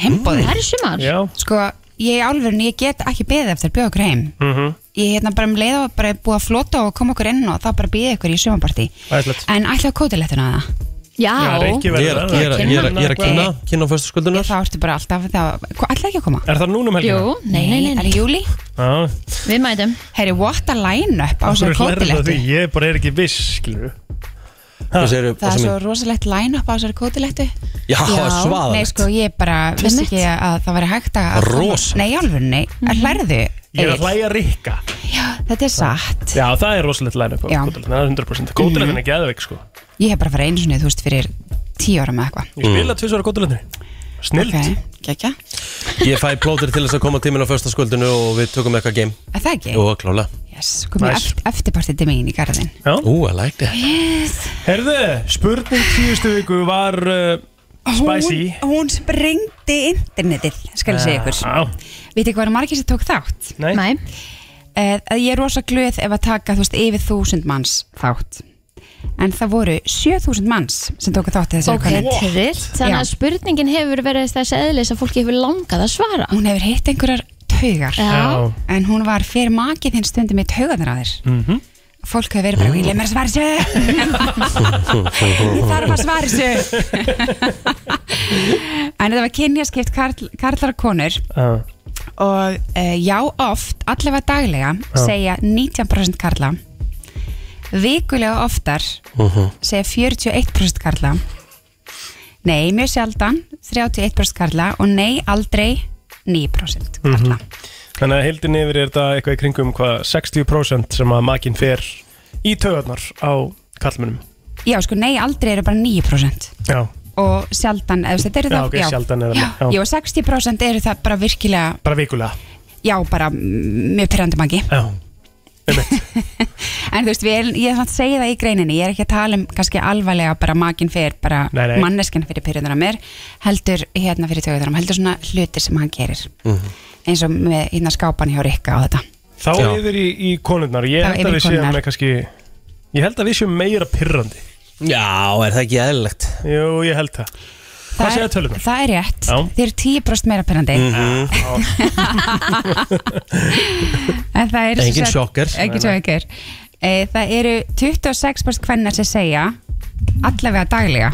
[SPEAKER 7] Heimboði
[SPEAKER 2] Það er sumar
[SPEAKER 3] Já
[SPEAKER 7] Sko, ég í alvörun, ég get ekki beðið eftir að bjóða okkur heim
[SPEAKER 3] Mhm.
[SPEAKER 7] Ég hérna bara um leið og bara búið að flota og koma okkur inn og þá bara býði ykkur í sumapartí
[SPEAKER 3] Æslegt
[SPEAKER 7] En ætla á kótilettuna það
[SPEAKER 2] Já,
[SPEAKER 1] Ég er að- ég er að- ég er að- ég er að kynna Kynna á fyrstu skuldunar
[SPEAKER 7] Þá ertu bara alltaf, þá, hvað ætla ekki að koma?
[SPEAKER 3] Er það núna um helgina?
[SPEAKER 2] Jú, nei, nei, nei,
[SPEAKER 7] Það er í júli
[SPEAKER 3] Já
[SPEAKER 2] Við mætum
[SPEAKER 7] Herri, what a line-up á
[SPEAKER 3] Af hverju
[SPEAKER 7] þessari
[SPEAKER 3] hlærðu að
[SPEAKER 7] kótilettu
[SPEAKER 3] því? Ég bara er ekki viss, skilur Hvað segir
[SPEAKER 7] Það er svo rosalegt line-up á þessari kótilettu
[SPEAKER 3] Já, það er svaðalegt.
[SPEAKER 7] Nei, sko, ég bara vissi ekki að það væri hægt að
[SPEAKER 3] Rosalegt. Mhm.
[SPEAKER 7] Nei, í alvörunni, að hlærðu
[SPEAKER 3] Ég er að
[SPEAKER 7] Egill?
[SPEAKER 3] hlæja Rikka
[SPEAKER 7] Þetta er satt
[SPEAKER 3] Já, það er rosalegt line-up
[SPEAKER 7] Já.
[SPEAKER 3] Kótilegna, það er 100% Kótilegna er geðveik, sko
[SPEAKER 7] Ég hef bara farið einu sinni, þú veist, fyrir tíu ára með eitthvað
[SPEAKER 3] Ég spila tvisvara kótilegna Snilt
[SPEAKER 7] Ok, gekkja
[SPEAKER 1] Ég fæ plótir til þess að koma tíminn á fyrsta skuldinu og við tökum eitthvað game
[SPEAKER 7] Er það ekki?
[SPEAKER 1] Jú, klála
[SPEAKER 7] Yes, komið
[SPEAKER 1] Nice.
[SPEAKER 7] nice. eftirpartið til megin í garðin
[SPEAKER 1] Ú, I like that
[SPEAKER 7] Yes
[SPEAKER 3] Herðu, spurning tíustu viku var uh, Spicy
[SPEAKER 7] Hún, hún sprengdi internetið, skal
[SPEAKER 3] Eh.
[SPEAKER 7] ég segja ykkur
[SPEAKER 3] Já.
[SPEAKER 7] Vitið hvað er margir sem tók þátt? Eh,
[SPEAKER 3] Nei,
[SPEAKER 2] Nei.
[SPEAKER 7] Ég er rosa glöð ef að taka, þú veist, yfir þúsund manns þátt En það voru 7000 manns sem tóku þátt í þessu
[SPEAKER 2] Ok, trillt Þannig að spurningin hefur verið þess að eðlis að fólki hefur langað að svara
[SPEAKER 7] Hún hefur hitt einhverjar taugar
[SPEAKER 2] Já.
[SPEAKER 7] En hún var fyrir makið þinn stundum með taugarnar að þér
[SPEAKER 3] Mhm.
[SPEAKER 7] Fólk hefur verið bara, ég leið mér að svara þessu Ég þarf að svara þessu En þetta var kynjaskipt karl, karlar og konur
[SPEAKER 3] Já.
[SPEAKER 7] Og uh, já oft, allavega daglega
[SPEAKER 3] Já.
[SPEAKER 7] segja 19% karla Vikulega oftar
[SPEAKER 3] Mhm.
[SPEAKER 7] segja 41% karla Nei, mjög sjaldan 31% karla og nei, aldrei 9% Mhm.
[SPEAKER 3] Þannig að heildin yfir er þetta eitthvað í kringum hvað 60% sem að makinn fer í töðarnar á kallmennum
[SPEAKER 7] Já, sko, nei, aldrei eru bara 9%
[SPEAKER 3] Já,
[SPEAKER 7] og sjaldan, eða þetta eru
[SPEAKER 3] Já,
[SPEAKER 7] það
[SPEAKER 3] ok, sjaldan eru það,
[SPEAKER 7] já,
[SPEAKER 3] já.
[SPEAKER 7] já, 60% eru það bara virkilega
[SPEAKER 3] bara vikulega
[SPEAKER 7] já, bara mm, mjög pyrrandi magi
[SPEAKER 3] Já,
[SPEAKER 7] en þú veist, við, erum- ég er samt að segja það í greininni ég er ekki að tala um kannski alvarlega bara magin fyrir, bara
[SPEAKER 3] Nei, nei.
[SPEAKER 7] manneskinn fyrir pyrrandur á mér, heldur hérna fyrir töguður heldur svona hlutir sem hann gerir
[SPEAKER 3] Mhm.
[SPEAKER 7] eins og með hérna skápan hjá Rikka og þetta
[SPEAKER 3] Þá
[SPEAKER 7] Já.
[SPEAKER 3] yfir í, í konurnar Ég held
[SPEAKER 7] Þá
[SPEAKER 3] að
[SPEAKER 7] yfir í
[SPEAKER 3] við séum
[SPEAKER 7] konurnar.
[SPEAKER 3] með kannski Ég held að við séum meira pyrrandi
[SPEAKER 1] Já, er það ekki eðlilegt?
[SPEAKER 3] Jú, ég held það Hvað segja tölunar?
[SPEAKER 7] það er rétt,
[SPEAKER 3] Já.
[SPEAKER 7] þið eru 10% meira pyrrandi
[SPEAKER 3] Mhm.
[SPEAKER 7] En það er
[SPEAKER 1] Engin sjokker.
[SPEAKER 7] Engin sjokker Eh, Það eru 26% kvenna sem segja allavega daglega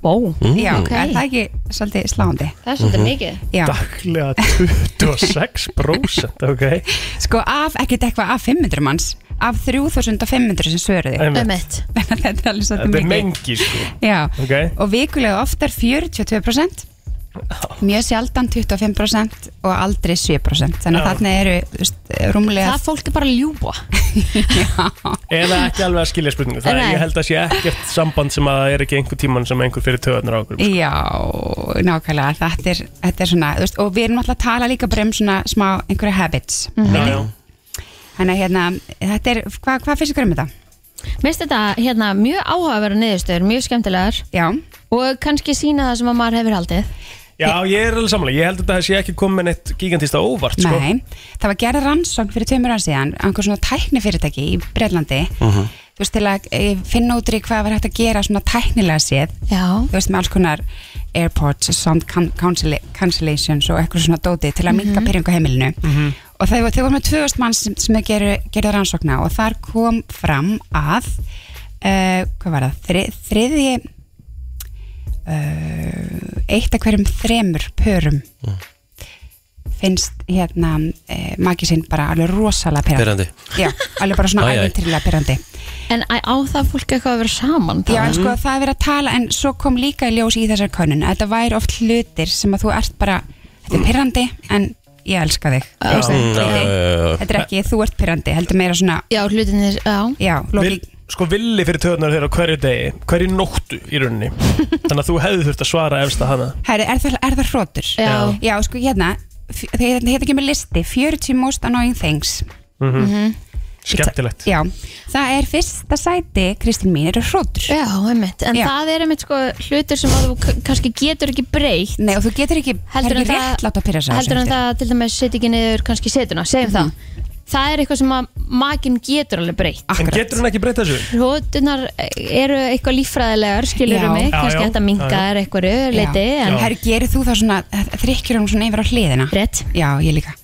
[SPEAKER 2] Ó,
[SPEAKER 3] Mm.
[SPEAKER 7] Já,
[SPEAKER 3] Ok.
[SPEAKER 7] er það ekki svolítið sláandi
[SPEAKER 2] Það
[SPEAKER 3] er svolítið Mhm. mikið.
[SPEAKER 7] Já,
[SPEAKER 3] Daglega 26% Ok
[SPEAKER 7] sko af, ekkert eitthvað af 500 manns af 3500 sem svöruði
[SPEAKER 3] Einmitt.
[SPEAKER 7] Þannig að Þetta er alveg svolítið
[SPEAKER 3] Þetta er
[SPEAKER 7] mikið
[SPEAKER 3] mengi sko
[SPEAKER 7] Já,
[SPEAKER 3] Ok
[SPEAKER 7] og vikulega oftar 42% Mjög sjaldan 25% og aldrei 7% Þannig að
[SPEAKER 3] Já.
[SPEAKER 7] þarna eru þú veist, rúmlega
[SPEAKER 2] Það fólk er bara að ljúa
[SPEAKER 3] Eða ekki alveg að skilja spurningu Það er,
[SPEAKER 7] Nei.
[SPEAKER 3] ég held að sé ekkert samband sem að það er ekki einhver tíman sem einhver fyrir töðarnar á okkur
[SPEAKER 7] Já, nákvæmlega, þetta er, þetta er svona, þú veist, og við erum alltaf að tala líka bara um svona smá einhverja habits.
[SPEAKER 3] Já, já.
[SPEAKER 7] Þannig að hérna, þetta er, hvað hva finnst ykkur um þetta?
[SPEAKER 2] Mér finnst þetta hérna, mjög áhugaverða niðurstöður, mjög skemmtilegar
[SPEAKER 7] Já.
[SPEAKER 2] Og kannski sína það sem að maður hefur haldið
[SPEAKER 3] Já, ég er alveg samanlega, ég held að þetta sé ekki komið með neitt gigantista óvart sko.
[SPEAKER 7] Nei, það var gerð rannsókn fyrir tveimur ára síðan á einhver svona tæknifyrirtæki í Breitlandi
[SPEAKER 3] Mhm.
[SPEAKER 7] þú veist til að eh, finna út í hvað var hægt að gera svona tæknilega séð
[SPEAKER 2] Já.
[SPEAKER 7] þú veist með alls konar airports, sound can- cancella- cancellations og eitthvað svona dóti til að minka
[SPEAKER 13] Mhm.
[SPEAKER 7] pyrringu á heimilinu og þau, þau voru með 2000 mann sem, sem þau geru, gerðu rannsókna og þar kom fram að uh, hvað var það, Þri, þriðji uh, eitt af hverjum þremur pörum finnst hérna uh, maki sinn bara alveg rosalega
[SPEAKER 1] Pirrandi.
[SPEAKER 7] perandi já, alveg bara svona
[SPEAKER 1] Æ, æ.
[SPEAKER 7] æfintrilega perandi
[SPEAKER 2] En á á það fólk eitthvað að vera saman
[SPEAKER 7] Já, en sko það er verið að tala en svo kom líka í ljós í þessar konun að þetta væri oft hlutir sem að þú ert bara þetta er pirrandi en ég elska þig Þú veist,
[SPEAKER 1] Mm, já, já, já, já.
[SPEAKER 7] þetta er ekki þú ert pirrandi, heldur meira svona
[SPEAKER 2] Já, hlutinir, já,
[SPEAKER 7] já
[SPEAKER 3] Vil, Sko villi fyrir töðunar þeirra á hverju degi hverju nóttu í rauninni þannig að þú hefði þurft að svara efst að hana
[SPEAKER 7] Herri, er, það, er það hrótur?
[SPEAKER 3] Já.
[SPEAKER 7] Já, sko, hérna, f- þegar þetta kemur listi 40 most annoying things
[SPEAKER 3] Mhm.
[SPEAKER 7] Mhm.
[SPEAKER 3] Skemmtilegt
[SPEAKER 7] Já, það er fyrsta sæti Kristín mín eru hrótur
[SPEAKER 2] Já, einmitt, en það er einmitt sko hlutur sem að þú k- kannski getur ekki breytt
[SPEAKER 7] Nei, og þú getur ekki,
[SPEAKER 2] heldur
[SPEAKER 7] það er ekki réttlátt að pirra sig á
[SPEAKER 2] Heldur
[SPEAKER 7] þessum
[SPEAKER 2] en það til dæmis setja ekki niður kannski setuna, segjum það Það er eitthvað sem að makin getur alveg breytt
[SPEAKER 3] En getur hann ekki breyta þessu?
[SPEAKER 2] Hrótunar eru eitthvað líffræðilegar, skilur
[SPEAKER 7] Já.
[SPEAKER 2] mig,
[SPEAKER 7] Já,
[SPEAKER 2] kannski
[SPEAKER 7] já,
[SPEAKER 2] þetta minga
[SPEAKER 7] já, já.
[SPEAKER 2] er eitthvað leiti en
[SPEAKER 7] Herri, gerir þú það svona, þrykkjur hún svona yfir á hliðina?
[SPEAKER 2] Rétt
[SPEAKER 7] Já, ég líka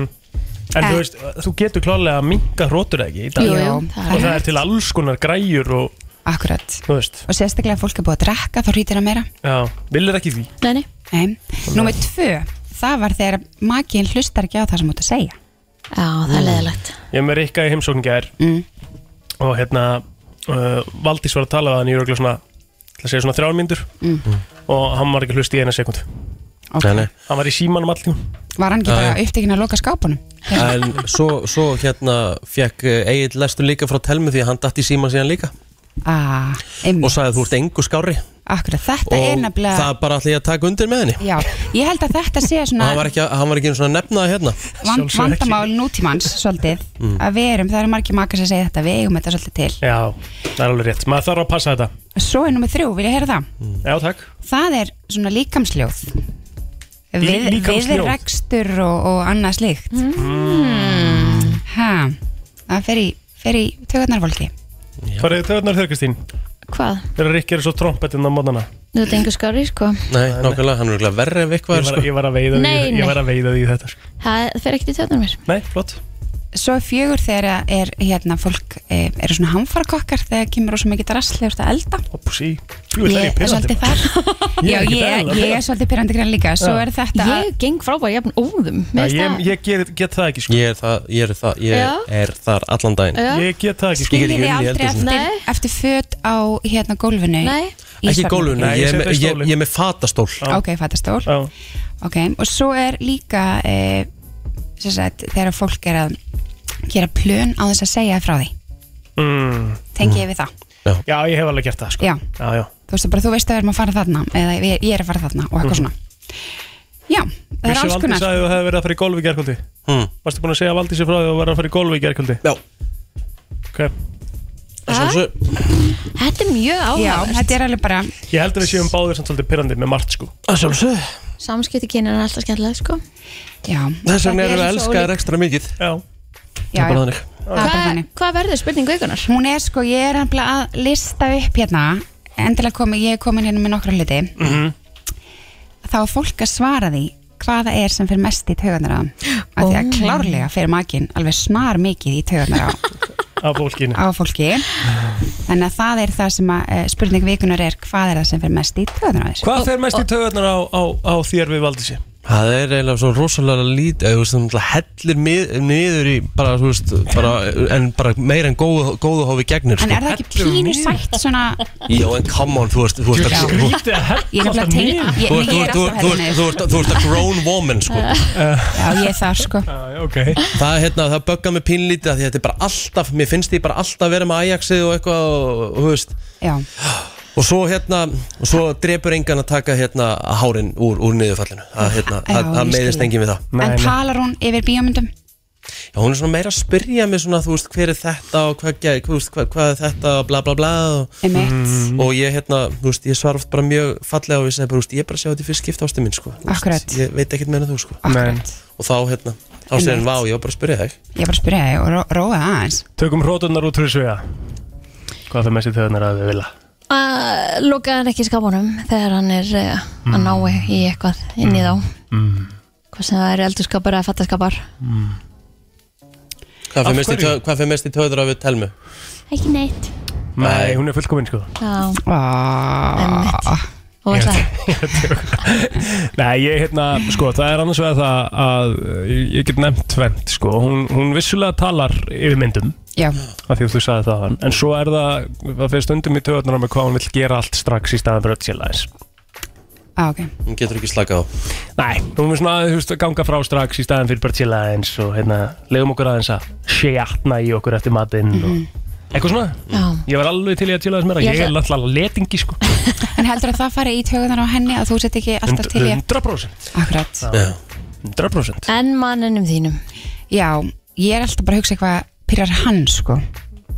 [SPEAKER 3] En
[SPEAKER 7] Eh.
[SPEAKER 3] þú veist, þú getur klálega að minka rótur ekki í dag
[SPEAKER 7] Jú, jú, það
[SPEAKER 3] Og
[SPEAKER 7] er
[SPEAKER 3] það er til alls konar græjur og
[SPEAKER 7] Akkurat
[SPEAKER 3] Þú veist,
[SPEAKER 7] Og sérstaklega ef fólk er búið að drekka, þá hrýtir það meira
[SPEAKER 3] já, villir ekki því
[SPEAKER 2] Nei, nei
[SPEAKER 7] Nei, númer tvö Það var þegar makin hlustar ekki á það sem þú ert að segja
[SPEAKER 2] Já, það er leðilegt
[SPEAKER 3] Ég er með Rikka í heimsókn gær
[SPEAKER 7] mm.
[SPEAKER 3] Og hérna, uh, Valdís var að tala við hann í örgulega svona Það segja svona þrjármyndur
[SPEAKER 7] Mm.
[SPEAKER 3] Og hann var ekki hlust í eina sekund
[SPEAKER 7] Ok.
[SPEAKER 1] Nei, nei.
[SPEAKER 3] Hann var í símanum allting
[SPEAKER 7] Var hann ekki
[SPEAKER 1] Já,
[SPEAKER 7] bara
[SPEAKER 1] já.
[SPEAKER 7] upptekinn að loka skápunum?
[SPEAKER 1] En svo, svo hérna fekk Egil lestur líka frá Telmu því að hann datt í síma síðan líka
[SPEAKER 7] Ah,
[SPEAKER 1] og sagði að þú ert engu skári
[SPEAKER 7] akkurat, þetta er
[SPEAKER 1] og
[SPEAKER 7] nefnilega
[SPEAKER 1] það bara ætla ég að taka undir með henni
[SPEAKER 7] Já, ég held að þetta sé
[SPEAKER 1] og
[SPEAKER 7] svona
[SPEAKER 1] hann var ekki, hann var ekki einu svona nefnaði hérna
[SPEAKER 7] vand, vandamál nútímans svolítið
[SPEAKER 1] Mm.
[SPEAKER 7] að við erum, það eru margir makar sem segja þetta við eigum þetta svolítið til
[SPEAKER 3] Já, það er alveg rétt, maður þarf að passa þetta
[SPEAKER 7] Svo er nummið þrjú, vil ég heyra það
[SPEAKER 3] Já, takk
[SPEAKER 7] Það er svona líkamsljóð Við,
[SPEAKER 3] Lí- líkamsljóð?
[SPEAKER 7] Viðrekstur og, og annað slíkt
[SPEAKER 2] Mm.
[SPEAKER 7] Ha, það fer í, fer í tökarnarvolki
[SPEAKER 3] Hvað er þetta þau Kristín?
[SPEAKER 2] Hvað?
[SPEAKER 3] Þegar Rikki er svo trompetinn á mótana
[SPEAKER 2] Þú ert engu skári, sko
[SPEAKER 1] Nei, nákvæmlega, hann er sko. örugglega verri ef eitthvað
[SPEAKER 3] Ég
[SPEAKER 7] sko.
[SPEAKER 3] var- ég var að veiða
[SPEAKER 2] Nei,
[SPEAKER 3] því-
[SPEAKER 2] nei.
[SPEAKER 3] Ég var að veiða því í þetta sko.
[SPEAKER 2] Það það fer ekkert í tjóðnum mér
[SPEAKER 3] Nei, flott
[SPEAKER 7] Svo er fjögur þegar að er hérna fólk eh, eru svona hamfarakokkar þegar kemur rosa mikið drasli úr að elda
[SPEAKER 3] Opsi,
[SPEAKER 7] Ég er svolítið þar Já,
[SPEAKER 3] ekki
[SPEAKER 7] ég,
[SPEAKER 3] eðlilega
[SPEAKER 7] ég er svolítið pyrrandi grann líka Svo
[SPEAKER 3] Já.
[SPEAKER 7] er þetta
[SPEAKER 2] Ég geng frábæð jafn óðum
[SPEAKER 3] Já, ég, ég get, get það ekki sko.
[SPEAKER 1] Ég er, það, ég er, það,
[SPEAKER 7] Já.
[SPEAKER 1] ég er þar allan daginn
[SPEAKER 7] Já.
[SPEAKER 3] Ég get það ekki sko.
[SPEAKER 7] Skiljið þið aldrei eftir, eftir föt á hérna gólfinu
[SPEAKER 2] Nei
[SPEAKER 1] Ekki í gólfinu, ég, er með-
[SPEAKER 3] í
[SPEAKER 1] ég, ég er með fatastól
[SPEAKER 7] Ok, fattastól Ok, og svo er líka e, sagt, þegar fólk er að gera plön á þess að segja frá því
[SPEAKER 3] mm.
[SPEAKER 7] Tengi ég við það
[SPEAKER 1] já.
[SPEAKER 3] já, ég hef alveg gert það sko.
[SPEAKER 7] Já.
[SPEAKER 3] Já, já.
[SPEAKER 7] Þú veist bara, þú veist að við erum að fara þarna eða ég, ég er að fara þarna
[SPEAKER 1] Mm.
[SPEAKER 7] og eitthvað
[SPEAKER 3] Mhm.
[SPEAKER 7] svona Já, það er
[SPEAKER 3] Vissi
[SPEAKER 7] alls
[SPEAKER 3] Valdís
[SPEAKER 7] konar
[SPEAKER 3] að þú hefði verið að fara í golf í gerkvöldi
[SPEAKER 1] hmm.
[SPEAKER 3] Varstu búin að segja Valdísi frá því að þú verið að fara í golf í gerkvöldi
[SPEAKER 1] Já
[SPEAKER 3] Ok
[SPEAKER 2] Þetta er mjög
[SPEAKER 7] Já,
[SPEAKER 2] áhugavert
[SPEAKER 7] þetta er alveg bara
[SPEAKER 3] Ég held að við séum báðir samt svolítið pirrandi með margt sko
[SPEAKER 1] Sjálfsög
[SPEAKER 2] Samskipti kynir er alltaf skemmtilega, sko
[SPEAKER 7] Já
[SPEAKER 1] Þess vegna erum við elskaðar ekstra mikið
[SPEAKER 3] Já
[SPEAKER 1] Það er bara þannig
[SPEAKER 2] Hvað hva verður spurningu ykkurnar?
[SPEAKER 7] Hún er sko, ég er nefnilega að lista upp hérna Endilega komi, ég er komin hérna með nokkra hluti
[SPEAKER 3] Mhm.
[SPEAKER 7] Þá er fólk að svara því hvaða er sem fyrir mest í taugarnar á þeim. Af því að
[SPEAKER 3] Ó.
[SPEAKER 7] klárlega fyrir makinn alveg snar mikið í taugarnar á,
[SPEAKER 3] Af fólkinu
[SPEAKER 7] á fólki Þannig að það er það sem að eh, spurning vikunar er hvað er það sem fyrir mest í taugarnar á þessu
[SPEAKER 3] Hvað fer mest í töðunar á, á, á þér við Valdísi?
[SPEAKER 1] Það er eiginlega svo rosalega lít eða, þú veist, það hellir mið, niður í bara, þú veist, bara, en bara meira en góðu, góðu hófi gegnir
[SPEAKER 7] En
[SPEAKER 1] sko.
[SPEAKER 7] er það ekki pínu sætt svona
[SPEAKER 1] Já, en come on, þú veist Þú veist
[SPEAKER 7] Já. Skrítið
[SPEAKER 3] að
[SPEAKER 7] Ég er nefnilega tengd- ég-
[SPEAKER 1] Þú
[SPEAKER 7] ég er
[SPEAKER 1] veist, þú veist,
[SPEAKER 7] alltaf
[SPEAKER 1] þú veist, þú veist, þú veist að grown woman sko.
[SPEAKER 7] Já, ég er þar sko
[SPEAKER 3] okay.
[SPEAKER 1] Það, hérna, það böggar mig pínlítið af því að þetta er bara alltaf, mér finnst því bara alltaf vera með Ajaxið og eitthvað og, og, þú veist.
[SPEAKER 7] Já.
[SPEAKER 1] og svo hérna og svo drepur engan að taka hérna hárin úr, úr niðurfallinu það, hérna,
[SPEAKER 7] Já,
[SPEAKER 1] það,
[SPEAKER 7] ég
[SPEAKER 1] það
[SPEAKER 7] skil.
[SPEAKER 1] meiðist engin við það
[SPEAKER 7] En talar hún yfir bíómyndum?
[SPEAKER 1] Já, hún er svona meira að spyrja mig svona, þú veist, hver er þetta og hvað, hvað, hvað, veist, hvað, hvað er þetta og bla bla bla og,
[SPEAKER 7] Einmitt.
[SPEAKER 1] og ég, hérna, þú veist, ég svara oft bara mjög fallega og ég segi bara, þú veist, ég er bara að sjá þetta í fyrst skipta ástu minn, sko Þú veist,
[SPEAKER 7] Akkurat.
[SPEAKER 1] Ég veit ekkert meira en þú, sko
[SPEAKER 3] Akkurat.
[SPEAKER 1] Og þá, hérna, þá segir hún, vá, ég var bara að spyrja þig
[SPEAKER 7] Ég er bara að spyrja þig og ró, róa það aðeins
[SPEAKER 3] Tökum hrótunar út fyrir svega Hvað það með sér þauðnar að við vilja?
[SPEAKER 2] að loka hann ekki skápunum þegar hann er eh, að ná í eitthvað inn í þá
[SPEAKER 3] Mm.
[SPEAKER 2] hvað sem það eru eldurskapar eða fattaskapar
[SPEAKER 1] Hvað
[SPEAKER 3] Af
[SPEAKER 1] fyrir mest í
[SPEAKER 3] hverju?
[SPEAKER 1] tö- Hvað fyrir mest í töður af við telmu?
[SPEAKER 2] ekki neitt
[SPEAKER 3] Nei, hún er fullkominn sko
[SPEAKER 2] Já,
[SPEAKER 7] ah.
[SPEAKER 2] og ætla
[SPEAKER 3] Nei, ég hérna, sko, það er annars vegar það að eh, ég get nefnt tvent, sko, hún, hún vissulega talar yfir myndum
[SPEAKER 7] Já.
[SPEAKER 3] af því að þú sagði það hann, en svo er það það fyrir stundum í töðunar með hvað hún vill gera allt strax í staðan fyrir öll sér læs
[SPEAKER 7] ah, okay.
[SPEAKER 1] Hún getur ekki slakað á
[SPEAKER 3] Nei, hún er svona, þú veist, að ganga frá strax í staðan fyrir bara chill aðeins og hérna, legum okkur aðeins að sjatna í okkur eftir matinn og eitthvað svona
[SPEAKER 2] Já.
[SPEAKER 3] Ég var alveg til í að chill aðeins meira,
[SPEAKER 7] Mhm. Ég
[SPEAKER 3] ég er
[SPEAKER 7] ætla-
[SPEAKER 3] alltaf letingi, sko
[SPEAKER 7] En heldur að það fari í tögunar á henni að þú sett ekki alltaf til ég
[SPEAKER 3] 100%
[SPEAKER 7] Akkurat
[SPEAKER 3] 100%
[SPEAKER 2] en manninum þínum
[SPEAKER 7] Já, ég er alltaf bara að hugsa eitthvað pyrrar hann sko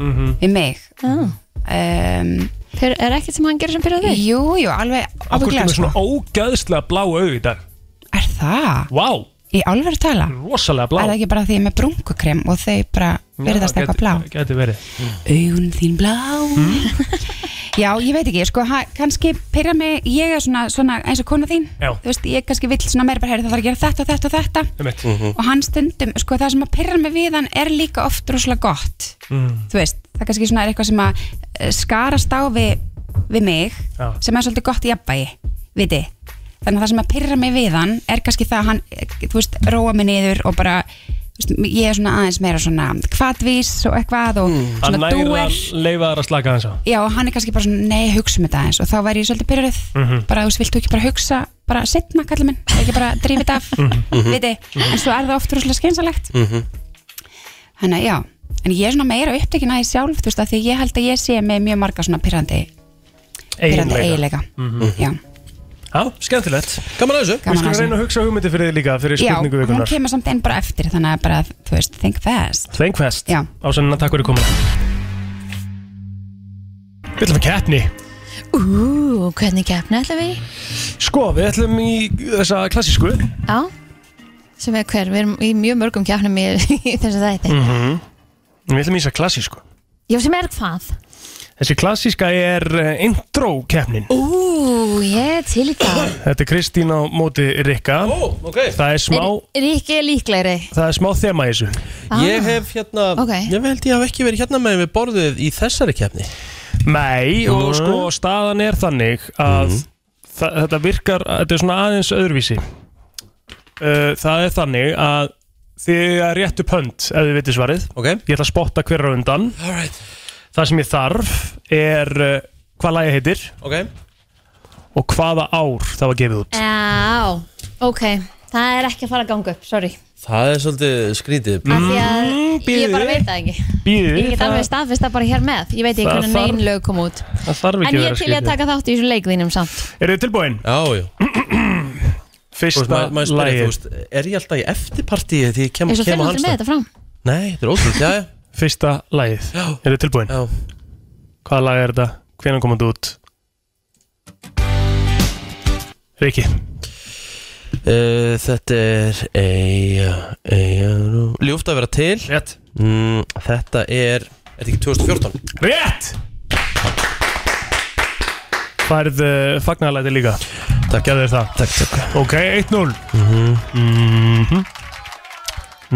[SPEAKER 3] Mhm.
[SPEAKER 7] við mig
[SPEAKER 2] Já.
[SPEAKER 7] um,
[SPEAKER 2] Fyr, Er ekkert sem hann gerir sem pyrrar
[SPEAKER 7] þig? Jú, jú, alveg
[SPEAKER 3] Akkur
[SPEAKER 7] ábyggilega, sko.
[SPEAKER 3] með svona ógæðslega blá auð í dag
[SPEAKER 7] Er það?
[SPEAKER 3] Vá
[SPEAKER 7] Í alveg að tala?
[SPEAKER 3] Rosalega blá
[SPEAKER 7] Er það ekki bara því ég er með brunkukrem og þau bara verðast eitthvað blá?
[SPEAKER 3] Gæti verið
[SPEAKER 7] Augun þín blá Já, ég veit ekki, sko, ha, kannski pyrra mig, ég er svona, svona eins og kona þín
[SPEAKER 3] Já.
[SPEAKER 7] Þú veist, ég kannski vill svona meira bara heyra það þarf að gera þetta og þetta og þetta
[SPEAKER 3] Einmitt. Mhm.
[SPEAKER 7] Og hann stundum, sko, það sem að pyrra mig við hann er líka oft rosalega gott
[SPEAKER 3] Mm.
[SPEAKER 7] þú veist, það kannski svona er eitthvað sem að eh, skarast á við, við mig
[SPEAKER 3] Já.
[SPEAKER 7] sem er svolítið gott í jafnbæi viti, þannig að það sem að pyrra mig við hann er kannski það að hann, eh, þú veist, róa mig niður og bara, þú veist, ég er svona aðeins meira svona kvadvís og eitthvað og
[SPEAKER 3] Mm. Að
[SPEAKER 7] svona
[SPEAKER 3] næra
[SPEAKER 7] dúer
[SPEAKER 3] að leifa þar að slaka hans á
[SPEAKER 7] já, og hann er kannski bara svona, nei, hugsa um þetta aðeins og þá væri ég svolítið pyrruð
[SPEAKER 3] Mhm.
[SPEAKER 7] bara, þú veist, viltu ekki bara hugsa, bara setna, kallið minn ekki bara drífið þetta af,
[SPEAKER 3] Mhm.
[SPEAKER 7] viti en svo er það oft rúslega skeinsalegt Þannig að já, en ég er svona meira upptekin að ég sjálf, þú veist, að því ég held að ég sé með mjög marga svona pyrrandi pyrrandi eiginleika.
[SPEAKER 3] Mhm.
[SPEAKER 7] Já.
[SPEAKER 3] Já, skemmtilegt Gaman að þessu
[SPEAKER 7] Gaman
[SPEAKER 3] Við skulum
[SPEAKER 7] að
[SPEAKER 3] reyna að hugsa hugmyndi fyrir þig líka fyrir
[SPEAKER 7] Já,
[SPEAKER 3] spurningu
[SPEAKER 7] hún
[SPEAKER 3] vikunar
[SPEAKER 7] kemur samt einn bara eftir, þannig að bara, þú veist, think fast.
[SPEAKER 3] Think fast
[SPEAKER 7] Já.
[SPEAKER 3] Ásanna, takk fyrir komin Við ætlum að keppni
[SPEAKER 2] Ú, hvernig keppni ætlum við? í?
[SPEAKER 3] Sko, við ætlum í þessa klassísku
[SPEAKER 2] Já, sem er hver, við erum í mjög mörgum keppnum í, í þessu þætti
[SPEAKER 3] -hmm. Við ætlum í þessa klassísku
[SPEAKER 2] Já, sem er hvað?
[SPEAKER 3] Þessi klassíska er eh, intro keppnin
[SPEAKER 2] Ú, ég er til í það
[SPEAKER 3] Þetta er Kristín á móti Rikka oh, okay. Það er smá
[SPEAKER 2] Er ég ekki líklegri?
[SPEAKER 3] Það er smá þema í þessu
[SPEAKER 2] Ah. Ég
[SPEAKER 1] hef hérna
[SPEAKER 2] Ok.
[SPEAKER 1] Ég held ég hafa ekki verið hérna með við borðið í þessari keppni
[SPEAKER 3] Nei, og sko staðan er þannig að þa- þetta virkar, þetta er svona aðeins öðruvísi uh, Það er þannig að þið að réttu pönt ef þið veitir svarið
[SPEAKER 1] okay.
[SPEAKER 3] Ég ætla að spotta hver á undan
[SPEAKER 1] right.
[SPEAKER 3] Það sem ég þarf er uh, hvað lagi heitir
[SPEAKER 1] okay.
[SPEAKER 3] og hvaða ár það var gefið út
[SPEAKER 2] Eh, Já, ok Það er ekki að fara að ganga upp, sorry
[SPEAKER 1] Það er svolítið skrítið
[SPEAKER 2] Af því að ég bara
[SPEAKER 1] bíðið.
[SPEAKER 2] veit það ekki
[SPEAKER 3] Bíðið,
[SPEAKER 2] Ég get
[SPEAKER 1] það-
[SPEAKER 2] alveg staðfist það bara hér með Ég veit ekki
[SPEAKER 1] Það
[SPEAKER 2] hvernig
[SPEAKER 1] þarf-
[SPEAKER 2] neyn lög kom út
[SPEAKER 3] Það þarf
[SPEAKER 2] En ég er til í að Mm. taka þátt í þessu leik þínum samt
[SPEAKER 3] Eru þið tilbúin?
[SPEAKER 1] Já, já
[SPEAKER 3] Fyrsta lagið.
[SPEAKER 1] lagið Er ég alltaf í eftirpartíi því ég kem,
[SPEAKER 2] Eins og
[SPEAKER 1] kem á
[SPEAKER 2] finnum þú
[SPEAKER 1] hans
[SPEAKER 2] með þetta fram
[SPEAKER 1] Nei, þetta er ótrúlega, já, já
[SPEAKER 3] Fyrsta lagið
[SPEAKER 1] Já.
[SPEAKER 3] Er þið tilbúin?
[SPEAKER 1] Já
[SPEAKER 3] Hvaða lag er þetta? Hvenær kom þetta út? Riki
[SPEAKER 1] Uh, þetta er eiga, eiga, nú- Ljúft að vera til
[SPEAKER 3] Rétt
[SPEAKER 1] mm, Þetta er Er þetta ekki 2014?
[SPEAKER 3] Rétt Færð uh, fagnalæti líka Takk Gjæðu þér það
[SPEAKER 1] Takk, takk
[SPEAKER 3] Ok, 1-0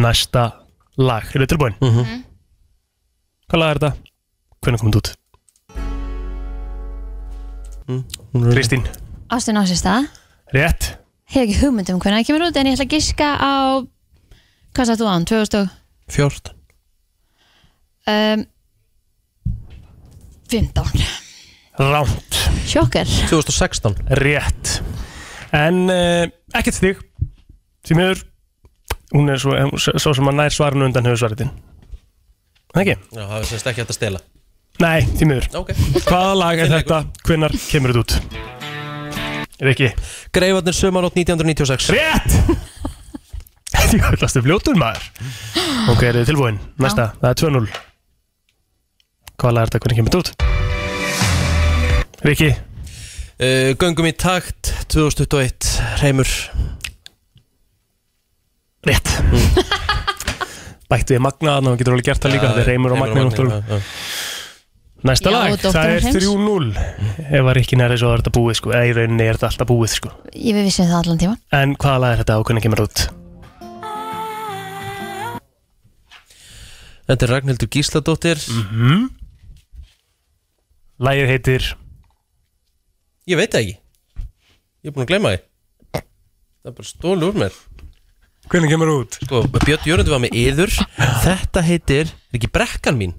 [SPEAKER 3] Næsta lag Er þið tilbúin? Mm
[SPEAKER 1] Mhm.
[SPEAKER 3] Hvað lag er þetta? Hvenær kom þetta út? Kristín
[SPEAKER 2] Ástin á sér stað
[SPEAKER 3] Rétt
[SPEAKER 2] Hefur ekki hugmynd um hvernig það kemur út En ég ætla að giska á Hvað sagði þú án? 2000 og-
[SPEAKER 1] 14
[SPEAKER 2] um, 15
[SPEAKER 3] Rámt
[SPEAKER 2] Sjokker
[SPEAKER 1] 2016
[SPEAKER 3] Rétt En uh, ekkert stig Því miður Hún er svo, svo sem að nær svarinu undan hefur svaritin Ekki?
[SPEAKER 1] Já, það er semst ekki hægt að stela
[SPEAKER 3] Nei, því miður
[SPEAKER 1] Ok.
[SPEAKER 3] Hvaða lag er þetta? Hvenær kemur þetta út? Riki
[SPEAKER 1] Greifarnir sömarótt 1996
[SPEAKER 3] Rétt Því höllastu fljótur maður Ok, eru þið tilbúin? Næsta, það er 2-0 Hvað lag er þetta? Hvernig kemur þetta út? Riki
[SPEAKER 1] uh, Göngum í takt 2021 Reymur
[SPEAKER 3] Rétt Bætt við Magna þarna, þú getur alveg gert það
[SPEAKER 1] Já,
[SPEAKER 3] líka Þetta er Reymur
[SPEAKER 1] Reimur
[SPEAKER 3] og
[SPEAKER 1] og
[SPEAKER 3] Magna
[SPEAKER 1] Magni, já,
[SPEAKER 3] náttúrulega Næsta
[SPEAKER 2] Já,
[SPEAKER 3] lag,
[SPEAKER 2] Dóttir
[SPEAKER 3] það er
[SPEAKER 2] Heims.
[SPEAKER 3] 3-0 Ef að Rikki næri svo er þetta búið sko Eða í rauninni er þetta alltaf búið sko
[SPEAKER 2] Ég við vissum það allan tíma
[SPEAKER 3] En hvaða lag er þetta og hvernig kemur þetta út?
[SPEAKER 1] Þetta er Ragnhildur Gísladóttir mm -hmm.
[SPEAKER 3] Lægið heitir
[SPEAKER 1] Ég veit það ekki Ég er búin að gleyma því Það er bara stólu úr mér
[SPEAKER 3] Hvernig kemur út?
[SPEAKER 1] Sko, Björn Jörgundur var með yður Þetta heitir, er ekki brekkan mín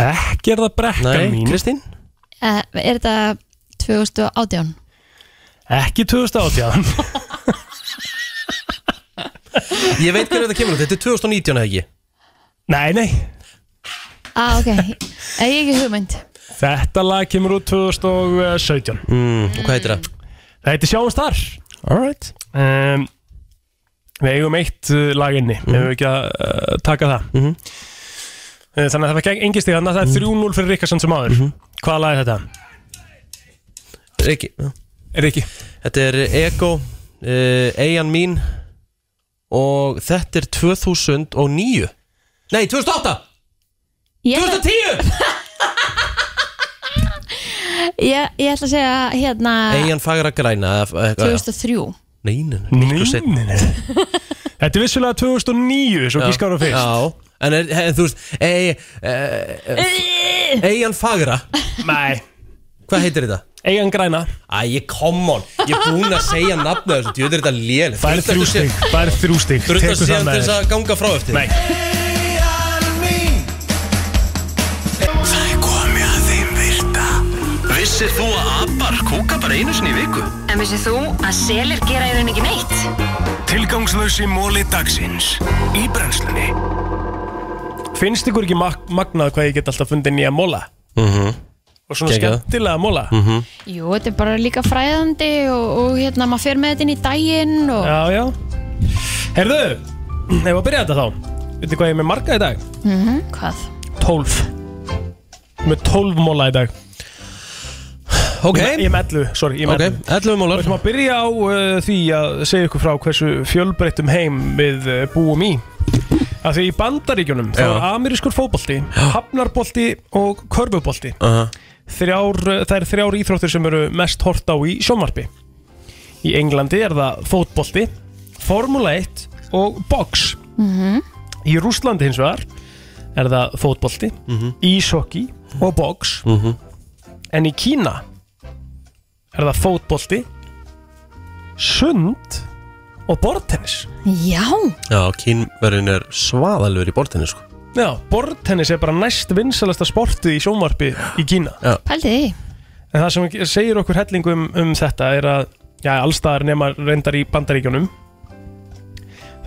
[SPEAKER 3] Ekki er það brekkan
[SPEAKER 1] Nei,
[SPEAKER 3] mín.
[SPEAKER 1] Kristín
[SPEAKER 2] uh, Er þetta 2018?
[SPEAKER 3] Ekki 2018
[SPEAKER 1] Ég veit hvernig þetta kemur út, þetta er 2019 eða ekki
[SPEAKER 3] Nei, nei
[SPEAKER 2] Ah, ok, Eh, ég hef ekki hugmynd
[SPEAKER 3] Þetta lag kemur út 2017 mm,
[SPEAKER 1] Og hvað heitir það?
[SPEAKER 3] Það heitir Sjáumst þar
[SPEAKER 1] Alright
[SPEAKER 3] um, Við eigum eitt uh, lag inni
[SPEAKER 1] Mhm.
[SPEAKER 3] Við hefum ekki að uh, taka það mm Þannig að það var engi stig Þannig að
[SPEAKER 1] Mhm.
[SPEAKER 3] það er 3-0 fyrir Ríkarsson sem áður Hvaða lag er þetta?
[SPEAKER 1] Riki
[SPEAKER 3] Riki
[SPEAKER 1] Þetta er Ego, uh, Eyjan mín Og þetta er 2009 Nei, 2008 2010
[SPEAKER 2] Ég, ég ætla að segja hérna
[SPEAKER 1] Eyjan fagra græna eða- eða-
[SPEAKER 2] 2003
[SPEAKER 1] Nei, nei, nei, miklu seinna.
[SPEAKER 3] Þetta er vissulega 2009 Svo
[SPEAKER 1] Já.
[SPEAKER 3] gískar á fyrst
[SPEAKER 1] Já, en er, er, þú veist Ey- eh, eh, Eyjan fagra
[SPEAKER 3] Nei
[SPEAKER 1] Hvað heitir þetta?
[SPEAKER 3] Eyjan græna
[SPEAKER 1] Æ, come on, ég er búinn að segja nafnu þessu, djú, þetta er þetta lél
[SPEAKER 3] Það er þrjú stig Það er þrjú stig
[SPEAKER 1] Druttast
[SPEAKER 3] Tekur það
[SPEAKER 1] síðan
[SPEAKER 3] með
[SPEAKER 1] til þess
[SPEAKER 3] þér.
[SPEAKER 1] að ganga frá eftir
[SPEAKER 3] Nei
[SPEAKER 4] Það er komið að þeim virta Vissir þú að abar kúka bara einu sinni í viku?
[SPEAKER 12] En vissið þú að selir gera í rauninni ekki neitt?
[SPEAKER 4] Tilgangslösi móli dagsins Í brennslunni
[SPEAKER 3] Finnst ykkur ekki mag- magnað hvað ég get alltaf fundið nýja móla?
[SPEAKER 1] Mhm.
[SPEAKER 3] Og svona
[SPEAKER 1] Geggjað.
[SPEAKER 3] skemmtilega móla?
[SPEAKER 1] Mhm.
[SPEAKER 2] Jú, þetta er bara líka fræðandi og, og hérna, maður fer með þetta inn í daginn og...
[SPEAKER 3] Já, já Herðu, ef að byrja þetta þá Veitir hvað ég er með marga í dag?
[SPEAKER 2] Mm Hvað?
[SPEAKER 3] 12 Með 12 móla í dag
[SPEAKER 1] Ok.
[SPEAKER 3] Ég er með 11, sorry, ég er
[SPEAKER 1] Ok,
[SPEAKER 3] með 11
[SPEAKER 1] 11
[SPEAKER 3] Við
[SPEAKER 1] mólar
[SPEAKER 3] ætlum að byrja á uh, því að segja ykkur frá hversu fjölbreyttum heim við uh, búum í Af því í bandaríkjunum þá
[SPEAKER 1] Já.
[SPEAKER 3] er amerískur fótbolti, hafnarbolti og körfubolti
[SPEAKER 1] Aha.
[SPEAKER 3] þrjár, uh, Það er þrjár íþróttir sem eru mest hort á í sjónvarpi Í Englandi er það fótbolti, Formula 1 og box
[SPEAKER 2] Mhm.
[SPEAKER 3] Í Rúslandi hins vegar er það fótbolti,
[SPEAKER 1] Mhm.
[SPEAKER 3] ísokki og box En í Kína er það fótbolti, sund og borðtennis
[SPEAKER 2] Já
[SPEAKER 1] Já, kínverðin er svaðalur í bortinni sko
[SPEAKER 3] Já, borðtennis er bara næst vinsalasta sportið í sjónvarpi í Kína
[SPEAKER 1] Já.
[SPEAKER 2] Pældi því
[SPEAKER 3] En það sem segir okkur hellingum um þetta er að já, allstaðar nema reyndar í bandaríkjunum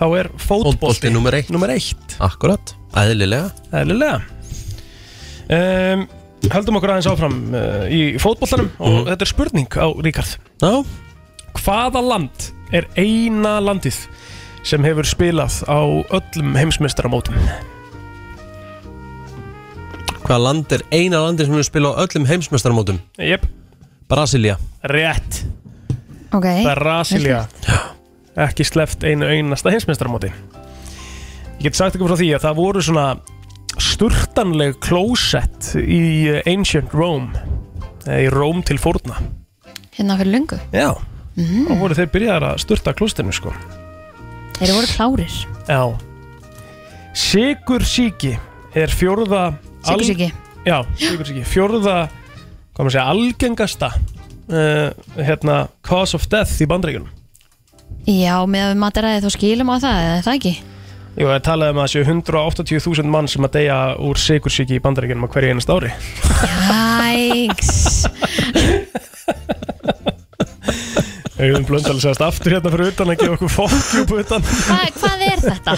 [SPEAKER 3] þá er fótbolti
[SPEAKER 1] Fótbolti nummer eitt.
[SPEAKER 3] Númer eitt,
[SPEAKER 1] Akkurat, æðlilega
[SPEAKER 3] eðlilega um, Höldum okkur aðeins áfram uh, í fótboltanum og þetta er spurning á Ríkard
[SPEAKER 1] Já
[SPEAKER 3] Hvaða land er eina landið sem hefur spilað á öllum heimsmeistaramótum?
[SPEAKER 1] Hvaða land er eina landi sem við spila á öllum heimsmestarmótum?
[SPEAKER 3] Jep,
[SPEAKER 1] Brasilia
[SPEAKER 3] rétt
[SPEAKER 2] Ok
[SPEAKER 3] Brasilia ekki sleft einu einasta heimsmeistaramóti ég get sagt ykkur frá því að það voru svona sturtanleg klósett í eh, Ancient Rome eða í Rome til fórna
[SPEAKER 2] Hérna fyrir lungu
[SPEAKER 3] já, þá voru þeir byrjaðar að sturta klóstinu sko
[SPEAKER 2] Þeir voru klárir
[SPEAKER 3] já Sigur síki er fjórða al-
[SPEAKER 2] Sykursýki.
[SPEAKER 3] já, sigur síki, fjórða hvað maður segja, algengasta uh, hérna cause of death í bandreikunum
[SPEAKER 2] Já, með að við mataræði þá skilum á það, eða er það ekki?
[SPEAKER 3] Jú, það talaði um að það séu 180.000 mann sem að deyja úr sigursíki í bandaríkjunum á hverju einast ári.
[SPEAKER 2] Jæks
[SPEAKER 3] Auðun Blöndal segast aftur hérna fyrir utan að gefa okkur fólkjúb utan.
[SPEAKER 2] Hvað, hvað er þetta?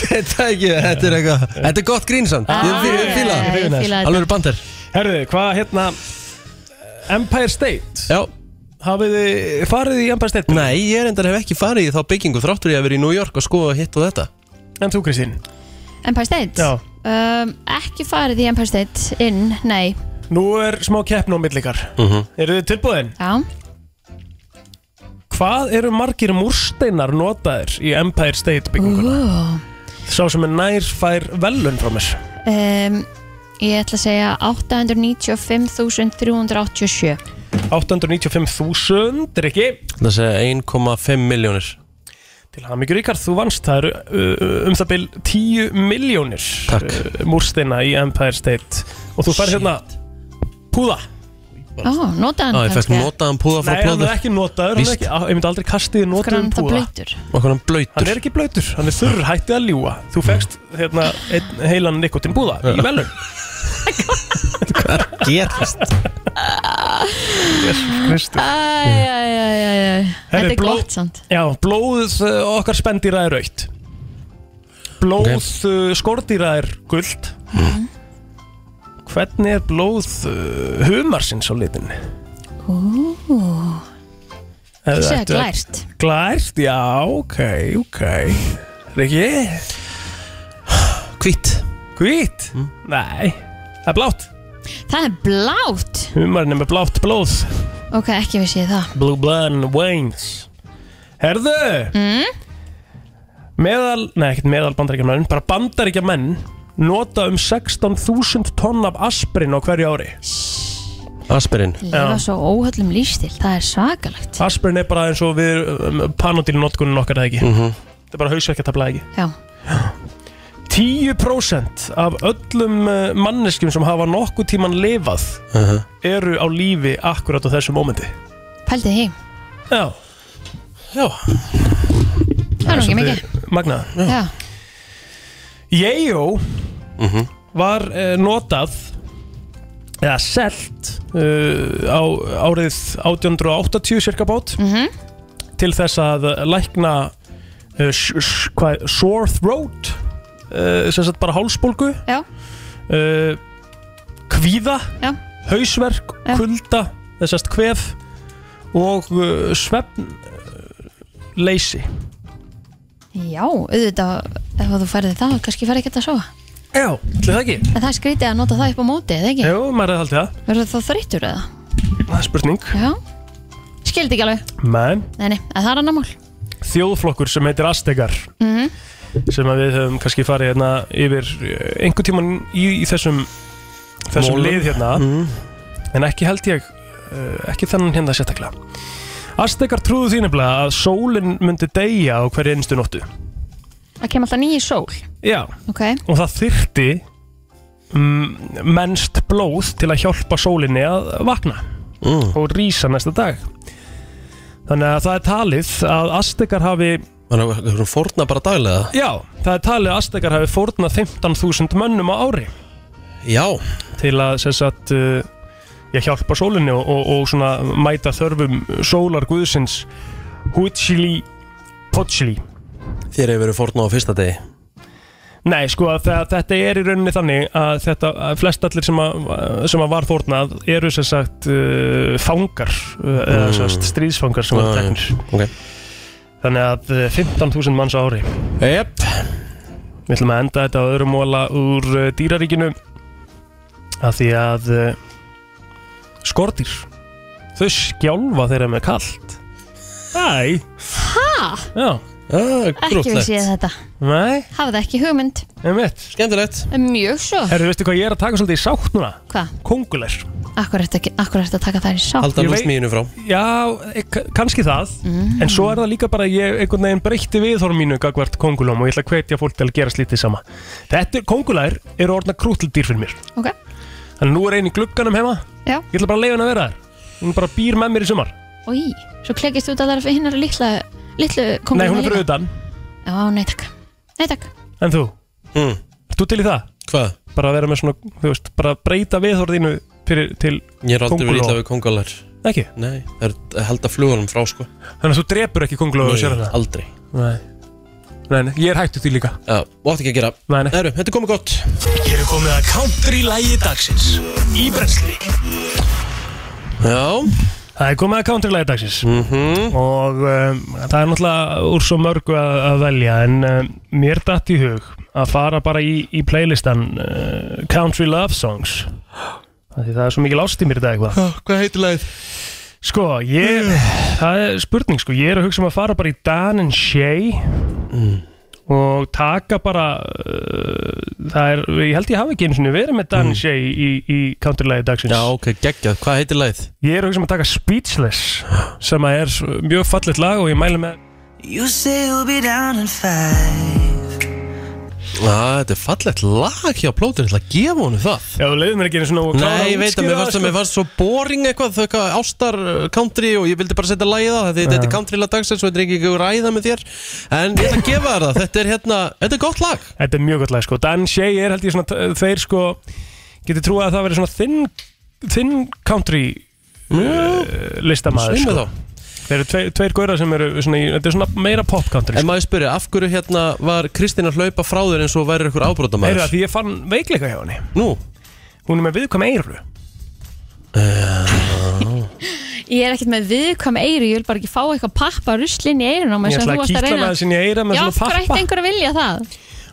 [SPEAKER 1] Þetta ekki, þetta er eitthvað Þetta er gott grínsamt Ég fí- ég fíla
[SPEAKER 2] Æ, ég fíla Ah. þetta.
[SPEAKER 1] Alveg bandar
[SPEAKER 3] Herðu, hvað hérna, Empire State?
[SPEAKER 1] Já.
[SPEAKER 3] Hafið þið farið í Empire State?
[SPEAKER 1] Nei, ég er endar hef ekki farið í þá byggingu Þráttur ég að vera í New York og skoða hitt og þetta
[SPEAKER 3] En þú Kristín?
[SPEAKER 2] Empire State?
[SPEAKER 3] Já.
[SPEAKER 2] Um, ekki farið í Empire State inn, nei.
[SPEAKER 3] Nú er smá keppn á millikar
[SPEAKER 1] Mhm.
[SPEAKER 3] Eru þið tilbúðin?
[SPEAKER 2] Já.
[SPEAKER 3] Hvað eru margir múrsteinar notaðir í Empire State bygginguna?
[SPEAKER 2] Uh,
[SPEAKER 3] Sá sem er nær fær velun frá mér
[SPEAKER 2] um, ég ætla að segja 895.387.
[SPEAKER 3] 895.000, er ekki?
[SPEAKER 1] Það segja 1,5 miljónir
[SPEAKER 3] Til hann mikið ríkar, þú vannst Það eru uh, um það byl 10 miljónir uh, Múrsteina í Empire State Og þú færð hérna Púða
[SPEAKER 2] Ó, notaðan
[SPEAKER 1] Já, ég fekk notaðan púða frá
[SPEAKER 3] Nei, hann er ekki notaður, hann er
[SPEAKER 1] Víst.
[SPEAKER 3] ekki, á, ég myndi aldrei kastið
[SPEAKER 2] Hvernig
[SPEAKER 3] notaðum
[SPEAKER 2] er það
[SPEAKER 3] púða
[SPEAKER 2] blautur?
[SPEAKER 1] Okkur hann blöytur
[SPEAKER 3] Hann er ekki blöytur, hann er þurr, hættið að ljúa Þú fegst hérna einn heilan nikotin búða í velun
[SPEAKER 1] Hvað gerist?
[SPEAKER 3] Kristi
[SPEAKER 2] Æjæjæjæjæ Þetta er gott samt
[SPEAKER 3] Já, blóð uh, okkar spendýra er aukt Blóð okay. skordýra er guld
[SPEAKER 2] Mhm.
[SPEAKER 3] Hvernig er blóð uh, humarsins á litin?
[SPEAKER 2] Ú,
[SPEAKER 3] Ef
[SPEAKER 2] Ég
[SPEAKER 3] þið
[SPEAKER 2] segi
[SPEAKER 3] ættu að-
[SPEAKER 2] glært.
[SPEAKER 3] Glært, já, ok, ok Rikki
[SPEAKER 1] Hvít
[SPEAKER 3] Hvít?
[SPEAKER 2] Mhm.
[SPEAKER 3] Nei, það er blátt
[SPEAKER 2] Það er blátt
[SPEAKER 3] Humarinn er með blátt blóð
[SPEAKER 2] Ok, ekki vissi ég það
[SPEAKER 3] Blue Blood Waynes Herðu Meðal, nei ekkert meðal bandaríkjamenn Bara bandaríkjamenn Nota um 16.000 tonn af aspirin á hverju ári
[SPEAKER 1] Aspirin
[SPEAKER 2] Lifa svo óhöllum lífstil Það er svakalegt
[SPEAKER 3] Aspirin er bara eins og við um, Panodil notkunum okkar eða ekki
[SPEAKER 1] Mhm.
[SPEAKER 3] Það er bara hausverkjartabla ekki
[SPEAKER 2] Já
[SPEAKER 3] 10% af öllum uh, manneskjum sem hafa nokkuð tíman lifað
[SPEAKER 1] Mhm.
[SPEAKER 3] eru á lífi akkurat á þessu mómenti
[SPEAKER 2] Pældi því
[SPEAKER 3] Já Já
[SPEAKER 2] Það er nú ekki mikið
[SPEAKER 3] Magna
[SPEAKER 2] Já
[SPEAKER 3] Yeo var uh, notað eða selt uh, á árið 1880 cirka bát
[SPEAKER 2] Mhm.
[SPEAKER 3] til þess að lækna uh, sh- sh- hvað, sore throat uh, sem sagt bara hálsbólgu
[SPEAKER 2] Já.
[SPEAKER 3] uh, kvíða
[SPEAKER 2] Já.
[SPEAKER 3] hausverk, kulda þess að kvef og uh, svefn leysi
[SPEAKER 2] Já, auðvitað Ef þú færði það, kannski færði ekki að sofa
[SPEAKER 3] Já, ætli það ekki
[SPEAKER 2] En það er skrítið að nota það upp á móti, eða ekki?
[SPEAKER 3] Jú, maður er haldið það
[SPEAKER 2] Verður það þreyttur eða?
[SPEAKER 3] Það er spurning
[SPEAKER 2] Já Skildi ekki alveg
[SPEAKER 3] Men
[SPEAKER 2] Nei, nei, en það er annar mál
[SPEAKER 3] þjóðflokkur sem heitir Aztekar
[SPEAKER 2] Mhm.
[SPEAKER 3] sem að við höfum kannski farið hérna yfir eh, einhvern tíman í, í þessum þessum
[SPEAKER 1] Mólum.
[SPEAKER 3] lið hérna en ekki held ég eh, ekki þennan hérna sérstaklega Aztekar trúðu því nefnilega að sólinn myndi deyja á hverju einstu nóttu
[SPEAKER 2] Það kemur alltaf nýju sól
[SPEAKER 3] Já,
[SPEAKER 2] Ok
[SPEAKER 3] og það þyrfti mm, mennst blóð til að hjálpa sólinni að vakna og rísa næsta dag þannig að það er talið að Aztekar hafi
[SPEAKER 1] Þannig að við erum fórna bara daglega
[SPEAKER 3] Já, það er talið að Aztekar hafi fórnað 15.000 mönnum á ári
[SPEAKER 1] Já
[SPEAKER 3] Til að sem sagt uh, ég hjálpa sólinni og, og, og svona mæta þörfum sólar guðsins Huchili Pochili
[SPEAKER 1] Þér hefur verið fórna á fyrsta degi
[SPEAKER 3] Nei, sko, þa- þetta er í rauninni þannig að þetta, að flest allir sem að, sem að var fórnað eru sem sagt uh, fangar uh, eða
[SPEAKER 1] Mm.
[SPEAKER 3] sem sagt stríðsfangar sem var
[SPEAKER 1] Já, já.
[SPEAKER 3] teknir Þannig að uh, 15.000 manns á ári
[SPEAKER 1] Jep
[SPEAKER 3] Við ætlum að enda þetta á öðrum móla úr uh, dýraríkinu að því að uh, skortir þau skjálfa þeirra með kalt Æ
[SPEAKER 2] Ha?
[SPEAKER 3] Já ah,
[SPEAKER 2] Ekki vissi ég þetta
[SPEAKER 3] Nei,
[SPEAKER 2] Hafði ekki hugmynd
[SPEAKER 3] einmitt
[SPEAKER 1] Skemmtilegt
[SPEAKER 2] Mjög svo
[SPEAKER 3] Herru, veistu hvað ég er að taka svolítið í sátt núna?
[SPEAKER 2] Hvað?
[SPEAKER 3] Kongulær
[SPEAKER 2] Akkur ertu ekki- akkur ertu að taka þær í sá
[SPEAKER 1] Halda nú smíðinu frá
[SPEAKER 3] Já, eh, ka- kannski það En svo er það líka bara að ég einhvern veginn breytti viðhorm mínu gagvart kongulum og ég ætla að hvetja fólk til að gera slítið sama Þetta er, kongulær eru orðna krútildýr fyrir mér
[SPEAKER 2] Ok.
[SPEAKER 3] Þannig að nú er einn í glugganum heima
[SPEAKER 2] Já.
[SPEAKER 3] Ég ætla bara að leifa henni að vera þar Hún bara býr með mér í sumar
[SPEAKER 2] Í, svo klekist þú út allar fyrir hinnar litla, litlu
[SPEAKER 3] Nei, hún er fyrir utan
[SPEAKER 2] Já, nei takk Nei takk
[SPEAKER 3] En þú? Mm.
[SPEAKER 1] Hmm.
[SPEAKER 3] Þú til í það?
[SPEAKER 1] Hvað?
[SPEAKER 3] Bara að vera með svona, þú veist, bara að breyta viðhorðinu fyrir, til
[SPEAKER 1] Ég er aldrei verið
[SPEAKER 3] köngulóa.
[SPEAKER 1] illa við kongalar
[SPEAKER 3] Ekki?
[SPEAKER 1] Nei, það er að halda flugunum frá sko
[SPEAKER 3] Þannig að þú drepur ekki kongulóa og sér
[SPEAKER 1] Nei,
[SPEAKER 3] það?
[SPEAKER 1] aldrei
[SPEAKER 3] Nei Nei, nei, ég er hættu því líka
[SPEAKER 1] Já, og átti ekki að gera
[SPEAKER 3] Nei, nei
[SPEAKER 1] Herru, þetta er komið gott
[SPEAKER 4] Hér er komið að country lægi dagsins Í brensli
[SPEAKER 1] Já
[SPEAKER 3] Það er komið að countrylæði dagsins
[SPEAKER 1] Mhm.
[SPEAKER 3] og um, það er náttúrulega úr svo mörgu að, að velja en um, mér datt í hug að fara bara í, í playlistan uh, Country Love Songs Af því það er svo mikil ást í mér í dag eitthvað
[SPEAKER 1] Ah, Hvað heitir lagið?
[SPEAKER 3] Sko, ég, það er spurning sko, ég er að hugsa um að fara bara í Dan and Shay og taka bara, uh, það er, ég held ég hafi ekki einu sinni verið með Dan and Shay í, í countrylægi dagsins.
[SPEAKER 1] Já, ok, geggjað, hvað heitir lagið?
[SPEAKER 3] Ég er að hugsa um að taka Speechless sem að er s- mjög fallit lag og ég mæli með
[SPEAKER 13] You say you'll be down in five
[SPEAKER 1] Já, þetta er fallegt lag hjá plótur Þetta gefa honum það
[SPEAKER 3] Já, þú leiðir mér ekki einu svona og klára
[SPEAKER 1] Nei,
[SPEAKER 3] að
[SPEAKER 1] ég veit að
[SPEAKER 3] útskýra
[SPEAKER 1] mér
[SPEAKER 3] það,
[SPEAKER 1] varst, sko.
[SPEAKER 3] sko.
[SPEAKER 1] mér varst svo boring eitthvað Þau eitthvað ástar uh, country og ég vildi bara setja lagið á Þetta, þetta er country lag dagsins og þetta er ekki ekki að ræða með þér En ég ætla að gefa þér það Þetta er hérna, þetta er gott lag
[SPEAKER 3] Þetta er mjög gott lag sko Dan Shay er held ég svona Þeir sko Getur trúið að það verið svona Thin, thin country uh, Listamaður
[SPEAKER 1] Svei mér
[SPEAKER 3] sko.
[SPEAKER 1] þá.
[SPEAKER 3] Þeir eru tveir, tveir góra sem eru svona, í- Þetta er svona meira pop country sko.
[SPEAKER 1] En maður spyrir, af hverju hérna var Kristín að hlaupa frá þér eins og væri ykkur ábrótamaður?
[SPEAKER 3] Heyrðu, af því ég fann veikleika hjá henni
[SPEAKER 1] Nú?
[SPEAKER 3] Hún er með viðkvæm eiru
[SPEAKER 2] Ég er ekkert með viðkvæm eyru, ég vil bara ekki fá eitthvað pappa russlinn í eyrun á
[SPEAKER 3] Ég
[SPEAKER 2] mig sem þú
[SPEAKER 3] ætla að
[SPEAKER 2] varst að
[SPEAKER 3] kýtla
[SPEAKER 2] reyna.
[SPEAKER 3] með þessin í eira með
[SPEAKER 2] Já,
[SPEAKER 3] svona
[SPEAKER 2] af hverju
[SPEAKER 3] pappa
[SPEAKER 2] ætti einhver að vilja það?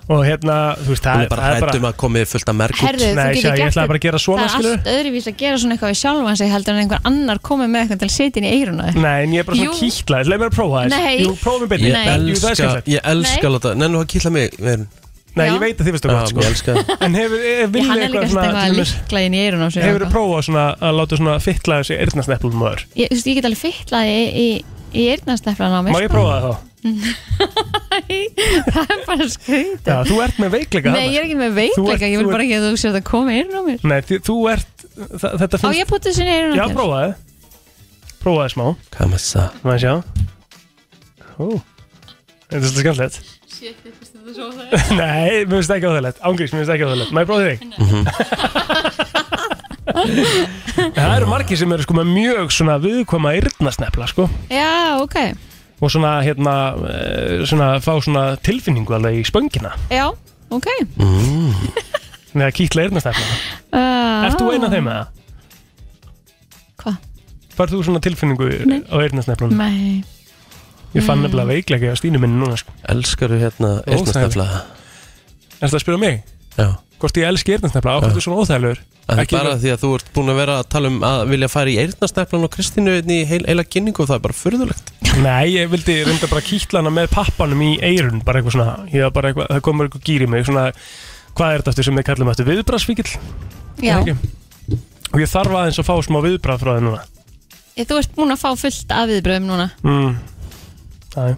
[SPEAKER 3] Og hérna, þú
[SPEAKER 1] Hún
[SPEAKER 3] veist, það
[SPEAKER 1] er bara hrædd um að komið fullt af merg
[SPEAKER 2] Herðu, þú
[SPEAKER 3] Nei,
[SPEAKER 2] getur
[SPEAKER 3] sjá,
[SPEAKER 2] gert
[SPEAKER 3] ég ætlaði bara að gera svona,
[SPEAKER 2] Það er allt öðruvís að gera svona eitthvað við sjálfan sig heldur en einhver annar komið með eitthvað til að setja inn í eyruna. þér.
[SPEAKER 3] Nei, en ég er bara
[SPEAKER 2] Jú.
[SPEAKER 3] svona kýtla Leif mér að prófa
[SPEAKER 2] Nei.
[SPEAKER 3] þess Jú, prófum við byrni
[SPEAKER 1] Ég elska, ég elska láta Nennu að kýtla mig Nei,
[SPEAKER 3] Nei, ég veit að þið veistu gott, sko.
[SPEAKER 1] Ég elska það
[SPEAKER 3] En hefur,
[SPEAKER 2] Já,
[SPEAKER 3] vinnur
[SPEAKER 2] hann er líka eitthvað að líkla inn í eyrun á sig.
[SPEAKER 3] Hefur
[SPEAKER 2] eitthvað.
[SPEAKER 3] þið prófað svona að láta svona fytla þessi eyrnasneplum maður?
[SPEAKER 2] Ég, þú veist, ég get alveg fytlað í, í, í eyrnasteflan á mér.
[SPEAKER 3] Má ég
[SPEAKER 2] sko.
[SPEAKER 3] prófa það þá?
[SPEAKER 2] það er bara skrítið.
[SPEAKER 3] Já, þú ert með veikleika
[SPEAKER 2] Nei, ég er ekki með
[SPEAKER 3] Þú ert-
[SPEAKER 2] veikleika, ég
[SPEAKER 3] þú
[SPEAKER 2] vil
[SPEAKER 3] ert-
[SPEAKER 2] bara ekki að þú sér að koma í eyrun á mér.
[SPEAKER 3] Nei, þi- þú ert, þa- þetta
[SPEAKER 2] Á, ég pútið sinni í eyrun á
[SPEAKER 3] Já,
[SPEAKER 2] þér.
[SPEAKER 3] prófaði Prófaði smá
[SPEAKER 1] Hvað maður það?
[SPEAKER 3] Má ég sjá Ó, þetta er svolítið skemmtilegt
[SPEAKER 5] Shit, ég finnst þetta svo
[SPEAKER 3] Nei, mér finnst það ekki áþægilegt Ángrís, mér finnst það ekki áþægilegt Má ég prófa þig?
[SPEAKER 1] Mhm.
[SPEAKER 3] Það eru margir sem eru sko með mjög svona viðkvæma eyrnasnepla sko
[SPEAKER 2] Já, ok.
[SPEAKER 3] og svona hérna eh, svona fá svona tilfinningu alveg í spöngina
[SPEAKER 2] Já, ok.
[SPEAKER 3] mm. með að kýtla eyrnasnepla
[SPEAKER 2] Uh,
[SPEAKER 3] Ert þú eina þeim eða?
[SPEAKER 2] Hva?
[SPEAKER 3] Færð þú svona tilfinningu
[SPEAKER 2] Nei.
[SPEAKER 3] á eyrnasneflunum?
[SPEAKER 2] Nei.
[SPEAKER 3] Ég fann
[SPEAKER 2] Mm.
[SPEAKER 3] nefnilega veiklega á stínu minni núna sko.
[SPEAKER 1] Elskaru hérna eyrnasnepla?
[SPEAKER 3] Er þetta að spyrja mig?
[SPEAKER 1] Já
[SPEAKER 3] Hvort ég elski eyrnasnefla? Hvort þú svona óþægilegur?
[SPEAKER 1] Það er
[SPEAKER 3] Ekki-
[SPEAKER 1] bara Ah. því að þú ert búin að vera að tala um að vilja fara í eyrnasneflan og Kristínu hérna í heil, heila kynningu og það er bara furðulegt
[SPEAKER 3] Nei, ég vildi reynda bara kýtla hana með pappanum í eyrun bara eitthvað svona, ég var bara eitthvað, það komur eitthvað gýr í mig svona, hvað er þetta aftur sem við kallum eftir viðbrasvíkil
[SPEAKER 2] Já.
[SPEAKER 3] og ég þarf aðeins að fá smá viðbrað frá það núna
[SPEAKER 2] Ég, þú ert búin að fá fullt af viðbröðum núna.
[SPEAKER 3] mm. Það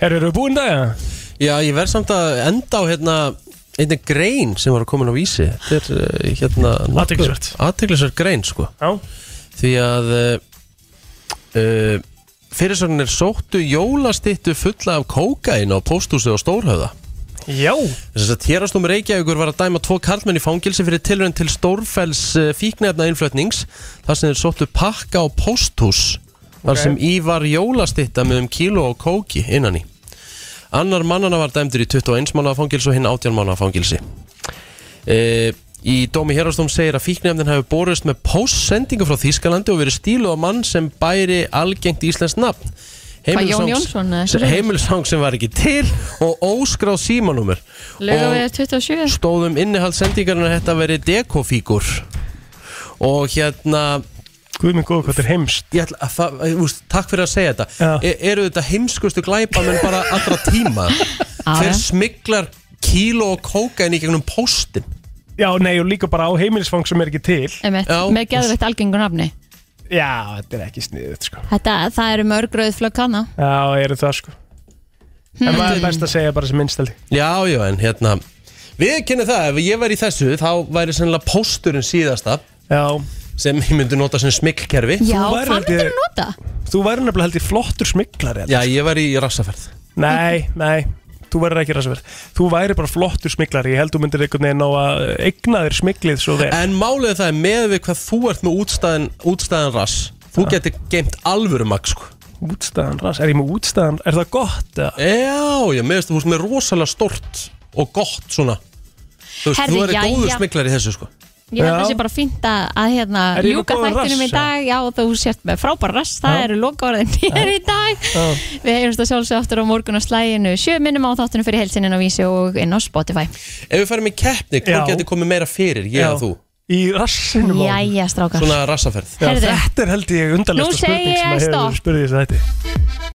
[SPEAKER 3] er Eru þau búin það?
[SPEAKER 1] Já, ég verð samt að enda á hérna einnig grein sem var að koma inn á vísi Þetta er eh, hérna
[SPEAKER 3] Athyglisvert.
[SPEAKER 1] Aðteglisvert grein sko
[SPEAKER 3] Já
[SPEAKER 1] Því að uh, fyrirsögnir sóttu jólastittu fulla af kókain á pósthúsi og stórhöða
[SPEAKER 3] Já
[SPEAKER 1] Þess að hérastum Reykjavíkur var að dæma tvo karlmenn í fangilsi fyrir tilrönd til stórfells fíknefna innflötnings þar sem þeir sóttu pakka á posthús þar
[SPEAKER 3] Ok.
[SPEAKER 1] sem í var jólastitta með um kíló og kóki innan í. Annar mannana var dæmdur í 21 mánuða fangilsi og hinn 18 mánuða fangilsi. E, í dómi hérastum segir að fíknefnin hefur borist með postsendingu frá Þýskalandi og verið stílu á mann sem bæri algengt íslenskt nafn.
[SPEAKER 2] Hvað, Jón
[SPEAKER 1] Heimilisfangs-
[SPEAKER 2] Jónsson eða eitthvað?
[SPEAKER 1] heimilsang sem var ekki til og óskráð símanúmer
[SPEAKER 2] Lögum
[SPEAKER 1] og
[SPEAKER 2] 27.
[SPEAKER 1] stóðum innihald sendingarinn að þetta veri dekofíkur og hérna
[SPEAKER 3] Guð minn góð, hvað þetta er heimst
[SPEAKER 1] ætla, að, það- þú veist, Takk fyrir að segja þetta e, Eru þetta heimskustu glæpa menn bara allra tíma Hver smiklar kíló og kókain í gegnum póstin
[SPEAKER 3] Já, nei, og líka bara á heimilisfang sem er ekki til
[SPEAKER 2] Einmitt, með geðveitt algengur nafni.
[SPEAKER 3] Já, þetta er ekki sniðið sko
[SPEAKER 2] Þetta, það eru mörg rauðflögg hana.
[SPEAKER 3] Já, eru það sko
[SPEAKER 2] Hmm.
[SPEAKER 3] En maður er best að segja bara sem minnstældi
[SPEAKER 1] Já, já, en hérna Við kynna það, ef ég væri í þessu þá væri sennilega pósturinn síðasta
[SPEAKER 3] Já
[SPEAKER 1] sem ég myndi nota sem smikkerfi
[SPEAKER 2] Já, hvað myndir þú nota?
[SPEAKER 3] Þú væri nefnilega held ég flottur smiklari
[SPEAKER 1] Já, ég væri í rassaferð
[SPEAKER 3] Nei, nei, þú verður ekki rasverð Þú væri bara flottur smiklari Ég held þú myndir einhvern veginn á að eigna þér smiklið svo vel
[SPEAKER 1] En málið er það er með við hvað þú ert með útstæðan, útstæðan rass Þú getur geimt alvöru magg sko
[SPEAKER 3] Útstæðan rass, er ég með útstæðan, er það gott? eða?
[SPEAKER 1] Já, já, mér veist þú veist með rosalega stort og gott svona Þú veist,
[SPEAKER 2] Herðu,
[SPEAKER 1] þú er
[SPEAKER 2] jæja.
[SPEAKER 1] góður smiklar í þessu sko
[SPEAKER 2] Ég held
[SPEAKER 1] Já.
[SPEAKER 2] að það sé bara fínt að, að hérna,
[SPEAKER 1] Er ég með
[SPEAKER 2] ljúka
[SPEAKER 1] góðan
[SPEAKER 2] þættinum í
[SPEAKER 1] rass,
[SPEAKER 2] dag Já, þú sért með frábær rass, það
[SPEAKER 1] Já.
[SPEAKER 2] eru lokaorðin hér í dag Við heyrumst að sjálfsög aftur á morgun á slæginu Sjö minnum á þáttunum fyrir heilsininn á Vísi og inn á Spotify
[SPEAKER 1] Ef við farum í keppni,
[SPEAKER 3] Já.
[SPEAKER 1] hvað getur komið meira fyrir, ég
[SPEAKER 3] Já.
[SPEAKER 1] og þú?
[SPEAKER 3] Í rassinum á honum.
[SPEAKER 2] Jæja, strákar
[SPEAKER 1] Svona rassaferð
[SPEAKER 3] Já,
[SPEAKER 2] Heyrðu.
[SPEAKER 3] Þetta er held ég
[SPEAKER 2] Nú
[SPEAKER 3] undarlegsta
[SPEAKER 2] segi
[SPEAKER 3] spurning
[SPEAKER 2] ég
[SPEAKER 3] sem að hefur
[SPEAKER 2] stopp.
[SPEAKER 3] spurðið þess að þetta